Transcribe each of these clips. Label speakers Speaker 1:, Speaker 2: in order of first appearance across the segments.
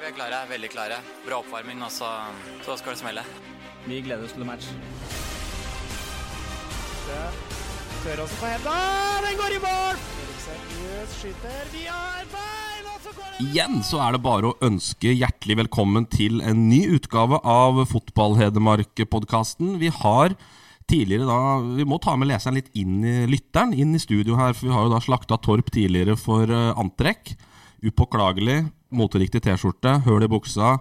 Speaker 1: Vi er klare, veldig klare. Bra oppvarming, og så, så skal det smelle.
Speaker 2: Vi gleder oss til match.
Speaker 3: Tør også på henda. Den går i mål! Eriksen ut, skyter. Vi har bein, og så går det
Speaker 4: Igjen så er det bare å ønske hjertelig velkommen til en ny utgave av Fotball-Hedmark-podkasten. Vi har tidligere da Vi må ta med leseren litt inn i lytteren, inn i studio her. For vi har jo da slakta Torp tidligere for eh, antrekk. Upåklagelig. Moteriktig T-skjorte, høl i buksa,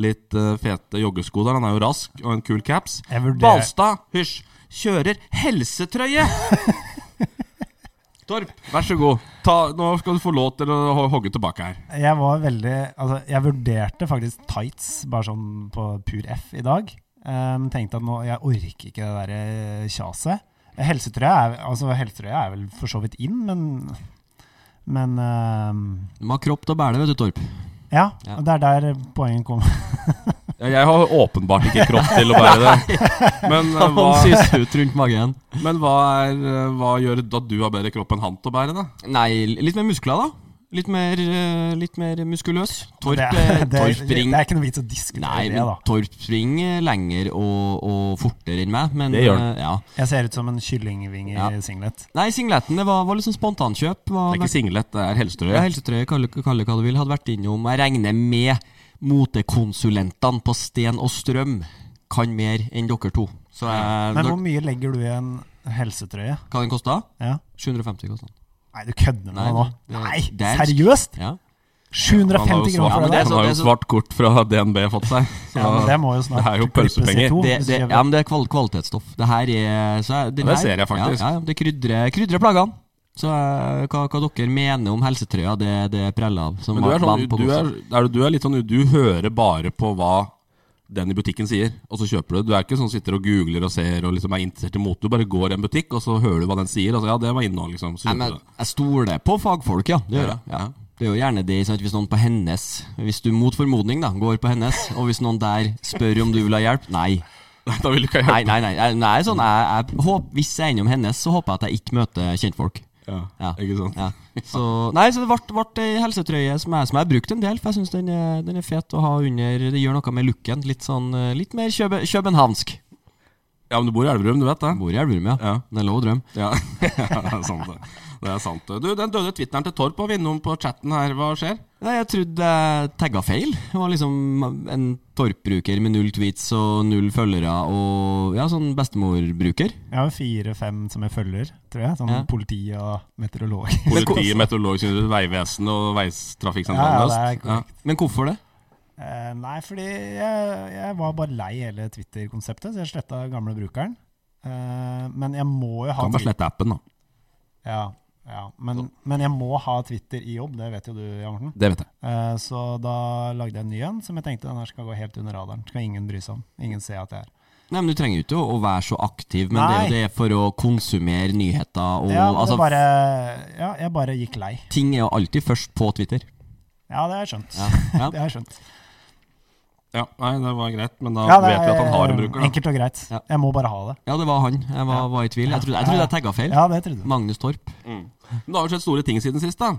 Speaker 4: litt eh, fete joggesko der. Han er jo rask, og en kul caps.
Speaker 5: Jeg vurderer-
Speaker 4: Balstad, hysj, kjører helsetrøye! Torp, vær så god. Ta, nå skal du få lov til å ho- hogge tilbake her.
Speaker 5: Jeg var veldig Altså, jeg vurderte faktisk tights bare sånn på pur F i dag. Ehm, tenkte at nå Jeg orker ikke det derre kjaset. Helsetrøya er, altså, helsetrøya er vel for så vidt inn, men Men ehm,
Speaker 6: Du må ha kropp til å bære det, vet du, Torp.
Speaker 5: ja,
Speaker 6: Ja.
Speaker 5: og det er der poenget kom.
Speaker 4: Ja, Jeg har åpenbart ikke kropp til å bære det. Men, eh,
Speaker 6: Han
Speaker 4: hva,
Speaker 6: syser ut rundt magen.
Speaker 4: men hva, er, eh, hva gjør at du har bedre kropp enn han til å bære det?
Speaker 6: Nei, litt mer muskler, da. Litt mer, eh, litt mer muskuløs. Torp,
Speaker 5: det,
Speaker 6: eh,
Speaker 5: det,
Speaker 6: torp
Speaker 5: det
Speaker 6: ringer
Speaker 5: er ikke noe vits å diskutere
Speaker 6: Nei,
Speaker 5: det,
Speaker 6: men
Speaker 5: da.
Speaker 6: Torp springer lenger og, og fortere enn meg. Men,
Speaker 4: Det gjør han.
Speaker 6: eh, ja.
Speaker 5: Jeg ser ut som en kyllingvinge
Speaker 6: Ja.
Speaker 5: i singlet.
Speaker 6: Nei, singleten det var, var liksom spontankjøp.
Speaker 4: Det
Speaker 6: Var,
Speaker 4: er ikke singlet, det er
Speaker 6: ja,
Speaker 4: helsetrøye.
Speaker 6: helsetrøye, kall det kall det hva du vil, hadde vært innom. Jeg regner med motekonsulentene på Sten og Strøm kan mer enn dere to. Så jeg,
Speaker 5: Men
Speaker 6: når,
Speaker 5: hvor mye legger du i en helsetrøye?
Speaker 6: hva den kosta?
Speaker 5: Ja.
Speaker 6: 750 kosta den.
Speaker 5: Nei, du kødder med
Speaker 6: Nei,
Speaker 5: meg nå.
Speaker 6: det-
Speaker 5: Nei,
Speaker 6: det er-
Speaker 5: seriøst?
Speaker 6: Ja.
Speaker 5: 750 kroner
Speaker 6: Ja,
Speaker 5: for det
Speaker 6: men det
Speaker 5: der?
Speaker 6: er
Speaker 4: Han
Speaker 6: så-
Speaker 4: har jo
Speaker 6: det er så-
Speaker 4: svart kort fra DNB fått seg. Så
Speaker 5: Ja, men det må jo snart
Speaker 4: det er jo
Speaker 5: klippes i
Speaker 4: pølsepenger.
Speaker 5: to,
Speaker 6: Det,
Speaker 5: hvis
Speaker 6: det,
Speaker 5: ikke-
Speaker 6: ja, men det er kval kvalitetsstoff. Det her er så
Speaker 4: Ja,
Speaker 6: jeg- den
Speaker 4: det
Speaker 6: her-
Speaker 4: ser jeg faktisk.
Speaker 6: Ja, ja, det krydrer, krydrer plagene. Så eh, hva, hva dere mener om helsetrøya, det, det preller av. som
Speaker 4: Men du er,
Speaker 6: vann
Speaker 4: sånn,
Speaker 6: på
Speaker 4: du,
Speaker 6: godset.
Speaker 4: er, er, du- du er litt sånn Du hører bare på hva den i butikken sier, og så kjøper du det. Du er ikke sånn sitter og googler og ser og liksom er interessert i mote. Du bare går i en butikk, og så hører du hva den sier. Og så, ja, det var innhold, liksom. Så
Speaker 6: Nei,
Speaker 4: kjøper
Speaker 6: men
Speaker 4: du det.
Speaker 6: jeg stoler på fagfolk, ja. Det gjør jeg. Ja. Det er jo gjerne det sant, hvis noen på hennes Hvis du mot formodning da går på hennes, og hvis noen der spør om du vil ha hjelp Nei.
Speaker 4: Nei, Da vil du ikke
Speaker 6: Nei,
Speaker 4: hjelpe.
Speaker 6: nei, nei, nei, nei sånn, jeg, jeg håp, Hvis jeg er innom hennes, så håper jeg at jeg ikke møter kjentfolk.
Speaker 4: Ja,
Speaker 6: Ja.
Speaker 4: ikke sant?
Speaker 6: Ja. Så, nei, så det ble, ble ei helsetrøye som jeg, som jeg har brukt en del, for jeg syns den, er- den er fet å ha under. Det gjør noe med looken. Litt sånn, eh, litt mer kjøbe, københavnsk.
Speaker 4: ja, men du bor i Elverum, du vet det?
Speaker 6: Bor i Elverum, ja.
Speaker 4: Ja.
Speaker 6: Det er lov å drømme.
Speaker 4: Ja, det er sant det. Det er sant det. Du, den døde twitteren til Torp var vi innom på chatten her. Hva skjer?
Speaker 6: Nei, jeg trodde jeg tagga feil. Jeg var liksom en Torp-bruker med null tweets og null følgere og ja, sånn bestemor-bruker.
Speaker 5: Jeg har fire-fem som jeg følger, tror jeg. Sånn
Speaker 6: Ja.
Speaker 5: politi og meteorolog.
Speaker 4: Politi, meteorologisk institutt, Vegvesenet og
Speaker 5: Ja,
Speaker 4: Veistrafikksentralen
Speaker 5: det er
Speaker 4: Øst. Ja.
Speaker 5: korrekt.
Speaker 6: Men hvorfor det?
Speaker 5: Eh, nei, fordi jeg, jeg var bare lei hele Twitter-konseptet, så jeg sletta gamle brukeren. Eh, men jeg må jo ha
Speaker 4: Kan bare slette appen, da.
Speaker 5: Ja, ja. Men, men jeg må ha Twitter i jobb, det vet jo du, Jan Morten.
Speaker 4: Det vet jeg.
Speaker 5: Eh, så da lagde jeg en ny en som jeg tenkte den her skal gå helt under radaren. Skal ingen bry seg om. Ingen se at jeg er
Speaker 6: Nei, men Du trenger jo ikke å å være så aktiv, men det er jo
Speaker 5: Nei.
Speaker 6: det for å konsumere nyheter og
Speaker 5: ja, men
Speaker 6: altså,
Speaker 5: det bare, ja, jeg bare gikk lei.
Speaker 6: Ting er jo alltid først på Twitter.
Speaker 5: Ja, det har jeg skjønt.
Speaker 6: Ja, ja.
Speaker 5: Det har jeg skjønt.
Speaker 4: Ja, nei, det var greit, men da
Speaker 5: Ja, det
Speaker 4: vet vi at han har en
Speaker 5: er
Speaker 4: bruker, da.
Speaker 5: Enkelt og greit.
Speaker 6: Ja.
Speaker 5: Jeg må bare ha det.
Speaker 6: ja, det var han. Jeg var, var i tvil. Jeg trodde jeg, trodde jeg tagga feil.
Speaker 5: Ja, det trodde du.
Speaker 6: Magnus Torp.
Speaker 4: Men det har jo skjedd store ting siden sist, da.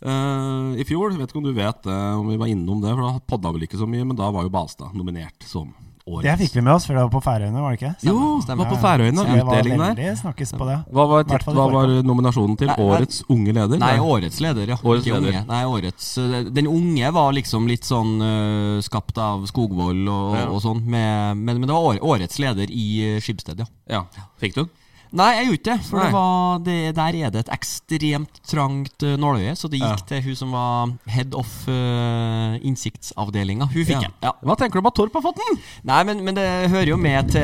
Speaker 4: Eh, I fjor, vet ikke om du vet det, om vi var innom det, for da podda vel ikke så mye, men da var jo Balstad nominert som årets.
Speaker 5: Det fikk vi med oss, for det var på Færøyene, var det ikke?
Speaker 4: Jo,
Speaker 6: stemmer.
Speaker 4: var på Færøyene,
Speaker 5: Så det var
Speaker 4: utdeling der.
Speaker 5: veldig snakkes på det.
Speaker 4: Hva var,
Speaker 5: Hvert fall i
Speaker 4: hva var
Speaker 5: forkant.
Speaker 4: nominasjonen til?
Speaker 6: Nei, nei.
Speaker 4: Årets unge leder?
Speaker 6: Nei, årets leder, ja.
Speaker 4: Årets
Speaker 6: Ikke
Speaker 4: leder.
Speaker 6: Unge. Nei, årets, eh, den unge var liksom litt sånn eh, skapt av Skogvold og,
Speaker 4: Ja.
Speaker 6: og sånn, med, men, men det var år- årets leder i eh, Skibsted, ja.
Speaker 4: Ja, fikk du den?
Speaker 6: Nei, jeg gjorde ikke det. For
Speaker 4: Nei.
Speaker 6: det var, det, der er det et ekstremt trangt eh, nåløye. Så det
Speaker 4: Ja.
Speaker 6: gikk til hun som var head of uh, innsiktsavdelinga. Hun
Speaker 4: Ja.
Speaker 6: fikk den. Ja.
Speaker 4: Hva tenker du om at Torp har fått den?
Speaker 6: Nei, men, men det hører jo med til,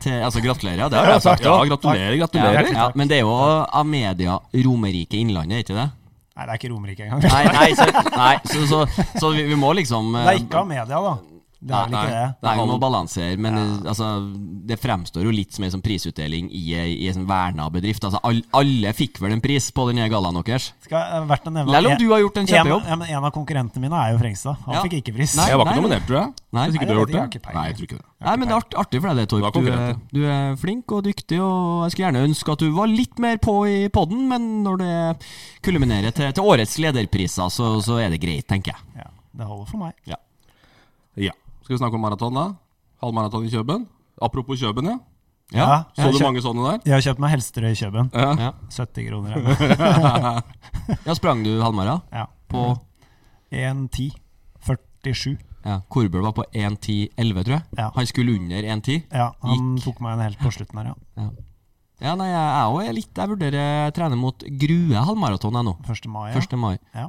Speaker 6: til Altså, gratulerer. ja, Det har jeg sagt.
Speaker 4: Ja, gratulerer,
Speaker 6: Ja,
Speaker 4: gratulerer.
Speaker 6: ja, men det er jo av media Romerike Innlandet, er ikke det?
Speaker 5: Nei, det er ikke Romerike engang.
Speaker 6: Nei, nei, så, nei, så, så, så vi, vi må liksom eh,
Speaker 5: Det er ikke av media, da. Det er vel
Speaker 4: Nei,
Speaker 5: ikke
Speaker 4: nei.
Speaker 5: det.
Speaker 6: Nei, vi må balansere, men eh, altså, det fremstår jo litt som en sånn prisutdeling i ei i en sånn verna bedrift. Altså, all, alle fikk vel en pris på den nye gallaen deres?
Speaker 5: Skal det er verdt å nevne
Speaker 6: Selv om du har gjort en
Speaker 5: en,
Speaker 6: kjempejobb.
Speaker 5: ja, men en av konkurrentene mine er jo Frengstad. Han
Speaker 6: Ja.
Speaker 5: fikk ikke pris.
Speaker 6: Nei.
Speaker 4: jeg var ikke nominert, tror jeg.
Speaker 6: Nei.
Speaker 4: Hvis ikke
Speaker 5: Nei,
Speaker 4: du har
Speaker 5: det vet jeg, jeg har
Speaker 4: gjort
Speaker 5: ikke
Speaker 4: det?
Speaker 5: peiling.
Speaker 4: Nei, jeg tror ikke det.
Speaker 6: Nei, men det er art- artig for deg, det,
Speaker 4: Det
Speaker 6: Torp.
Speaker 4: var
Speaker 6: Du er,
Speaker 4: konkurrent,
Speaker 6: du er flink og dyktig, og jeg skulle gjerne ønske at du var litt mer på i poden, men når det kulminerer til, til årets lederpriser, så, så er det greit, tenker jeg.
Speaker 5: Ja. Det holder for meg.
Speaker 4: Ja. Skal vi snakke om maraton, da? Halvmaraton i Kjøben? Apropos Kjøben, ja.
Speaker 5: Ja,
Speaker 4: Så
Speaker 5: jeg
Speaker 4: du
Speaker 5: kjøp-
Speaker 4: mange sånne der?
Speaker 5: Jeg har kjøpt meg helsetrøye i Kjøben.
Speaker 4: Ja.
Speaker 6: Ja.
Speaker 5: 70 kroner. er det.
Speaker 6: ja, sprang du halvmara?
Speaker 5: Ja.
Speaker 6: På
Speaker 5: 1,10. 47.
Speaker 6: ja, Korbøl var på 1.10,11, tror jeg.
Speaker 5: Ja.
Speaker 6: Han skulle under 1.10.
Speaker 5: Ja, han tok meg en helt på slutten her, ja.
Speaker 6: Ja, nei, jeg er også litt Jeg vurderer å trene mot Grue halvmaraton jeg nå.
Speaker 5: 1. mai. Ja.
Speaker 6: 1. mai.
Speaker 5: Ja.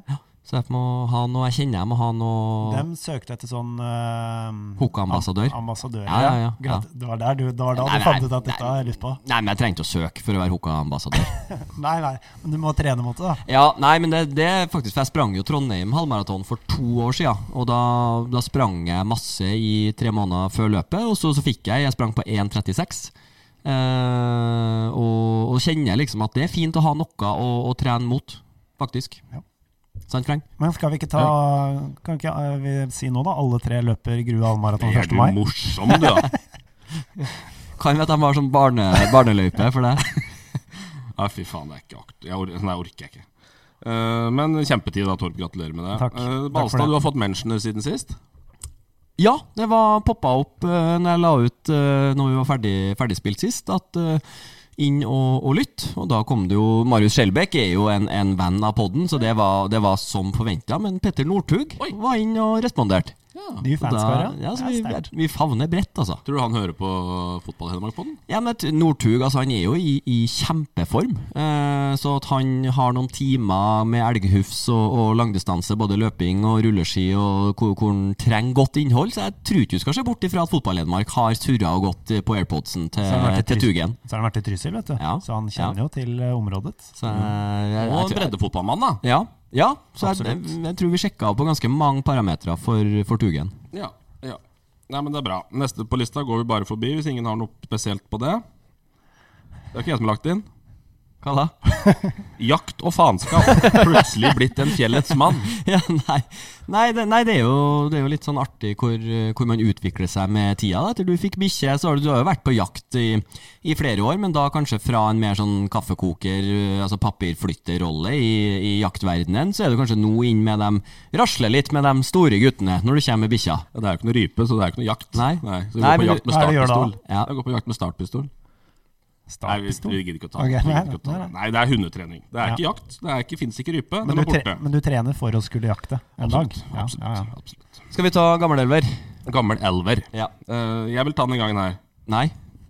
Speaker 6: Så jeg må ha noe Jeg kjenner jeg må ha noe
Speaker 5: Dem søkte etter sånn uh,
Speaker 6: Hoka-ambassadør.
Speaker 5: Ambassadør,
Speaker 6: Ja, ja, ja.
Speaker 5: Greit. Det var, der du, det var da du
Speaker 6: Nei, nei,
Speaker 5: fant ut at
Speaker 6: nei.
Speaker 5: dette har jeg lyst på.
Speaker 6: Nei, men jeg trengte å søke for å være Hoka-ambassadør.
Speaker 5: Nei, nei, men du må trene mot det, da.
Speaker 6: Ja, nei, men det, det er faktisk For jeg sprang jo Trondheim halvmaraton for to år siden. Og da, da sprang jeg masse i tre måneder før løpet, og så, så fikk jeg Jeg sprang på 1,36. Eh, og, og kjenner liksom at det er fint å ha noe å, å trene mot, faktisk.
Speaker 5: Ja.
Speaker 6: Sant, Frank?
Speaker 5: Men skal vi ikke ta Kan ikke eh, vi si nå, da? Alle tre løper Grue halvmaraton 1.
Speaker 4: Er du
Speaker 5: mai.
Speaker 4: morsom, du, da?
Speaker 6: Kan vi at de har sånn barne, barneløype for deg?
Speaker 4: Nei, fy faen, det er ikke akt... Jeg or nei, orker jeg ikke. Eh, men kjempetid da, Torp. Gratulerer med det.
Speaker 5: Takk.
Speaker 4: Eh,
Speaker 5: Takk for
Speaker 4: Balstad,
Speaker 5: det.
Speaker 4: du har fått mentioner siden sist.
Speaker 6: Ja, det var poppa opp uh, når jeg la ut uh, når vi var ferdig, ferdigspilt sist, at eh, inn og, og lytt. Og da kom det jo Marius Skjelbæk er jo en, en venn av podden, så det var, det var som forventa. Men Petter Northug var inn og responderte.
Speaker 5: Ny
Speaker 6: Så da-
Speaker 5: fanskare.
Speaker 6: ja, så
Speaker 5: Det
Speaker 6: vi,
Speaker 5: er sterkt.
Speaker 6: vi favner bredt, altså.
Speaker 4: Tror du han hører på Fotball Hedmark-podden?
Speaker 6: Ja, men t- Northug altså, han er jo i, i kjempeform. Eh, så at han har noen timer med elghufs og, og langdistanse, både løping og rulleski, og hvor, hvor han trenger godt innhold, så jeg tror ikke du skal se bort ifra at fotball-Hedmark har surra og gått eh, på airpodsen til,
Speaker 5: Så har han vært i
Speaker 6: til
Speaker 5: Trysil.
Speaker 6: Tugen.
Speaker 5: Så har han vært i Trysil, vet du.
Speaker 6: Ja.
Speaker 5: Så han kjenner
Speaker 6: Ja.
Speaker 5: jo til eh, området.
Speaker 6: Så jeg, jeg,
Speaker 4: Og en
Speaker 6: jeg,
Speaker 4: breddefotballmann, da.
Speaker 6: ja, ja, så jeg, jeg,
Speaker 5: Mm. Absolutt.
Speaker 6: jeg tror vi sjekka på ganske mange parametere for, for Tugen.
Speaker 4: Ja, ja. Nei, men det er bra. Neste på lista går vi bare forbi, hvis ingen har noe spesielt på det. Det er ikke jeg som har lagt det inn.
Speaker 6: Hva da?
Speaker 4: Jakt og faenskap. Plutselig blitt en fjellets mann.
Speaker 6: ja, nei, nei, det, nei det, er jo, det er jo litt sånn artig hvor, eh, hvor man utvikler seg med tida. Da. Etter du fikk bikkje, så har du, du har jo vært på jakt i, i flere år, men da kanskje fra en mer sånn kaffekoker, eh, altså papirflytterrolle i, i jaktverdenen, så er du kanskje nå inn med dem, rasler litt med de store guttene når du kommer med bikkja.
Speaker 4: Ja, det er jo ikke noe rype, så det er jo ikke noe jakt.
Speaker 6: Nei.
Speaker 4: så vi
Speaker 6: Nei,
Speaker 4: går på
Speaker 6: men du-
Speaker 4: jakt med
Speaker 5: hva er det du gjør da?
Speaker 4: startpistol.
Speaker 6: Ja.
Speaker 4: Jeg går på jakt med startpistol. Nei, vi,
Speaker 5: Startpistol.
Speaker 4: vi gidder ikke å ta
Speaker 5: Ok,
Speaker 4: det. Vi
Speaker 5: nei,
Speaker 4: gidder ikke å ta
Speaker 5: nei,
Speaker 4: det. Nei, det er hundetrening. Det er
Speaker 5: Ja.
Speaker 4: ikke jakt. Det er ikke, finnes ikke rype.
Speaker 5: Men
Speaker 4: Den
Speaker 5: du,
Speaker 4: er
Speaker 5: tre,
Speaker 4: borte.
Speaker 5: men du trener for å skulle jakte en dag? Ja,
Speaker 4: Absolutt.
Speaker 5: ja, ja.
Speaker 4: absolutt.
Speaker 6: Skal vi ta gammelelver?
Speaker 4: Gammel elver.
Speaker 6: Ja.
Speaker 4: Eh, jeg vil ta den gangen her.
Speaker 6: Nei.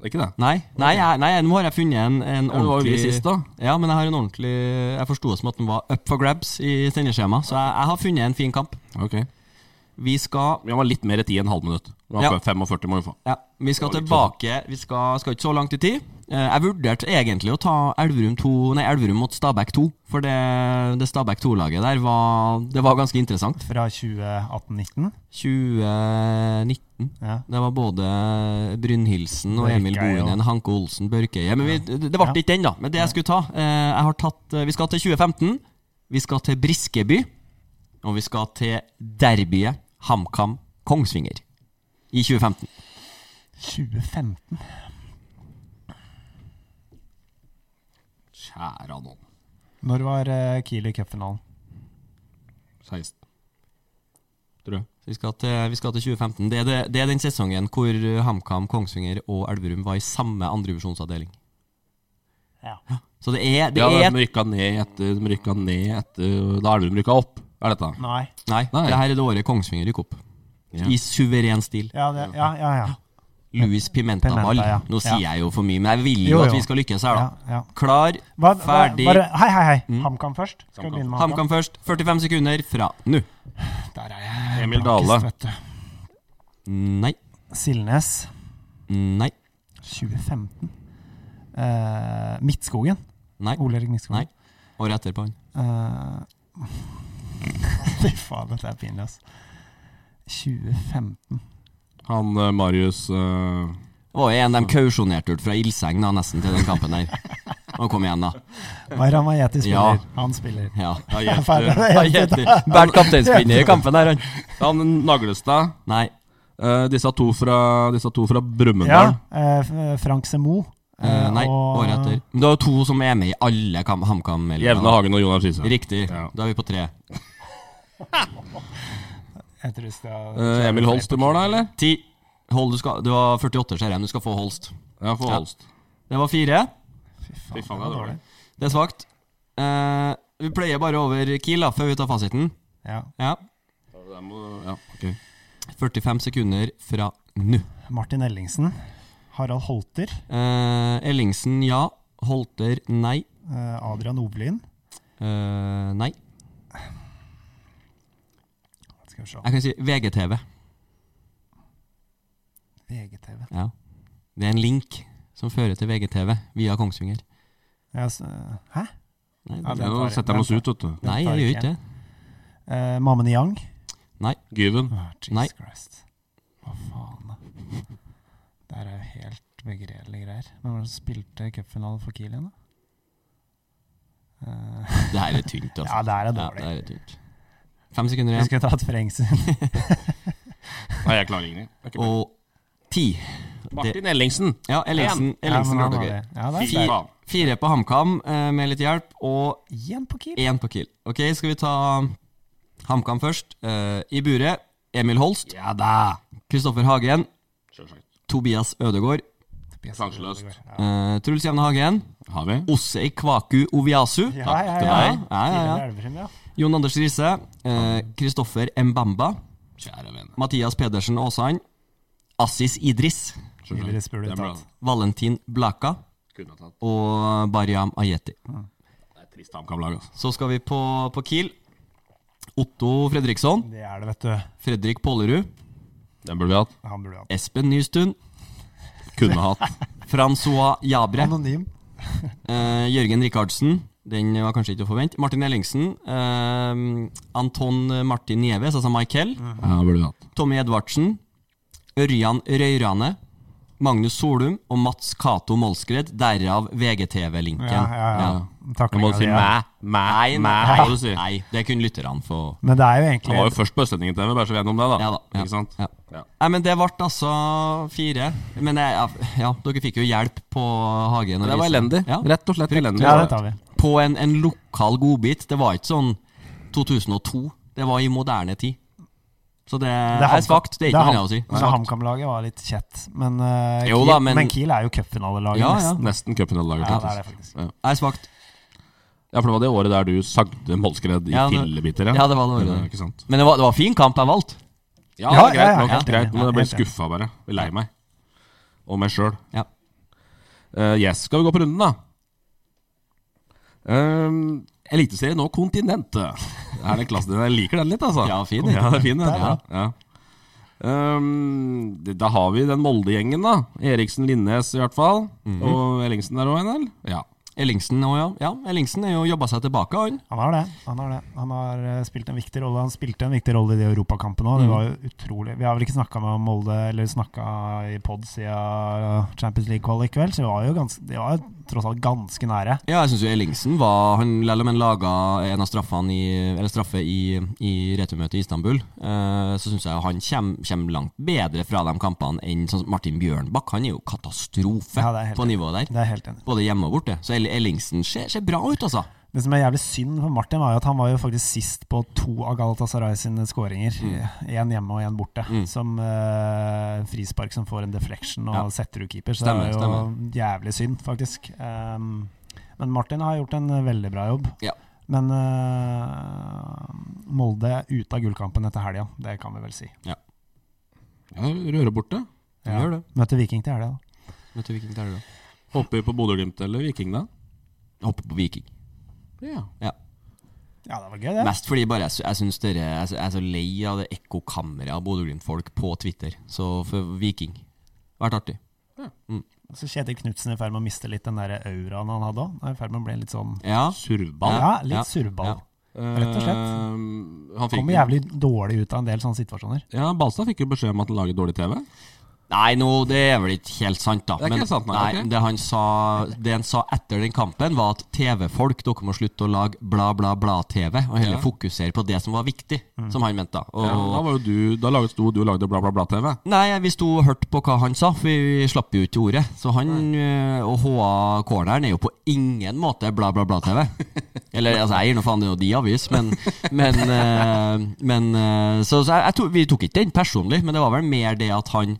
Speaker 4: Ikke det?
Speaker 6: Nei, nei, jeg, nei, nå har jeg funnet en,
Speaker 4: Ja,
Speaker 6: en
Speaker 4: det var jo
Speaker 6: ordentlig
Speaker 4: vi sist da.
Speaker 6: Ja, men jeg har en ordentlig Jeg forsto det som at den var up for grabs i sendeskjema, så jeg, jeg har funnet en fin kamp.
Speaker 4: Ok.
Speaker 6: Vi skal
Speaker 4: Vi var litt mer etter i en halv minutt. Det var
Speaker 6: Ja.
Speaker 4: 45 må vi få.
Speaker 6: Ja, vi skal
Speaker 4: Det var litt
Speaker 6: tilbake Vi skal, skal ikke så langt i tid. Eh, Jeg vurderte egentlig å ta Elverum, 2, nei, Elverum mot Stabæk 2, for det, det Stabæk 2-laget der var, det var ganske interessant.
Speaker 5: Fra 2018-19?
Speaker 6: 2019.
Speaker 5: Ja.
Speaker 6: Det var både Brynhildsen og
Speaker 5: Børkeie
Speaker 6: Emil
Speaker 5: og-
Speaker 6: Bohinen, Hanke Olsen, Børkeie Men vi, det ble
Speaker 5: Ja.
Speaker 6: ikke den, da. Men det jeg skulle ta eh, jeg har tatt, eh, Vi skal til 2015. Vi skal til Briskeby. Og vi skal til derbyet HamKam Kongsvinger i 2015.
Speaker 5: 2015?
Speaker 4: Kjære noen.
Speaker 5: Når var eh, Kiel i cupfinalen?
Speaker 4: 16. Tror jeg.
Speaker 6: Vi skal, til, vi skal til 2015. Det er, det, det er den sesongen hvor eh, HamKam, Kongsvinger og Elverum var i samme andrevisjonsavdeling.
Speaker 5: Ja.
Speaker 6: Så det er, det
Speaker 4: ja,
Speaker 6: er
Speaker 4: de rykka ned etter De rykka ned etter Da er det de rykka opp, er dette.
Speaker 5: Nei.
Speaker 6: Nei,
Speaker 4: Nei.
Speaker 6: det her er det året Kongsvinger gikk opp.
Speaker 4: Ja.
Speaker 6: I suveren stil.
Speaker 5: Ja, det, ja, ja. ja.
Speaker 6: Louis Pimenta-ball.
Speaker 5: Pimenta, ja.
Speaker 6: Nå sier jeg jo for mye, men jeg vil jo,
Speaker 5: Jo,
Speaker 6: at
Speaker 5: jo.
Speaker 6: vi skal lykkes her, da.
Speaker 5: ja, ja.
Speaker 6: Klar,
Speaker 5: Hva, hva,
Speaker 6: ferdig.
Speaker 5: bare, hei, hei, hei. HamKam først.
Speaker 4: HamKam.
Speaker 5: Skal vi begynne med HamKam?
Speaker 6: HamKam først. 45 sekunder fra nå.
Speaker 5: Der er jeg.
Speaker 4: Emil
Speaker 5: blankest,
Speaker 4: Dahle.
Speaker 5: vet du.
Speaker 6: Nei.
Speaker 5: Silnes.
Speaker 6: Nei.
Speaker 5: 2015. Eh, Midtskogen.
Speaker 6: Nei.
Speaker 5: Ole Erik
Speaker 6: Nei.
Speaker 5: Midtskogen.
Speaker 6: Året etterpå. han.
Speaker 5: Eh, Fy faen, dette er pinlig, ass. 2015.
Speaker 4: Han eh, Marius eh,
Speaker 6: Det var jo en de kausjonerte ut fra ildseng da, nesten til den kampen der. Nå kom igjen, da.
Speaker 5: Bayram Ayeti
Speaker 6: Ja.
Speaker 5: spiller. Han spiller.
Speaker 6: Ja.
Speaker 4: ja,
Speaker 5: Jeg er
Speaker 4: Gjert,
Speaker 5: ferdig.
Speaker 4: eh,
Speaker 5: Det er helt-
Speaker 6: Bært kapteinspinnet i kampen der, han.
Speaker 4: Han Naglestad.
Speaker 6: Nei.
Speaker 4: eh, disse to fra, disse to fra Brumunddal.
Speaker 5: Ja, eh, F- Frank Semo.
Speaker 6: Eh, nei, året etter. Men det er jo to som er med i alle kam- HamKam-meldingene.
Speaker 4: Jevne Hagen og Jonas Riise.
Speaker 6: Riktig.
Speaker 4: Ja.
Speaker 6: Da er vi på tre.
Speaker 5: Jeg tror vi skal
Speaker 4: Eh, Emil Holst i mål, da, eller?
Speaker 6: Ti. Hold, du, skal, du har 48, ser jeg. men Du skal få Holst.
Speaker 4: Ja, for
Speaker 6: Ja.
Speaker 4: Holst.
Speaker 6: Det var fire.
Speaker 4: Fy faen, det er dårlig.
Speaker 6: Det er svakt. Eh, vi pleier bare over Kiel da, før vi tar fasiten.
Speaker 5: Ja.
Speaker 6: Ja.
Speaker 4: Ja, det må- Ja, ok.
Speaker 6: 45 sekunder fra nå.
Speaker 5: Martin Ellingsen. Harald Holter.
Speaker 6: Eh, Ellingsen ja. Holter nei.
Speaker 5: eh, Adrian Ovlien.
Speaker 6: Eh, nei.
Speaker 5: Skal vi se.
Speaker 6: Jeg kan si VGTV.
Speaker 5: VGTV.
Speaker 6: Ja. Det er en link som fører til VGTV via Kongsvinger.
Speaker 5: Ja, s- eh, hæ? Ja,
Speaker 6: Nei,
Speaker 5: den
Speaker 6: det,
Speaker 4: Ja,
Speaker 5: tar
Speaker 4: Nå
Speaker 5: jeg.
Speaker 4: setter han oss ut, vet du.
Speaker 6: nei
Speaker 5: tar
Speaker 6: jeg gjør
Speaker 5: ikke
Speaker 6: ikke det.
Speaker 5: Eh, Mammen Yang.
Speaker 4: Gyven.
Speaker 5: Ah, Jesus
Speaker 6: Nei.
Speaker 5: Christ. Hva faen, da? Det her er jo helt begredelige greier. Men hvordan spilte cupfinalen for Kiel igjen, da? Eh,
Speaker 6: Det her er tynt, altså.
Speaker 5: ja, det her er
Speaker 6: Ja,
Speaker 5: dårlig.
Speaker 6: det her er tynt. Fem sekunder
Speaker 5: Vi
Speaker 6: igjen.
Speaker 5: skulle tatt Frengsen.
Speaker 4: Nei, jeg klarer ingenting. Det er ikke
Speaker 6: Og ti.
Speaker 4: bra. Martin Ellingsen.
Speaker 6: Ja, Ellingsen. Ellingsen
Speaker 5: ja, men han
Speaker 6: klarte
Speaker 5: har
Speaker 6: gøy.
Speaker 5: det. Ja, det
Speaker 4: Fy
Speaker 5: er sterkt.
Speaker 4: faen.
Speaker 6: Fire på HamKam eh, med litt hjelp, og
Speaker 5: Igjen på Kiel.
Speaker 6: én på Kiel. Ok, skal vi ta HamKam først. Eh, I buret Emil Holst.
Speaker 4: Ja da.
Speaker 6: Kristoffer Hagen.
Speaker 4: Selvsagt.
Speaker 6: Tobias Ødegård.
Speaker 4: Sjanseløst.
Speaker 6: eh, Truls Jevne Hagen.
Speaker 4: Har vi?
Speaker 6: Osse Ikwaku Oviasu.
Speaker 5: Ja, ja,
Speaker 6: til
Speaker 5: ja.
Speaker 6: deg. Ja, ja, ja.
Speaker 5: Tidligere Elverum, ja.
Speaker 6: Jon Anders Riise. eh, Kristoffer Mbamba.
Speaker 4: Kjære vene.
Speaker 6: Mathias Pedersen Aasand. Assis Idris.
Speaker 5: Tidligere spurte
Speaker 4: Det er bra.
Speaker 5: tatt.
Speaker 6: Valentin Blaka.
Speaker 4: Kunne ha tatt.
Speaker 6: Og Bariam Ajeti.
Speaker 4: Det er et trist HamKam-lag, altså.
Speaker 6: Så skal vi på, på Kiel. Otto Fredriksson.
Speaker 5: Det er det, vet du.
Speaker 6: Fredrik Pollerud.
Speaker 4: Den burde vi hatt.
Speaker 5: Han burde hatt
Speaker 6: Espen Nystuen.
Speaker 4: Kunne ha hatt.
Speaker 6: Francois Jabre.
Speaker 5: Anonym.
Speaker 6: Eh, Jørgen Rikardsen. Den var kanskje ikke å forvente. Martin Ellingsen. Eh, Anton Martin Nieves, altså Michael.
Speaker 4: Ja, den burde vi hatt.
Speaker 6: Tommy Edvardsen. Ørjan Røyrane. Magnus Solum og Mats Cato Målskred, derav VGTV-linken.
Speaker 5: Ja, ja, ja.
Speaker 6: Ja.
Speaker 4: Jeg må
Speaker 5: Taklinga
Speaker 4: si
Speaker 5: di, ja.
Speaker 4: mæ, mæ, mæ,
Speaker 6: Nei,
Speaker 4: må du si.
Speaker 6: nei, det kunne lytterne få
Speaker 5: Men det er jo
Speaker 4: Han var jo
Speaker 5: egentlig
Speaker 4: først på Østlendingen-TV, bare så vi er enige om det, da.
Speaker 6: Ja da. Ja.
Speaker 4: Ikke sant?
Speaker 6: Ja.
Speaker 4: Ja.
Speaker 6: Nei, men det ble altså fire. Men jeg, ja, ja, dere fikk jo hjelp på Hagen. og
Speaker 4: Det var
Speaker 6: Riise.
Speaker 4: elendig.
Speaker 6: Ja.
Speaker 4: Rett og slett elendig.
Speaker 5: Ja, det tar vi.
Speaker 6: På en, en lokal godbit. Det var ikke sånn 2002. Det var i moderne tid. Så det,
Speaker 5: ham-
Speaker 6: er svakt. Det er ikke
Speaker 5: ham-
Speaker 6: noe annet å si.
Speaker 5: Men HamKam-laget var litt kjett. Men, eh,
Speaker 6: Jo
Speaker 5: Kiel,
Speaker 6: da, men-
Speaker 5: men... Kiel er jo cupfinalelaget,
Speaker 6: Ja, ja.
Speaker 5: nesten.
Speaker 4: Nesten cupfinalelaget,
Speaker 5: Ja, det er det
Speaker 4: faktisk.
Speaker 5: faktisk.
Speaker 6: Det er svakt.
Speaker 4: Ja, for det var det året der du sagde Målskred i
Speaker 6: Ja, det-
Speaker 4: fillebiter.
Speaker 6: Ja, det var det året.
Speaker 4: Ikke sant?
Speaker 6: Men det var, det var fin kamp jeg valgte.
Speaker 4: Ja,
Speaker 5: Ja,
Speaker 4: det er
Speaker 5: ja,
Speaker 4: greit,
Speaker 5: ja,
Speaker 4: nok,
Speaker 5: helt
Speaker 4: greit
Speaker 5: enig.
Speaker 4: men jeg ble
Speaker 5: Helt enig.
Speaker 4: skuffa bare. Jeg ble Lei meg. Og meg sjøl.
Speaker 6: Ja.
Speaker 4: Eh, yes, skal vi gå på runden, da? Um, Eliteserien nå Kontinentet. Det Er det klassen din? Jeg liker den litt, altså.
Speaker 6: Ja, fin,
Speaker 4: Ja, det er fin, den.
Speaker 6: Ja.
Speaker 4: Ja. Um, det- da har vi den Molde-gjengen, da. Eriksen Linnes, i hvert fall.
Speaker 5: Mhm.
Speaker 4: Og Ellingsen der òg, en del? Ja.
Speaker 6: Ellingsen òg, ja. ja. Ellingsen er jo jobba seg tilbake, han.
Speaker 5: Han har det. Han har, det. Han har eh, spilt en viktig rolle. Han spilte en viktig rolle i de europakampene
Speaker 6: Mm.
Speaker 5: òg. Det var jo utrolig Vi har vel ikke snakka med Molde eller snakka i pod siden eh, Champions League-kvalik i kveld, så vi var jo ganske, de var jo tross alt ganske nære.
Speaker 6: Ja, jeg syns jo Ellingsen var Han Selv om han laga en av straffene i, eller straffe i, i returmøtet i Istanbul, eh, så syns jeg han kommer langt bedre fra de kampene enn sånn som Martin Bjørnbakk. Han er jo katastrofe
Speaker 5: Ja, det er helt
Speaker 6: på
Speaker 5: enig.
Speaker 6: nivået der.
Speaker 5: Det er jeg helt enig. i.
Speaker 6: Både hjemme og borte. Så Ell- Ellingsen ser, ser bra ut, altså.
Speaker 5: Det som er jævlig synd for Martin, var jo at han var jo faktisk sist på to av Galatasaray sine skåringer.
Speaker 6: Mm.
Speaker 5: Én hjemme og én borte. Som eh, frispark som får en deflection og
Speaker 6: Ja.
Speaker 5: setter ut keeper. Så
Speaker 6: Stemmer,
Speaker 5: det er jo
Speaker 6: stemmer.
Speaker 5: jævlig synd, faktisk. Um, men Martin har gjort en eh, veldig bra jobb.
Speaker 6: Ja.
Speaker 5: Men eh, Molde er ute av gullkampen etter helga, det kan vi vel si.
Speaker 4: ja Røre borte.
Speaker 6: Ja. Gjør det.
Speaker 5: Møter Viking til helga, da.
Speaker 6: Vet du hvilken det er, da?
Speaker 4: Hopper på Bodø-Glimt eller Viking, da?
Speaker 6: Hopper på Viking.
Speaker 4: Ja.
Speaker 6: Ja.
Speaker 5: Ja, det var gøy, det.
Speaker 6: Mest fordi bare jeg, sy- jeg syns dere jeg, sy- jeg er så lei av det ekkokammeret av Bodø-Glimt-folk på Twitter. Så for Viking Vært artig.
Speaker 5: Så Kjetil Knutsen er i ferd med å miste litt den der auraen han hadde òg. Er i ferd med å bli litt sånn
Speaker 6: Ja.
Speaker 4: Survball.
Speaker 5: Ja,
Speaker 6: Ja,
Speaker 5: litt
Speaker 6: ja,
Speaker 5: surrball.
Speaker 6: ja.
Speaker 5: Rett og slett.
Speaker 4: Eh, han fikk
Speaker 5: Kommer jævlig dårlig ut av en del sånne situasjoner.
Speaker 4: Ja, Balstad fikk jo beskjed om at han lager dårlig TV.
Speaker 6: Nei, nå, det er vel ikke helt sant, da.
Speaker 4: Det er ikke helt sant, nei, ok.
Speaker 6: det, han sa, det han sa etter den kampen, var at TV-folk, dere må slutte å lage bla, bla, bla-TV, og heller
Speaker 4: Ja. Mm.
Speaker 6: fokusere på det som var viktig, som han mente. da. Og,
Speaker 4: Ja, da var jo du, da laget sto du og lagde bla, bla, bla TV.
Speaker 6: Nei, vi sto og hørte på hva han sa, for vi slapp jo ikke eh, ordet. Så han øh, og HA Corneren er jo på ingen måte bla, bla, bla-TV. Eller altså, jeg gir nå faen, det er jo de avis, men, men, eh, men eh, Så, så jeg, jeg tok, vi tok ikke den personlig, men det var vel mer det at han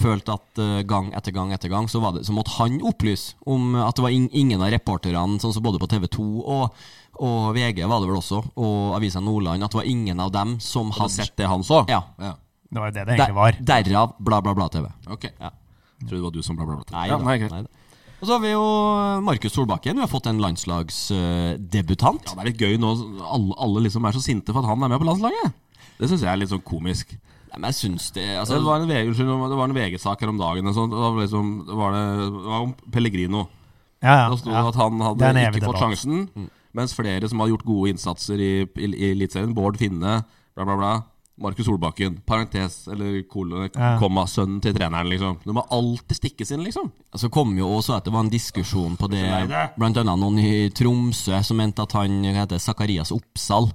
Speaker 6: følte at eh, gang etter gang etter gang så, var det, så måtte han opplyse om at det var ing- ingen av reporterne, sånn som både på TV 2 og, og VG var det vel også, og Avisa Nordland, at det var ingen av dem som
Speaker 4: Hadde
Speaker 6: hadde
Speaker 4: sett det han så?
Speaker 6: Ja.
Speaker 5: Det var jo det det egentlig var.
Speaker 6: Der- Derav bla, bla, bla-TV.
Speaker 4: Ok.
Speaker 6: Ja.
Speaker 4: Tror det var du som bla, bla, bla.
Speaker 6: Nei,
Speaker 4: ja,
Speaker 6: da,
Speaker 4: nei, greit.
Speaker 6: nei da. Og så har vi jo Markus Solbakken. Vi har fått en landslagsdebutant.
Speaker 4: Ja, det er litt gøy nå. Alle, alle liksom er så sinte for at han er med på landslaget. Det syns jeg er litt sånn komisk.
Speaker 6: Nei, men jeg syns det altså,
Speaker 4: Det var en VG, unnskyld, det var en VG-sak her om dagen. og sånt, og da var liksom, det, var det, det var om Pellegrino.
Speaker 5: Ja, ja,
Speaker 4: Da sto det
Speaker 5: ja.
Speaker 4: at han
Speaker 5: Det er
Speaker 4: hadde
Speaker 5: en evig
Speaker 4: ikke fått
Speaker 5: debatt.
Speaker 4: sjansen. Mens flere som har gjort gode innsatser i, i, i Eliteserien, Bård Finne, bla, bla, bla. Markus Solbakken, parentes eller kolon,
Speaker 5: Ja.
Speaker 4: komma, sønnen til treneren, liksom. Du må alltid stikkes inn, liksom.
Speaker 6: Så altså, kom jo også at det var en diskusjon på det, blant annet noen i Tromsø som mente at han hva heter det, Zakarias Oppsal,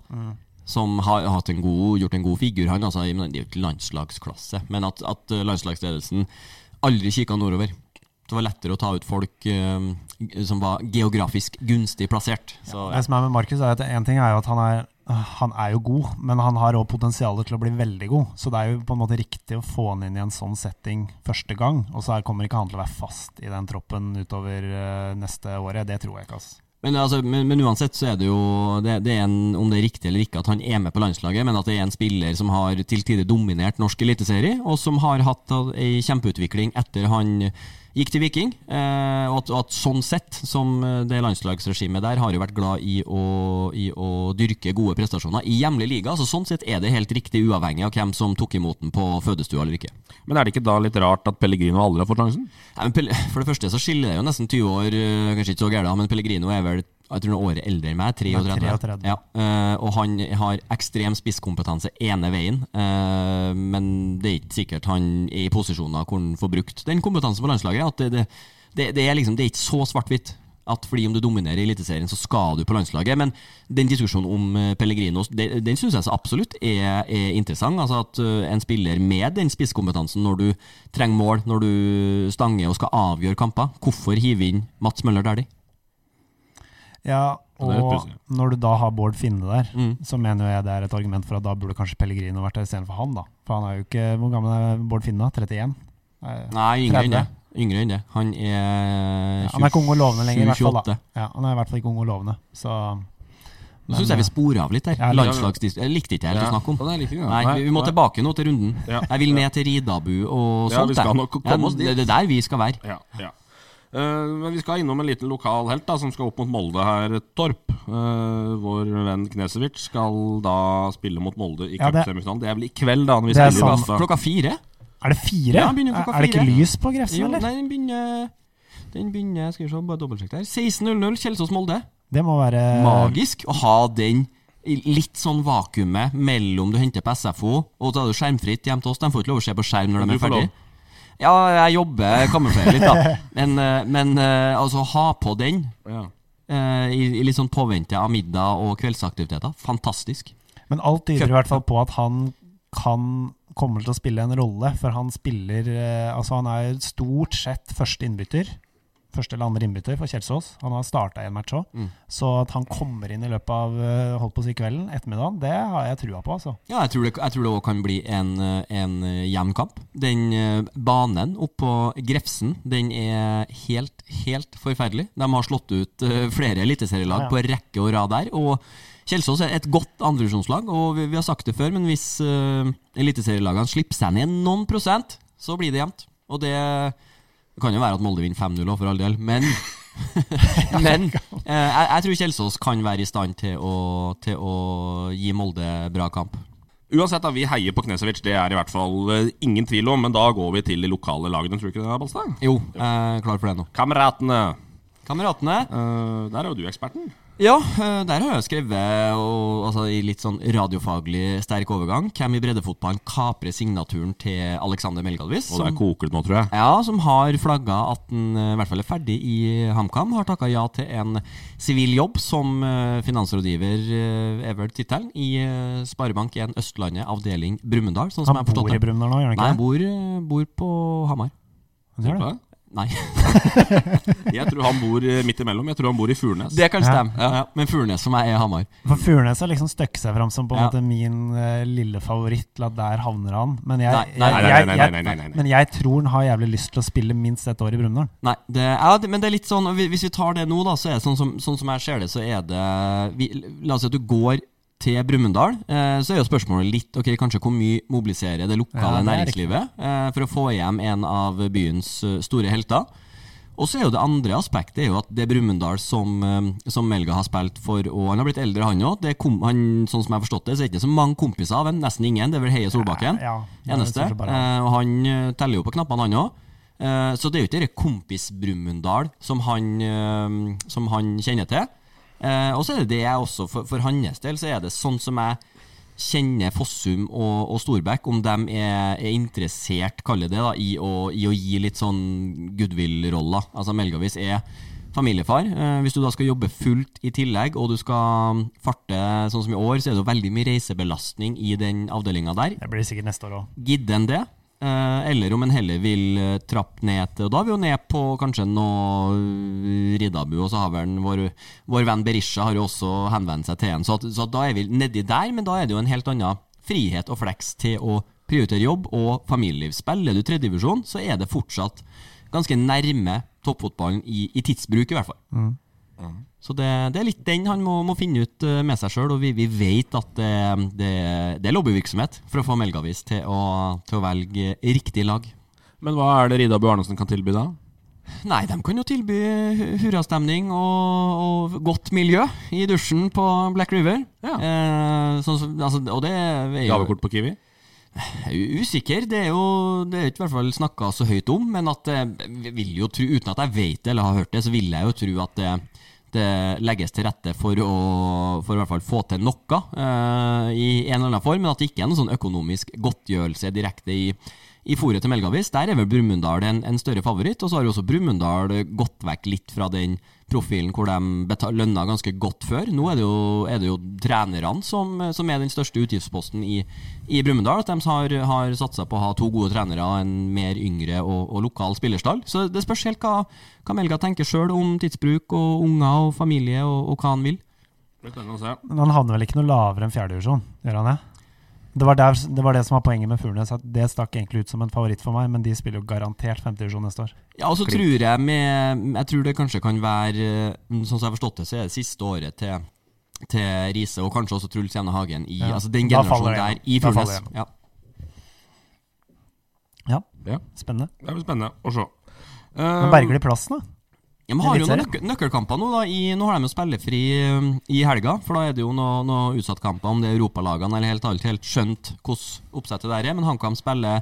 Speaker 6: som har hatt en god, gjort en god figur, han altså, men det er jo ikke landslagsklasse, men at, at eh, landslagsledelsen aldri kikka nordover. Det var lettere å ta ut folk eh, som var geografisk gunstig plassert. Så,
Speaker 5: Det som er med Markus, er at en ting er jo at han er, han er jo god, men han har òg potensial til å bli veldig god. Så det er jo på en måte riktig å få han inn i en sånn setting første gang. Og så er- kommer ikke han til å være fast i den troppen utover eh, neste året. Det tror jeg ikke, altså.
Speaker 6: Men, altså, men, men uansett så er det jo det, det er en, Om det er riktig eller ikke at han er med på landslaget, men at det er en spiller som har til tider dominert norsk eliteserie, og som har hatt da ei kjempeutvikling etter han gikk til Viking. Eh, og at, og at sånn sett, som det landslagsregimet der, har jo vært glad i å, i å dyrke gode prestasjoner i hjemlig liga. Så sånn sett er det helt riktig, uavhengig av hvem som tok imot den på fødestua eller ikke.
Speaker 4: Men er det ikke da litt rart at Pellegrino aldri har fått sjansen?
Speaker 6: Nei, men Pelle, for det første så skiller det jo nesten 20 år, øh, kanskje ikke så gærent, men Pellegrino er vel jeg tror han er året eldre enn meg, 33.
Speaker 5: 33.
Speaker 6: Ja, øh, og han har ekstrem spisskompetanse ene veien, øh, men det er ikke sikkert han er i posisjoner hvor han får brukt den kompetansen på landslaget. At det, det, det, det, er liksom, det er ikke så svart-hvitt. At fordi om du dominerer i Eliteserien, så skal du på landslaget. Men den diskusjonen om øh, Pellegrino, det, den syns jeg så absolutt er, er interessant. Altså at øh, en spiller med den spisskompetansen, når du trenger mål, når du stanger og skal avgjøre kamper, hvorfor hive inn Mats Møller Dæhlie?
Speaker 5: Ja,
Speaker 4: Ja, det er litt
Speaker 5: og
Speaker 4: pussig.
Speaker 5: når du da har Bård Finne der,
Speaker 6: Mm.
Speaker 5: så mener jo jeg det er et argument for at da burde kanskje Pellegrino vært der istedenfor han, da. For han er jo ikke Hvor gammel er Bård Finne? da? 31? Eh,
Speaker 6: Nei, yngre enn
Speaker 5: 30.
Speaker 6: det. Yngre enn det. Han er
Speaker 5: ja, han er ikke ung og lovende lenger, i hvert fall.
Speaker 6: 28.
Speaker 5: da ja, Han er i hvert fall ikke ung og lovende, så
Speaker 6: Nå syns jeg
Speaker 4: eh,
Speaker 6: vi sporer av litt der.
Speaker 5: Ja, litt.
Speaker 6: Landslagsdis... Jeg likte ikke helt å snakke om.
Speaker 4: Ja, det er like greit.
Speaker 6: Nei, vi må
Speaker 4: Nei.
Speaker 6: tilbake nå til runden.
Speaker 4: Ja.
Speaker 6: Jeg vil ned til Ridabu og
Speaker 4: Ja,
Speaker 6: sånt.
Speaker 4: vi skal
Speaker 6: jeg.
Speaker 4: nok komme oss dit.
Speaker 6: det- Det er der vi skal være.
Speaker 4: Ja, ja. Eh, men vi skal innom en liten lokal helt da, som skal opp mot Molde her, Torp. Eh, vår venn Knesevic skal da spille mot Molde i
Speaker 5: Ja, det-
Speaker 4: cupsemifinalen. Det er vel i kveld, da, når vi
Speaker 5: Det er
Speaker 4: spiller i
Speaker 5: sant.
Speaker 4: Basta.
Speaker 6: Klokka fire?
Speaker 5: Er det fire?
Speaker 6: Ja, han begynner klokka
Speaker 5: er, er det ikke
Speaker 6: fire.
Speaker 5: lys på Grefsen,
Speaker 6: Jo, nei,
Speaker 5: eller?
Speaker 6: den begynner Den begynner, skal vi se, bare dobbeltsjekk der. 16.00 Kjelsås-Molde.
Speaker 5: Det må være
Speaker 4: Eh.
Speaker 6: Magisk å ha den i litt sånn vakuumet mellom du henter på SFO, og så er det skjermfritt hjem til oss. De får ikke lov å se på skjerm når de
Speaker 4: Du
Speaker 6: er
Speaker 4: får lov.
Speaker 6: ferdig. Ja, jeg jobber, kamuflerer litt, da. Men, eh, men eh, altså, ha på den
Speaker 4: Ja.
Speaker 6: eh, i, i litt sånn påvente av middag og kveldsaktiviteter. Fantastisk.
Speaker 5: Men alt tyder i hvert fall på at han kan kommer til å spille en rolle, for han spiller eh, Altså, han er stort sett første innbytter. Første eller andre innbytter for Kjelsås. Han har starta en match òg. Så at han kommer inn i løpet av eh, holdt på å si kvelden, ettermiddagen, det har jeg trua på, altså.
Speaker 6: Ja, jeg tror det, jeg tror det også kan bli en, eh, en eh, jevn kamp. Den eh, banen oppå Grefsen, den er helt, helt forferdelig. De har slått ut eh, flere eliteserielag
Speaker 5: Ja.
Speaker 6: på rekke og rad der. Og Kjelsås er et godt andrevisjonslag, og vi, vi har sagt det før, men hvis eh, eliteserielagene slipper seg ned noen prosent, så blir det jevnt. Og det det kan jo være at Molde vinner 5-0 også, for all del, men Men eh, jeg, jeg tror Kjelsås kan være i stand til å, til å gi Molde bra kamp.
Speaker 4: Uansett, da, vi heier på Knesevic, det er i hvert fall eh, ingen tvil om. Men da går vi til de lokale lagene, tror du ikke det, Balstad?
Speaker 6: Jo, jeg er klar for det nå.
Speaker 4: Kameratene!
Speaker 6: Kameratene.
Speaker 4: Eh, der er jo du eksperten.
Speaker 6: Ja, eh, der har jeg skrevet, og, altså, i litt sånn radiofaglig sterk overgang, hvem i breddefotballen kaprer signaturen til Alexander Melgalvis.
Speaker 4: Og
Speaker 6: som-
Speaker 4: der koker det nå, tror jeg.
Speaker 6: Ja, som har flagga at han eh, i hvert fall er ferdig i HamKam. Har takka ja til en sivil jobb som eh, finansrådgiver, eh, er vel tittelen, i eh, Sparebank1 Østlandet, avdeling Brumunddal. Sånn som
Speaker 5: Han
Speaker 6: jeg har
Speaker 5: bor i
Speaker 6: forstått det.
Speaker 5: Brumunddal nå, gjør han
Speaker 6: Nei,
Speaker 5: ikke
Speaker 6: han bor, eh, bor på Hamar.
Speaker 5: det? Han gjør det?
Speaker 4: Hva?
Speaker 6: Nei,
Speaker 4: Jeg tror han bor eh, midt imellom. Jeg tror han bor i Furnes.
Speaker 6: det kan
Speaker 5: Ja.
Speaker 6: stemme. Ja. Men Furnes som jeg er Hamar.
Speaker 5: For Furnes har liksom støkket seg fram som på en
Speaker 6: Ja.
Speaker 5: måte min eh, lille favoritt til at der havner han. Men jeg,
Speaker 6: Nei, nei,
Speaker 4: Nei, nei,
Speaker 5: jeg-
Speaker 4: nei, nei,
Speaker 5: jeg-
Speaker 4: nei, nei, nei, nei.
Speaker 5: Men jeg tror han har jævlig lyst til å spille minst ett år i Brumunddal.
Speaker 6: Nei, det, ja, det, men det er litt sånn hvi- Hvis vi tar det nå, da, så er det sånn som, sånn som jeg ser det, så er det vi, La oss si at du går til Brumunddal, eh, så er jo spørsmålet litt Ok, kanskje hvor mye mobiliserer det lokale
Speaker 5: Ja, det er
Speaker 6: næringslivet eh, for å få hjem en av byens eh, store helter? Og så er jo det andre aspektet er jo at det Brumunddal som, eh, som Melga har spilt for, og han har blitt eldre, han òg Sånn som jeg har forstått det, så er det ikke så mange kompiser av ham. Nesten ingen. Det er vel Heie Solbakken.
Speaker 5: Ja, det er
Speaker 6: Eneste.
Speaker 5: stort sett bare han.
Speaker 6: Eh, og han eh, teller jo på knappene, han òg. så det er jo ikke dette kompis Brumunddal som, han, eh, som han kjenner til. Eh, og så er det det jeg også, for, for hans del, så er det sånn som jeg kjenner Fossum og, og Storbekk, om de er, er interessert, kaller det, da, i å, i å gi litt sånn goodwill-roller. Altså Melgavis er familiefar. Eh, hvis du da skal jobbe fullt i tillegg, og du skal farte sånn som i år, så er det jo veldig mye reisebelastning i den avdelinga der
Speaker 5: Det blir det sikkert neste år òg.
Speaker 6: gidde enn det. eh, Eller om en heller vil eh, trappe ned til Og da er vi jo ned på kanskje noe eh, Riddabu, og så har vel en vår, vår venn Berisha har jo også henvendt seg til en. Så, at, så at da er vi nedi der, men da er det jo en helt annen frihet og fleks til å prioritere jobb og familieliv. Spiller du tredjedivisjon, så er det fortsatt ganske nærme toppfotballen i, i tidsbruk, i hvert fall. Så det, det er litt den han må, må finne ut eh, med seg sjøl, og vi, vi vet at det, det, det er lobbyvirksomhet for å få Melgavis til å, til å velge riktig lag.
Speaker 4: Men hva er det Ridabu Arnesen kan tilby da?
Speaker 6: Nei, de kan jo tilby hu- hurrastemning og, og godt miljø i dusjen på Black River.
Speaker 4: Ja.
Speaker 6: Eh, sånn som- altså, og det er jo
Speaker 4: Gavekort på Kiwi?
Speaker 6: Jeg er jo usikker. Det er jo det er ikke i hvert fall snakka så høyt om, men at eh, jeg vil jo tro, uten at jeg vet det eller har hørt det, så vil jeg jo tro at det, det legges til rette for å for i hvert fall få til noe eh, i en eller annen form, men at det ikke er noen sånn økonomisk godtgjørelse direkte i i fôret til Melgavis, der er vel Brumunddal en, en større favoritt. Og så har jo også Brumunddal gått vekk litt fra den profilen hvor de beta- lønna ganske godt før. Nå er det jo, er det jo trenerne som, som er den største utgiftsposten i, i Brumunddal. At de har, har satsa på å ha to gode trenere, en mer yngre og, og lokal spillerstall. Så det spørs helt hva, hva Melga tenker sjøl om tidsbruk og unger og familie og, og hva han vil.
Speaker 4: Det kan jeg se.
Speaker 5: Men han havner vel ikke noe lavere enn fjerdedivisjon, gjør han det? Det var, der, det var det som var poenget med Furnes, at det stakk egentlig ut som en favoritt for meg, men de spiller jo garantert femtedivisjon neste år.
Speaker 6: Ja, og så tror jeg med Jeg tror det kanskje kan være eh, Sånn som jeg har forstått det, så er det siste året til, til Riise og kanskje også Truls Jevne Hagen i
Speaker 5: Ja.
Speaker 6: altså den
Speaker 5: Da faller
Speaker 6: generasjonen
Speaker 5: jeg.
Speaker 6: der i
Speaker 5: Da faller
Speaker 6: Furnes.
Speaker 5: jeg.
Speaker 6: Ja.
Speaker 4: Ja,
Speaker 5: Spennende.
Speaker 4: det blir spennende å se.
Speaker 6: Um,
Speaker 5: Men berger de plassen, da?
Speaker 6: Ja, men har jo noen
Speaker 5: Eliteserien.
Speaker 6: nøkkel, nøkkelkamper nå, da. I, nå har de jo spillefri um, i helga, for da er det jo noen noe utsattkamper, om det er europalagene eller helt, alt, helt skjønt hvordan oppsettet der er. Men HamKam spiller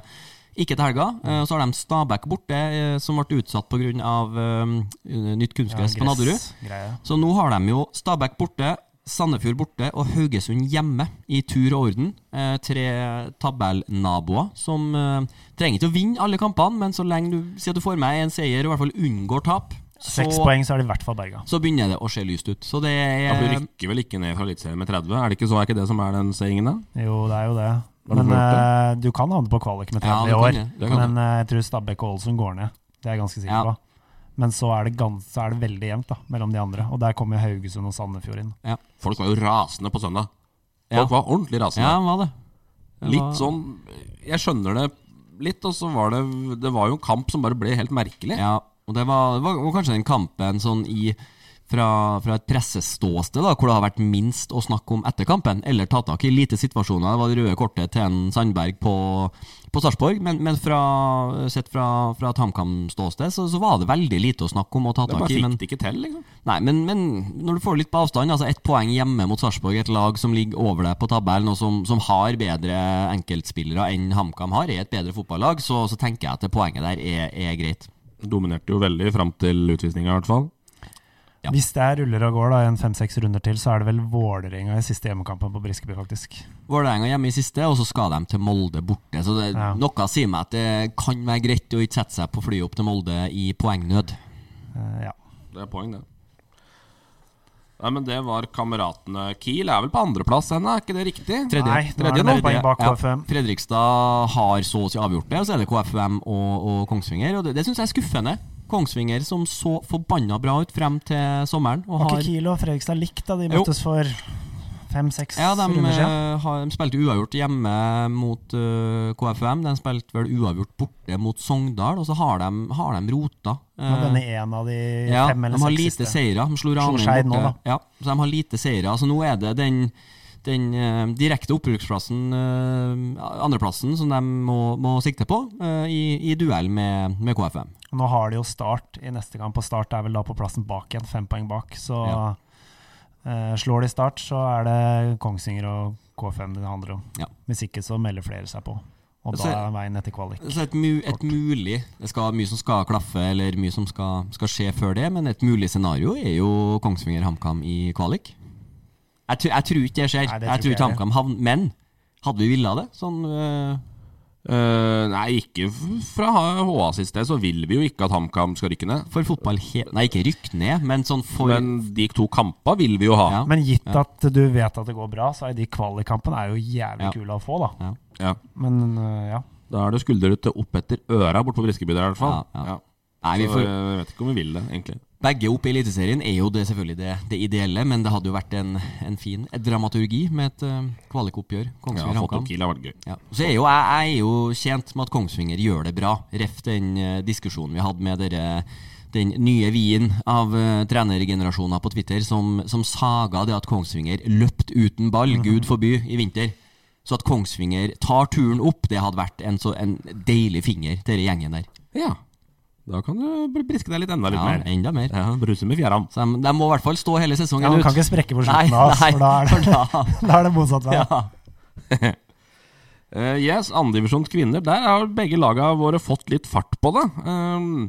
Speaker 6: ikke til helga. Eh,
Speaker 5: Mm.
Speaker 6: Så har de Stabæk borte, eh, som ble utsatt pga. Um, nytt kunstgress på Nadderud.
Speaker 5: Greie.
Speaker 6: Så nå har de jo Stabæk borte, Sandefjord borte og Haugesund hjemme i tur og orden. Eh, tre tabellnaboer som eh, trenger ikke å vinne alle kampene, men så lenge du sier at du får med en seier og i hvert fall unngår tap, så,
Speaker 5: Seks poeng, så er de i hvert fall berga.
Speaker 6: så begynner det å se lyst ut. Så det
Speaker 4: Eh, Ja, for
Speaker 6: er
Speaker 4: Du rykker vel ikke ned fra Eliteserien med 30? Er det ikke så er ikke det som er den seingen, da?
Speaker 5: Jo, det er jo det.
Speaker 4: Har du
Speaker 5: Men
Speaker 4: hørt
Speaker 5: eh, du kan havne på kvalik med 30
Speaker 6: Ja,
Speaker 5: i
Speaker 6: du kan
Speaker 5: år.
Speaker 6: det. Du kan
Speaker 5: Men eh, jeg tror Stabæk og Ålesund går ned. Det er jeg ganske sikker
Speaker 6: Ja.
Speaker 5: på. Men så er, det gans så er det veldig jevnt da, mellom de andre. Og der kommer Haugesund og Sandefjord inn.
Speaker 4: Folk var jo rasende på søndag.
Speaker 6: Ja.
Speaker 4: Folk var ordentlig rasende.
Speaker 6: Ja, hva det?
Speaker 4: Litt sånn Jeg skjønner det litt, og så var det Det var jo en kamp som bare ble helt merkelig.
Speaker 6: Ja, og det var, det var var kanskje den kampen sånn i fra, fra et presseståsted, da, hvor det har vært minst å snakke om etter kampen, eller ta tak i lite situasjoner. Det var det røde kortet til en Sandberg på, på Sarpsborg, men, men fra, sett fra, fra et HamKam-ståsted, så, så var det veldig lite å snakke om og ta
Speaker 4: Det
Speaker 6: tak
Speaker 4: bare
Speaker 6: i. Men,
Speaker 4: fikk det ikke til, liksom.
Speaker 6: Nei, men, men når du får litt på avstand, altså ett poeng hjemme mot Sarpsborg, et lag som ligger over deg på tabellen, og som, som har bedre enkeltspillere enn HamKam har, er et bedre fotballag, så, så tenker jeg at det poenget der er, er greit.
Speaker 4: Dominerte jo veldig fram til utvisninga, i hvert fall.
Speaker 6: Ja.
Speaker 5: Hvis det er ruller og går da, en fem-seks runder til, så er det vel Vålerenga i siste hjemmekampen på Briskeby, faktisk.
Speaker 6: Vålerenga hjemme i siste, og så skal de til Molde borte. Så det,
Speaker 5: Ja.
Speaker 6: noe sier meg at det kan være greit å ikke sette seg på flyet opp til Molde i poengnød.
Speaker 5: Eh, ja.
Speaker 4: Det er poeng, det. Nei, men det var kameratene. Kiel er vel på andreplass ennå, er ikke det riktig?
Speaker 6: Tredje.
Speaker 5: Nei, nå er det
Speaker 6: nå.
Speaker 5: mer poeng bak
Speaker 6: Ja.
Speaker 5: KFUM.
Speaker 6: Fredrikstad har så å si avgjort det, og så er det KFUM og, og Kongsvinger. Og det, det syns jeg er skuffende. Kongsvinger som så forbanna bra ut frem til sommeren. Og
Speaker 5: Var
Speaker 6: har,
Speaker 5: ikke Kiel og Fredrikstad likt da de
Speaker 6: Jo.
Speaker 5: møttes for fem-seks
Speaker 6: ja, de,
Speaker 5: runder siden?
Speaker 6: eh, har, de spilte uavgjort hjemme mot eh, KFUM. De spilte vel uavgjort borte mot Sogndal, og så har de, har de rota.
Speaker 5: Med
Speaker 6: eh,
Speaker 5: denne en av de
Speaker 6: Ja,
Speaker 5: fem eller
Speaker 6: de har
Speaker 5: seks
Speaker 6: lite
Speaker 5: siste.
Speaker 6: seire. De slo
Speaker 5: Skeid
Speaker 6: Ranheim
Speaker 5: nå,
Speaker 6: borte.
Speaker 5: da.
Speaker 6: Ja, så de har lite seire. Altså, nå er det den, den eh, direkte opprykksplassen, eh, andreplassen, som de må, må sikte på eh, i, i duell med, med KFM.
Speaker 5: Og Nå har de jo Start i neste kamp, og Start er vel da på plassen bak igjen, fem poeng bak. Så
Speaker 6: Ja.
Speaker 5: eh, slår de Start, så er det Kongsvinger og K5 det handler om.
Speaker 6: Ja.
Speaker 5: Hvis ikke så melder flere seg på, og
Speaker 6: Så-
Speaker 5: da er veien etter kvalik.
Speaker 6: Så et, mu, et mulig Det skal mye som skal klaffe, eller mye som skal, skal skje før det, men et mulig scenario er jo Kongsvinger-HamKam i kvalik. Jeg, tr- jeg tror ikke det skjer.
Speaker 5: Nei, det tror
Speaker 6: jeg tror
Speaker 5: ikke jeg
Speaker 6: ikke HamKam havner Men hadde vi villa det? Sånn eh,
Speaker 4: Eh, nei, ikke f- fra HA sitt sted, så vil vi jo ikke at HamKam skal rykke ned.
Speaker 6: for fotball he- Nei, ikke rykk ned, men sånn for
Speaker 4: Men de to kampene vil vi jo ha.
Speaker 6: Ja.
Speaker 5: Men gitt at du vet at det går bra, så er de kvalikkampene er jo jævlig
Speaker 6: Ja.
Speaker 5: kule å få, da.
Speaker 4: Ja.
Speaker 5: Men eh, ja.
Speaker 4: Da er det skuldrete opp etter øra borte på Briskeby der, i hvert fall.
Speaker 6: Ja, ja.
Speaker 4: Ja.
Speaker 6: Nei, vi
Speaker 4: Så,
Speaker 6: får,
Speaker 4: eh, jeg vet ikke om vi vil det, egentlig.
Speaker 6: begge opp i Eliteserien er jo det selvfølgelig det, det ideelle, men det hadde jo vært en, en fin dramaturgi med et uh, kvalikoppgjør.
Speaker 4: Ja,
Speaker 6: Kongsvinger
Speaker 4: fått
Speaker 6: HamKam.
Speaker 4: opp Kiel har vært gøy.
Speaker 6: Ja. Så er jo, jeg, jeg er jo tjent med at Kongsvinger gjør det bra, ref den eh, diskusjonen vi hadde med dere. Den nye vien av eh, trenergenerasjoner på Twitter som, som saga det at Kongsvinger løpt uten ball,
Speaker 4: Mhm.
Speaker 6: gud forby, i vinter. Så at Kongsvinger tar turen opp, det hadde vært en, så, en deilig finger til den gjengen der.
Speaker 4: Ja. Da kan du br- briske deg litt enda litt
Speaker 6: Ja,
Speaker 4: mer.
Speaker 6: enda mer.
Speaker 4: Ja, Bruse med fjæra.
Speaker 6: Så de, de må i hvert fall stå hele
Speaker 5: ja
Speaker 6: sesongen
Speaker 5: man
Speaker 6: ut.
Speaker 5: kan ikke sprekke på
Speaker 6: Nei,
Speaker 5: slutten av oss,
Speaker 6: nei,
Speaker 5: for da er det,
Speaker 6: for da-
Speaker 5: da er det motsatt vei.
Speaker 6: ja.
Speaker 4: Uh, yes, andredivisjons kvinner. Der har begge laga våre fått litt fart på det. Ehm,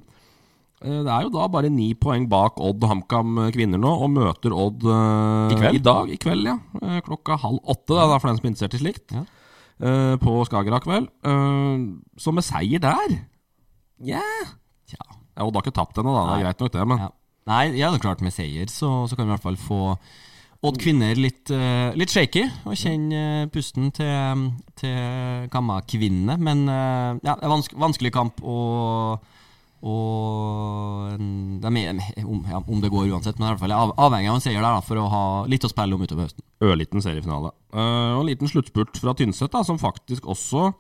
Speaker 4: eh, det er jo da bare ni poeng bak Odd og HamKam eh, kvinner nå, og møter Odd eh,
Speaker 6: I kveld?
Speaker 4: i dag. I kveld, ja. Eh, klokka halv åtte, da, da, for den som er interessert i slikt.
Speaker 6: Ja.
Speaker 4: Eh, på Skagerrak, vel. Eh, så med seier der Ja
Speaker 6: Tja.
Speaker 4: Ja, Odd har ikke tapt ennå, da. Det
Speaker 6: Nei.
Speaker 4: er greit nok, det. Men
Speaker 6: Ja. Nei, ja, det er klart med seier så, så kan vi i hvert fall få Odd kvinner litt, eh, litt shaky, og kjenne eh, pusten til, til Kamma-kvinnene. Men eh, ja, det er vanske, vanskelig kamp, og, og en- de er, om, ja, om det går uansett, men i hvert fall er av, avhengig av en seier der da, for å ha litt å spille om utover høsten.
Speaker 4: ørliten seriefinale. Eh, og en liten sluttspurt fra Tynset, da, som faktisk også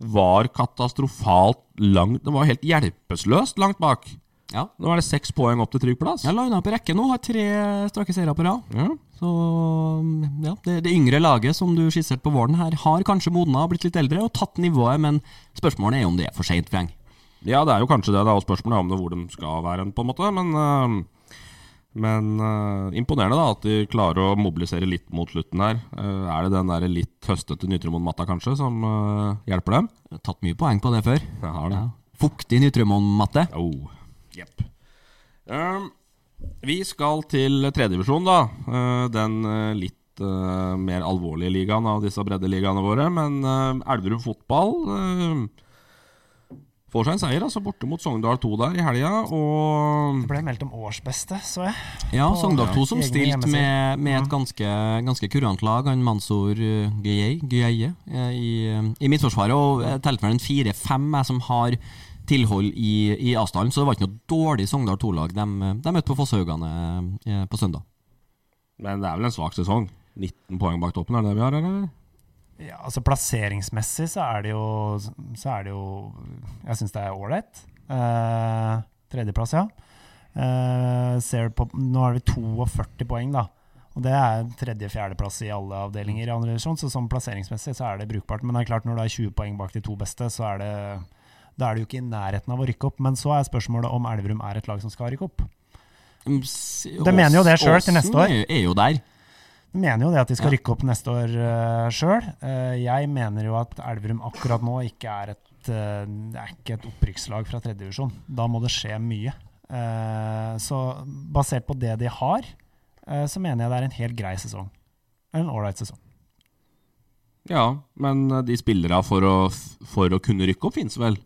Speaker 4: var katastrofalt langt Det var helt hjelpeløst langt bak.
Speaker 6: Ja.
Speaker 4: Nå er det seks poeng opp til trygg plass.
Speaker 6: Jeg lina opp i rekke nå, har tre strake seire på rad.
Speaker 4: Ja.
Speaker 6: Så um, ja, det, det yngre laget som du skisserte på våren her, har kanskje modna og blitt litt eldre og tatt nivået, men spørsmålet er om det er for seint, Freng.
Speaker 4: ja, det er jo kanskje det. Det er jo spørsmålet om det, hvor de skal være, hen, på en måte. Men, eh, men eh, imponerende da at de klarer å mobilisere litt mot slutten her. Eh, er det den der litt høstete Nytrum mot Matta kanskje som eh, hjelper dem?
Speaker 6: Tatt mye poeng på det før.
Speaker 4: Jeg har det.
Speaker 6: Ja. Fuktig Nytremon-matte.
Speaker 4: Oh, jepp. Um, vi skal til tredjedivisjon, da. Uh, den uh, litt uh, mer alvorlige ligaen av disse breddeligaene våre. Men uh, Elverum fotball uh, får seg en seier, altså borte mot Sogndal 2 der i helga. Og
Speaker 5: Det ble meldt om årsbeste, så jeg.
Speaker 6: Ja,
Speaker 5: På eh,
Speaker 6: Sogndal 2 som
Speaker 5: egne
Speaker 6: stilte
Speaker 5: hjemmesider.
Speaker 6: med, med et ganske, ganske kurant lag. Han Mansour eh, Gueye Gueye, eh, i, eh, i Midtforsvaret. Og jeg telte vel en fire-fem jeg som har tilhold i, i Asdalen, så det var ikke noe dårlig Sogndal 2-lag de, eh, de møtte på Fosshaugane eh, på søndag.
Speaker 4: Men det er vel en svak sesong. 19 poeng bak toppen, er det det vi har, eller?
Speaker 5: Ja, altså Plasseringsmessig så er det jo, så er det jo Jeg syns det er ålreit. Eh, tredjeplass, ja. Eh, ser på, nå har vi 42 poeng, da. Og det er tredje-fjerdeplass i alle avdelinger i andre divisjon, så sånn plasseringsmessig så er det brukbart. Men det er klart når du er 20 poeng bak de to beste, så er det da er du jo ikke i nærheten av å rykke opp. Men så er spørsmålet om Elverum er et lag som skal rykke opp.
Speaker 6: De
Speaker 5: mener jo det selv til neste år.
Speaker 6: Er, er jo der.
Speaker 5: De mener jo det at de skal
Speaker 6: Ja.
Speaker 5: rykke opp neste år uh, sjøl. jeg mener jo at Elverum akkurat nå ikke er et eh, Det er ikke et opprykkslag fra tredjedivisjon. Da må det skje mye. Eh, så basert på det de har, eh, så mener jeg det er en helt grei sesong. En ålreit sesong.
Speaker 4: Ja, men uh, de spillerne for, å- for å kunne rykke opp, finnes vel?